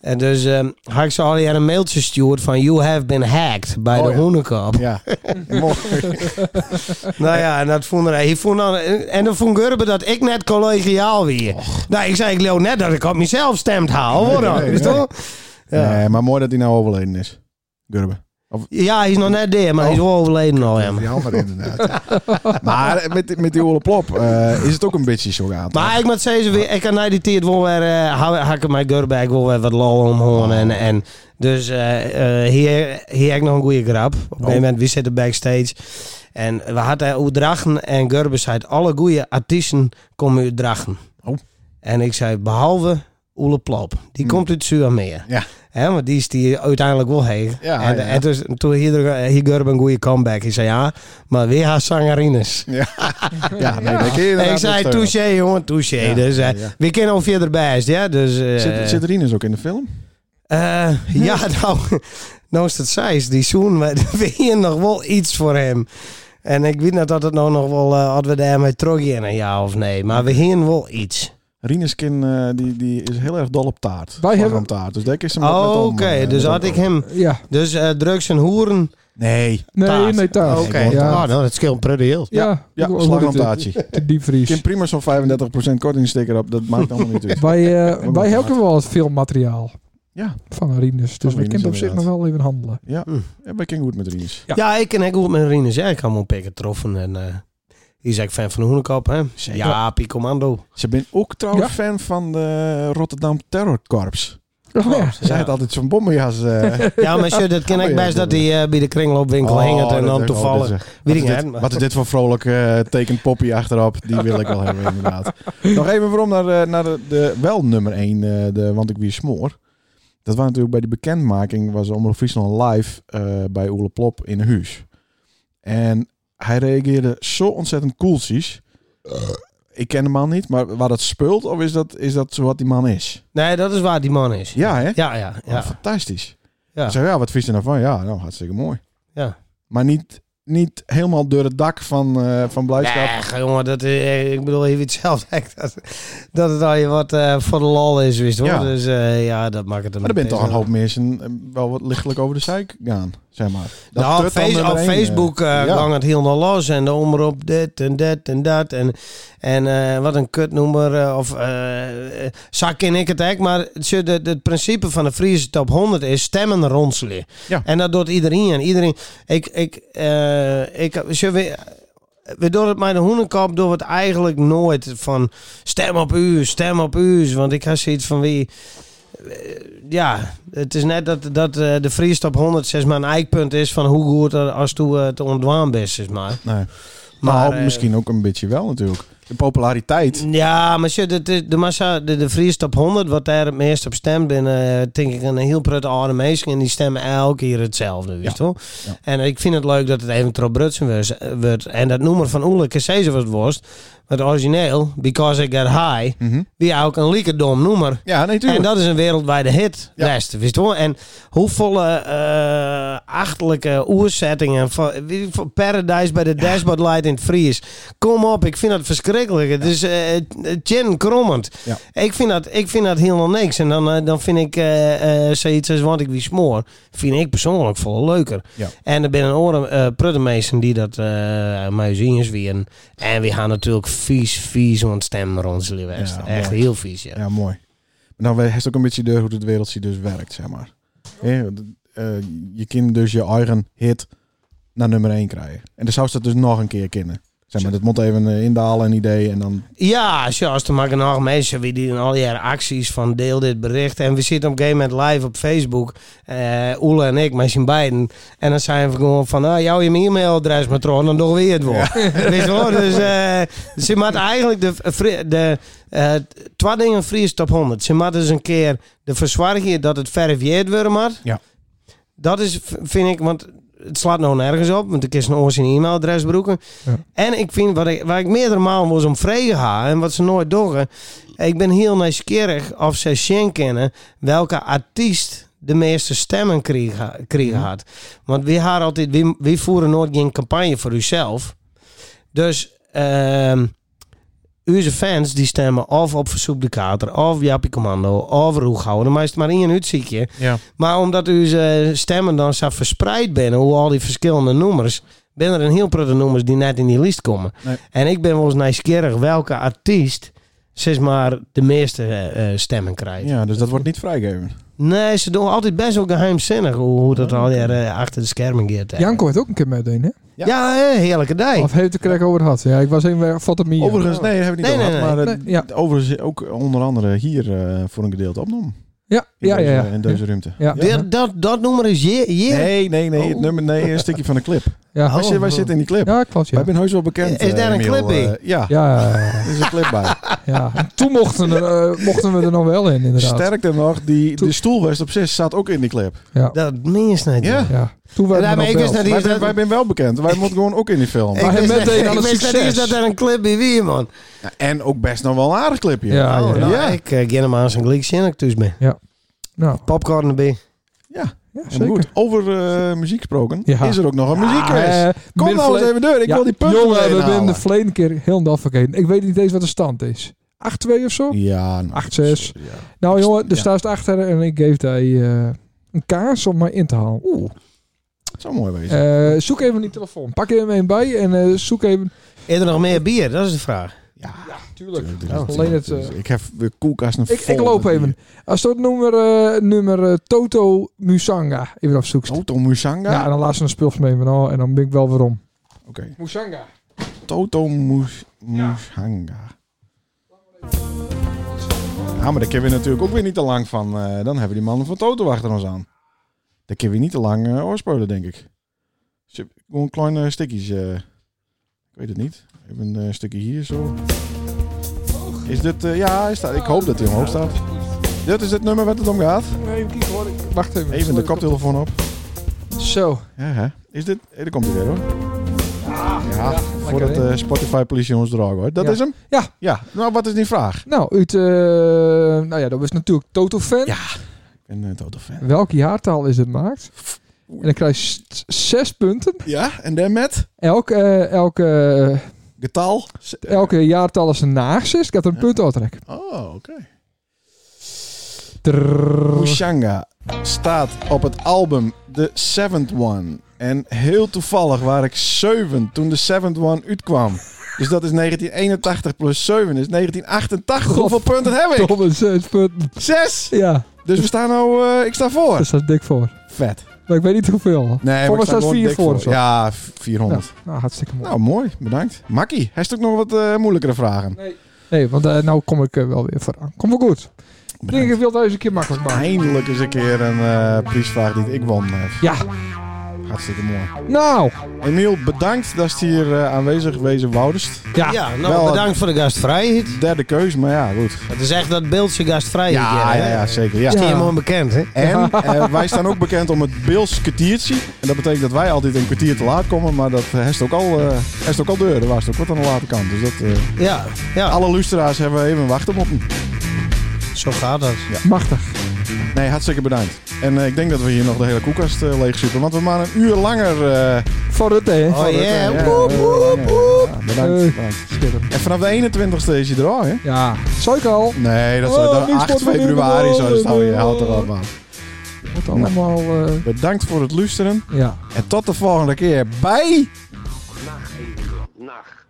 Speaker 5: En dus ehm had ik ze al een mailtje gestuurd van you have been hacked bij
Speaker 3: Oh,
Speaker 5: de
Speaker 3: ja.
Speaker 5: Hoenekop.
Speaker 3: Ja, mooi.
Speaker 5: Nou ja, en dat vond hij. hij vond dan, en dan vond Gurbe dat ik net collegiaal weer. Nou, ik zei, ik leo net dat ik op mezelf stemd haal, hoor dan.
Speaker 3: Nee,
Speaker 5: Is
Speaker 3: nee.
Speaker 5: toch? Ja.
Speaker 3: Nee, maar mooi dat hij nou overleden is. Gurbe.
Speaker 5: ja, hij is nog net daar, maar hij is wel overleden al, Oh, ja.
Speaker 3: Jammer inderdaad. maar eh, met, met die oorlog is het ook een beetje zo gaat.
Speaker 5: Maar ik moet zeggen, weer- ik kan naar die tijd wel weer, eh, hou- hakken mijn Gurbe, ik wil weer wat lol omhoren. En,
Speaker 3: Oh.
Speaker 5: en, dus eh, eh, hier, hier heb ik nog een goede grap. Op
Speaker 3: Oh.
Speaker 5: een gegeven moment, wie zitten backstage? En we hadden opdrachten en Gurbe zei, alle goede artiesten komen uit Drachten.
Speaker 3: Oh. Hm.
Speaker 5: En ik zei, behalve Oele Plop, die komt uit Zuurmeer.
Speaker 3: Ja.
Speaker 5: Hè, want die is die uiteindelijk wel heen.
Speaker 3: Ja,
Speaker 5: en,
Speaker 3: ja.
Speaker 5: en dus, toen hier, hier Gurbe een goede comeback. Ik zei, ja, maar weer haar zangerines.
Speaker 3: ja, nee, dat kun je
Speaker 5: Ik
Speaker 3: inderdaad
Speaker 5: zei
Speaker 3: niet steunen.
Speaker 5: touché, jongen, touché.
Speaker 3: Ja,
Speaker 5: dus eh,
Speaker 3: ja, ja.
Speaker 5: we kennen al verder best, ja. Dus, eh,
Speaker 3: Zit, zit Rinus ook in de film?
Speaker 5: eh, ja, nou, nou is dat zijs. Die zoen, we we hier nog wel iets voor hem. En ik weet niet dat het nou nog wel, eh hadden we daarmee teruggaan, ja of nee. Maar we hier wel iets.
Speaker 3: Rinus kin, eh, die, die is heel erg dol op taart.
Speaker 1: Wij hebben-
Speaker 3: op taart. Dus daar is hem ook net
Speaker 5: Oké,
Speaker 3: om, eh,
Speaker 5: dus
Speaker 3: net
Speaker 5: had
Speaker 3: om.
Speaker 5: ik hem.
Speaker 1: Ja,
Speaker 5: Dus eh, drugs en hoeren.
Speaker 3: Nee.
Speaker 1: nee,
Speaker 5: Taart.
Speaker 1: nee, taart.
Speaker 5: Oké,
Speaker 1: Ja.
Speaker 5: Ah, nou, dat scheelt pretty heel.
Speaker 1: Ja,
Speaker 3: Ja,
Speaker 1: Hoe- hoe
Speaker 3: slag
Speaker 1: heet
Speaker 3: om
Speaker 1: het?
Speaker 3: taartje.
Speaker 1: De diepvries.
Speaker 3: Kim prima zo'n 35% kortingsticker op. Dat maakt allemaal niet uit.
Speaker 1: Wij, eh,
Speaker 3: Ook
Speaker 1: wij
Speaker 3: een
Speaker 1: hebben wel wat filmmateriaal
Speaker 3: Ja.
Speaker 1: van Arinus. Dus
Speaker 3: Van
Speaker 1: we kunnen op
Speaker 3: Arinus,
Speaker 1: zich nog wel even handelen.
Speaker 3: Ja, ja wij kennen goed met Rinus.
Speaker 5: Ja. ik ken ook goed met Rinus. Ja, ik kan hem pikken troffen. En eh die is ik fan van de Hoenekop, hè.
Speaker 3: Zeker.
Speaker 5: Ja, Pi Commando.
Speaker 3: Ze ben ook trouwens
Speaker 1: Ja.
Speaker 3: fan van de Rotterdam Terror Corps.
Speaker 1: Oh, ja.
Speaker 3: Ze zei het altijd zo'n bommenjas. eh
Speaker 5: Ja, maar shit, dat ken
Speaker 3: Oh,
Speaker 5: ik
Speaker 3: ja,
Speaker 5: best dat
Speaker 3: dat
Speaker 5: hij eh, bij de kringloopwinkel
Speaker 3: Oh,
Speaker 5: hing het en
Speaker 3: dat-
Speaker 5: dan
Speaker 3: oh,
Speaker 5: toevallig.
Speaker 3: dat is-
Speaker 5: weet ik
Speaker 3: wat, is
Speaker 5: niet,
Speaker 3: dit,
Speaker 5: maar-
Speaker 3: wat is dit voor vrolijk eh tekent poppy achterop? Die wil ik wel hebben, inderdaad. Nog even waarom naar, eh, naar de, de wel nummer 1, de, want ik weer smoor. Dat was natuurlijk bij die bekendmaking, was Omroep Friesland live eh, bij Oele Plop in een huis. En hij reageerde zo ontzettend koeltjes. Ik ken de man niet, maar waar dat speelt, of is dat, is dat zo wat die man is?
Speaker 5: nee, dat is waar die man is.
Speaker 3: Ja, hè?
Speaker 5: ja, ja.
Speaker 3: Ja.
Speaker 5: ja.
Speaker 3: Fantastisch.
Speaker 5: Ja.
Speaker 3: Ik zei, ja, wat vies je nou van? Ja, nou, hartstikke mooi.
Speaker 5: Ja.
Speaker 3: Maar niet, niet helemaal door het dak van, eh, van blijdschap.
Speaker 5: Nee, jongen, dat, eh, ik bedoel, je weet zelf echt dat, dat het al je wat eh, voor de lol is, wist hoor.
Speaker 3: Ja.
Speaker 5: Dus eh, ja, dat maakt het een
Speaker 3: Maar er bent toch een
Speaker 5: beetje-
Speaker 3: hoop mensen eh, wel wat lichtelijk over de zeik gaan, zeg maar. Dat
Speaker 5: Nou, op,
Speaker 3: tut dan
Speaker 5: face-
Speaker 3: nummer
Speaker 5: op
Speaker 3: één, eh,
Speaker 5: Facebook eh
Speaker 3: ja.
Speaker 5: ging het heel nog los. En de omroep dit en dat en dat. En, en eh, wat een kutnoemer. eh, of eh, eh, zak in ik het hek. Maar het, zit- het, het principe van de Friese top 100 is stemmen ronselen.
Speaker 3: Ja.
Speaker 5: En dat doet iedereen. En iedereen ik, ik, eh, ik, zullen we, we doen het met de hoenenkamp doen we het eigenlijk nooit van stem op u, stem op u. Want ik had zoiets van wie... eh, ja, het is net dat, dat eh, de freestop 100 zeg maar een eikpunt is van hoe goed er als toe eh, te ontdwaan bent, zeg maar.
Speaker 3: Nee.
Speaker 5: Maar,
Speaker 3: Maar
Speaker 5: eh,
Speaker 3: misschien ook een beetje wel natuurlijk. De populariteit.
Speaker 5: Ja, maar shit, het is- de massa, de, de freestop 100, wat daar het meest op stemt, ben, eh, denk ik een heel prutte oude mensen en die stemmen elke keer hetzelfde, weet je wel.
Speaker 3: Ja.
Speaker 5: En ik vind het leuk dat het even Trop Brutsen was- wordt. En dat noemer van Oele Cassese was het worst, maar het origineel, Because I Got High,
Speaker 3: Mhm.
Speaker 5: die ook een lieke dom noemer.
Speaker 3: Ja, nee,
Speaker 5: En
Speaker 3: tuurlijk.
Speaker 5: dat is een wereldwijde hit,
Speaker 3: Ja.
Speaker 5: rest, wist je wel? En hoevolle eh achterlijke oerzettingen van, wie- van Paradise bij de Dashboard Light in het Fries. Kom op, ik vind dat verschrikkelijk. Het is eh gin krommend.
Speaker 3: Ja.
Speaker 5: Ik, vind dat, ik vind dat helemaal niks. En dan, eh, dan vind ik eh, eh, zoiets als wat ik wie smoor, vind ik persoonlijk veel leuker.
Speaker 3: Ja.
Speaker 5: En er binnen oren eh pruttenmeesten die dat eh mij zien is weer. een- En we gaan natuurlijk vies, vies ontstemmen rond z'n West.
Speaker 3: Ja,
Speaker 5: Echt
Speaker 3: mooi.
Speaker 5: heel vies, ja.
Speaker 3: Ja, mooi. Nou, hij heeft ook een beetje de, hoe de wereld dus werkt, zeg maar. Hè, d- eh, je kan dus je eigen hit naar nummer 1 krijgen. En dan zou ze dat dus nog een keer kennen. Zeg maar, dat moet even eh, indalen, een idee. En dan,
Speaker 5: Ja, zoals er maken nog mensen wie die al die acties van deel dit bericht. En we zitten op een gegeven moment live op Facebook. eh Oele en ik met z'n beiden. En dan zijn we gewoon van, ah, jou je e-mailadres maar trouw, dan doen we het wel. Weet je wel? Dus eh, ze maakt eigenlijk de, vri- de eh twee dingen vries top 100. Ze maakt dus een keer de verzwarging dat het verifieerd worden moet.
Speaker 3: Ja.
Speaker 5: Dat is, v- vind ik, want het slaat nou nergens op, want ik is een oors in e-mailadres broeken.
Speaker 1: Ja.
Speaker 5: En ik vind, wat ik, waar ik meerdere malen was om vregen ga en wat ze nooit doen. Ik ben heel nieuwsgierig of ze zien kennen welke artiest de meeste stemmen kreeg, kreeg
Speaker 3: Mhm.
Speaker 5: had. Want we, hadden altijd, we, we voeren nooit geen campagne voor uzelf. Dus ehm onze fans die stemmen of op Verzoek de Kater, of Jappie Commando, of Roeghouder. Maar is het maar één uitziekje.
Speaker 3: ja.
Speaker 5: Maar omdat onze stemmen dan zo verspreid binnen, hoe al die verschillende nummers, ben er een heel pruttige nummers die net in die lijst komen.
Speaker 3: Nee.
Speaker 5: En ik ben wel eens nieuwsgierig welke artiest, zeg maar, de meeste eh, eh, stemmen krijgt.
Speaker 3: ja, dus dat wordt niet vrijgegeven.
Speaker 5: Nee, ze doen altijd best wel geheimzinnig hoe, hoe dat al jaren achter de schermen gaat. eh.
Speaker 1: Janko heeft ook een keer meteen, hè?
Speaker 5: Ja, hè, heerlijke dag.
Speaker 1: Of heeft de crack over gehad? Ja, ik was even weg van het meer.
Speaker 3: Overigens, nee, dat hebben we niet
Speaker 5: Nee,
Speaker 3: over
Speaker 5: nee,
Speaker 3: gehad, Maar
Speaker 1: nee.
Speaker 3: eh,
Speaker 1: Nee, ja.
Speaker 3: overigens ook onder andere hier eh, voor een gedeelte opnomen.
Speaker 1: Ja,
Speaker 3: In
Speaker 1: ja, ja.
Speaker 3: deze,
Speaker 1: ja.
Speaker 3: In deze ruimte.
Speaker 1: Ja.
Speaker 5: Dit- dat, dat nummer is je. je.
Speaker 3: Nee, nee, nee. Het
Speaker 5: Oh.
Speaker 3: nummer, nee, een stukje van de clip.
Speaker 1: Ja.
Speaker 3: Wij, zitten, wij
Speaker 5: oh.
Speaker 3: zitten in die clip.
Speaker 1: Ja, klopt, ja.
Speaker 3: Wij zijn heus wel bekend.
Speaker 5: Is daar
Speaker 3: eh,
Speaker 5: een
Speaker 3: Emiel,
Speaker 5: clip in?
Speaker 3: eh, ja,
Speaker 1: Ja, ja,
Speaker 3: er is een clip bij.
Speaker 1: ja. En toen mochten, er, eh, mochten we er nog wel in, inderdaad.
Speaker 3: Sterker nog, die,
Speaker 1: Toen-
Speaker 3: de stoelwest op 6 staat ook in die clip.
Speaker 1: Ja.
Speaker 5: Dat minst niet.
Speaker 3: Ja.
Speaker 1: ja. Toen werden
Speaker 5: Ja,
Speaker 1: we
Speaker 5: maar
Speaker 1: nog
Speaker 5: ik wist
Speaker 1: wel.
Speaker 5: dat
Speaker 3: Wij
Speaker 5: is
Speaker 3: zijn, wij zijn wel bekend. Wij moeten gewoon ook in die film.
Speaker 5: Ik
Speaker 1: Maar
Speaker 5: wist
Speaker 1: hij
Speaker 5: net-
Speaker 1: meteen aan
Speaker 5: ik
Speaker 1: het
Speaker 5: wist net
Speaker 1: succes.
Speaker 5: eens dat er een clip bij wie, man.
Speaker 3: En ook best nog wel een aardig clipje.
Speaker 1: Ja,
Speaker 5: Oh,
Speaker 1: ja.
Speaker 5: nou,
Speaker 3: Ja.
Speaker 5: ik uh, hem aan zijn gelijk zin ik thuis ben.
Speaker 1: Nou,
Speaker 5: Popcorn erbij.
Speaker 3: Ja,
Speaker 1: ja,
Speaker 3: en
Speaker 1: zeker.
Speaker 3: goed. Over eh, muziek gesproken.
Speaker 1: Ja.
Speaker 3: Is er ook nog een muziekquiz?
Speaker 1: Ah, eh,
Speaker 3: Kom nou
Speaker 1: middenvle-
Speaker 3: eens even door. Ik
Speaker 1: Ja,
Speaker 3: wil die punten
Speaker 1: Jongen,
Speaker 3: erin
Speaker 1: we zijn
Speaker 3: halen.
Speaker 1: de verleden keer heel vergeten. Ik weet niet eens wat de stand is. 8-2 of zo?
Speaker 3: Ja, nou,
Speaker 1: 8-6.
Speaker 3: ja.
Speaker 1: Nou jongen, er
Speaker 3: Ja.
Speaker 1: staat achter en ik geef hij eh, een kaars om mij in te halen. Oeh.
Speaker 3: Het zou mooi wezen.
Speaker 1: Eh, zoek even die telefoon. Pak er hem een bij en eh, zoek even...
Speaker 5: Is er nog meer bier? Dat is de vraag.
Speaker 3: ja,
Speaker 1: Tuurlijk.
Speaker 3: tuurlijk,
Speaker 1: nou,
Speaker 3: tuurlijk,
Speaker 1: alleen het,
Speaker 3: tuurlijk.
Speaker 1: eh,
Speaker 3: ik heb de koelkast nog
Speaker 1: Ik,
Speaker 3: vol
Speaker 1: ik loop
Speaker 3: met
Speaker 1: even.
Speaker 3: bier.
Speaker 1: Als dat nummer, eh, nummer eh, Toto Musanga even opzoekt.
Speaker 3: Toto Musanga?
Speaker 1: Ja, en dan laat ze een spul van me nou, en dan ben ik wel weer om.
Speaker 3: Oké.
Speaker 1: Musanga.
Speaker 3: Toto Mus Mushanga. Ja, maar daar kunnen we natuurlijk ook weer niet te lang van. eh, dan hebben we die mannen van Toto achter ons aan. Daar kunnen we niet te lang eh oorspelen, denk ik. Ze- Gewoon kleine stukjes. eh, ik weet het niet. Even een eh, stukje hier zo. Is dit... eh, ja, hij staat, ik hoop dat hij omhoog staat. Dit is het nummer wat het om gaat.
Speaker 1: Even kijken hoor. Ik- Wacht even.
Speaker 3: Even de koptelefoon op.
Speaker 1: Zo.
Speaker 3: Ja, hè. Is dit... eh, daar komt hij weer hoor. Ja, voordat
Speaker 1: lekker, hè?
Speaker 3: eh, Spotify Police ons dragen hoor. Dat
Speaker 1: Ja.
Speaker 3: is hem?
Speaker 1: Ja.
Speaker 3: Ja. Nou, wat is die vraag?
Speaker 1: Nou, uit, eh, nou ja, dat was natuurlijk Toto fan.
Speaker 3: Ja. Ik ben een totaal eh, fan.
Speaker 1: Welke jaartal is het maakt? En dan krijg je s- zes punten.
Speaker 3: Ja, en dan met?
Speaker 1: Elk, eh, elk, eh,
Speaker 3: Getal?
Speaker 1: elke jaartal is een naagzist. Ik had er een punt uittrek.
Speaker 3: Oh, oké. Pushanga staat op het album The Seventh One. En heel toevallig waren ik zeven toen The Seventh One uitkwam. Dus dat is 1981 plus 7 is 1988.
Speaker 1: God.
Speaker 3: Hoeveel punten heb ik?
Speaker 1: Tom en zes punten.
Speaker 3: Zes!
Speaker 1: Ja,
Speaker 3: Dus we staan nou... eh, ik sta
Speaker 1: daar
Speaker 3: voor.
Speaker 1: staat dik voor.
Speaker 3: Vet.
Speaker 1: Maar ik weet niet hoeveel.
Speaker 3: Nee,
Speaker 1: Voor
Speaker 3: maar
Speaker 1: mij
Speaker 3: ik sta
Speaker 1: staat
Speaker 3: gewoon
Speaker 1: vier
Speaker 3: dik
Speaker 1: voor. of zo.
Speaker 3: Ja, v- 400.
Speaker 1: Nou, nou, hartstikke mooi.
Speaker 3: Nou, mooi. Bedankt. Makkie, heeft ook nog wat eh, moeilijkere vragen.
Speaker 1: Nee, want eh, nou kom ik eh, wel weer vooraan. Kom maar goed. Ik denk, ik wil het eens een keer makkelijk maken.
Speaker 3: Eindelijk eens een keer een eh, prijsvraag die ik won. eh.
Speaker 1: Ja,
Speaker 3: hartstikke mooi.
Speaker 1: nou.
Speaker 3: Emiel, bedankt dat je hier eh, aanwezig wezen woudest.
Speaker 1: Ja.
Speaker 5: Ja, nou
Speaker 3: Wel,
Speaker 5: bedankt voor de gastvrijheid.
Speaker 3: Derde keus, maar ja, goed.
Speaker 5: Het is echt dat beeldse gastvrijheid.
Speaker 3: Ja,
Speaker 5: hè?
Speaker 3: ja, ja zeker. Ja.
Speaker 5: Is die
Speaker 1: Ja.
Speaker 5: helemaal bekend, hè?
Speaker 3: En eh, wij staan ook bekend om het Beels kwartiertje. En dat betekent dat wij altijd een kwartier te laat komen. Maar dat heeft ook al, eh heeft ook al deuren. Waar is het ook wat aan de late kant. Dus dat, eh,
Speaker 5: Ja, ja.
Speaker 3: alle luisteraars hebben even wachten op hem.
Speaker 5: zo gaat dat.
Speaker 1: Machtig.
Speaker 3: Nee, hartstikke bedankt. En eh, ik denk dat we hier nog de hele koelkast eh, leeg zitten. Want we maar een uur langer... eh,
Speaker 1: Voor het, hè.
Speaker 3: ja,
Speaker 5: Oh yeah.
Speaker 3: eh, langer. Ja, bedankt,
Speaker 1: Eh.
Speaker 3: bedankt.
Speaker 1: Schitterend.
Speaker 3: En vanaf de 21ste is hij er al, hè?
Speaker 1: Ja, zou ik al.
Speaker 3: Nee, dat is
Speaker 1: Oh,
Speaker 3: dan
Speaker 1: niks
Speaker 3: 8
Speaker 1: wordt van
Speaker 3: februari
Speaker 1: in
Speaker 3: zo.
Speaker 1: de
Speaker 3: staan we je
Speaker 1: bal.
Speaker 3: houdt er al aan.
Speaker 1: Wat allemaal, eh,
Speaker 3: Bedankt voor het luisteren.
Speaker 1: ja.
Speaker 3: En tot de volgende keer. Bye!
Speaker 2: Nacht evenbeeld. Nacht.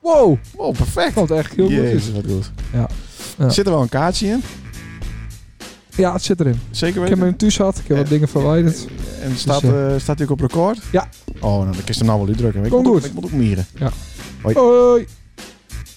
Speaker 1: Wow,
Speaker 3: Wow, Oh, perfect.
Speaker 1: komt echt heel goed.
Speaker 3: Jezus,
Speaker 1: in.
Speaker 3: wat goed.
Speaker 1: Ja. Ja.
Speaker 3: Zit er wel een kaartje in?
Speaker 1: Ja, het zit erin.
Speaker 3: Zeker
Speaker 1: Ik heb
Speaker 3: weten.
Speaker 1: hem thuis gehad, ik heb wat dingen verwijderd.
Speaker 3: En staat,
Speaker 1: Dus,
Speaker 3: eh, staat hij ook op record?
Speaker 1: Ja.
Speaker 3: Oh, nou, dan kun je hem nou wel uitdrukken. Ik
Speaker 1: Komt
Speaker 3: moet ook-
Speaker 1: goed.
Speaker 3: Ik moet ook mieren.
Speaker 1: Hoi.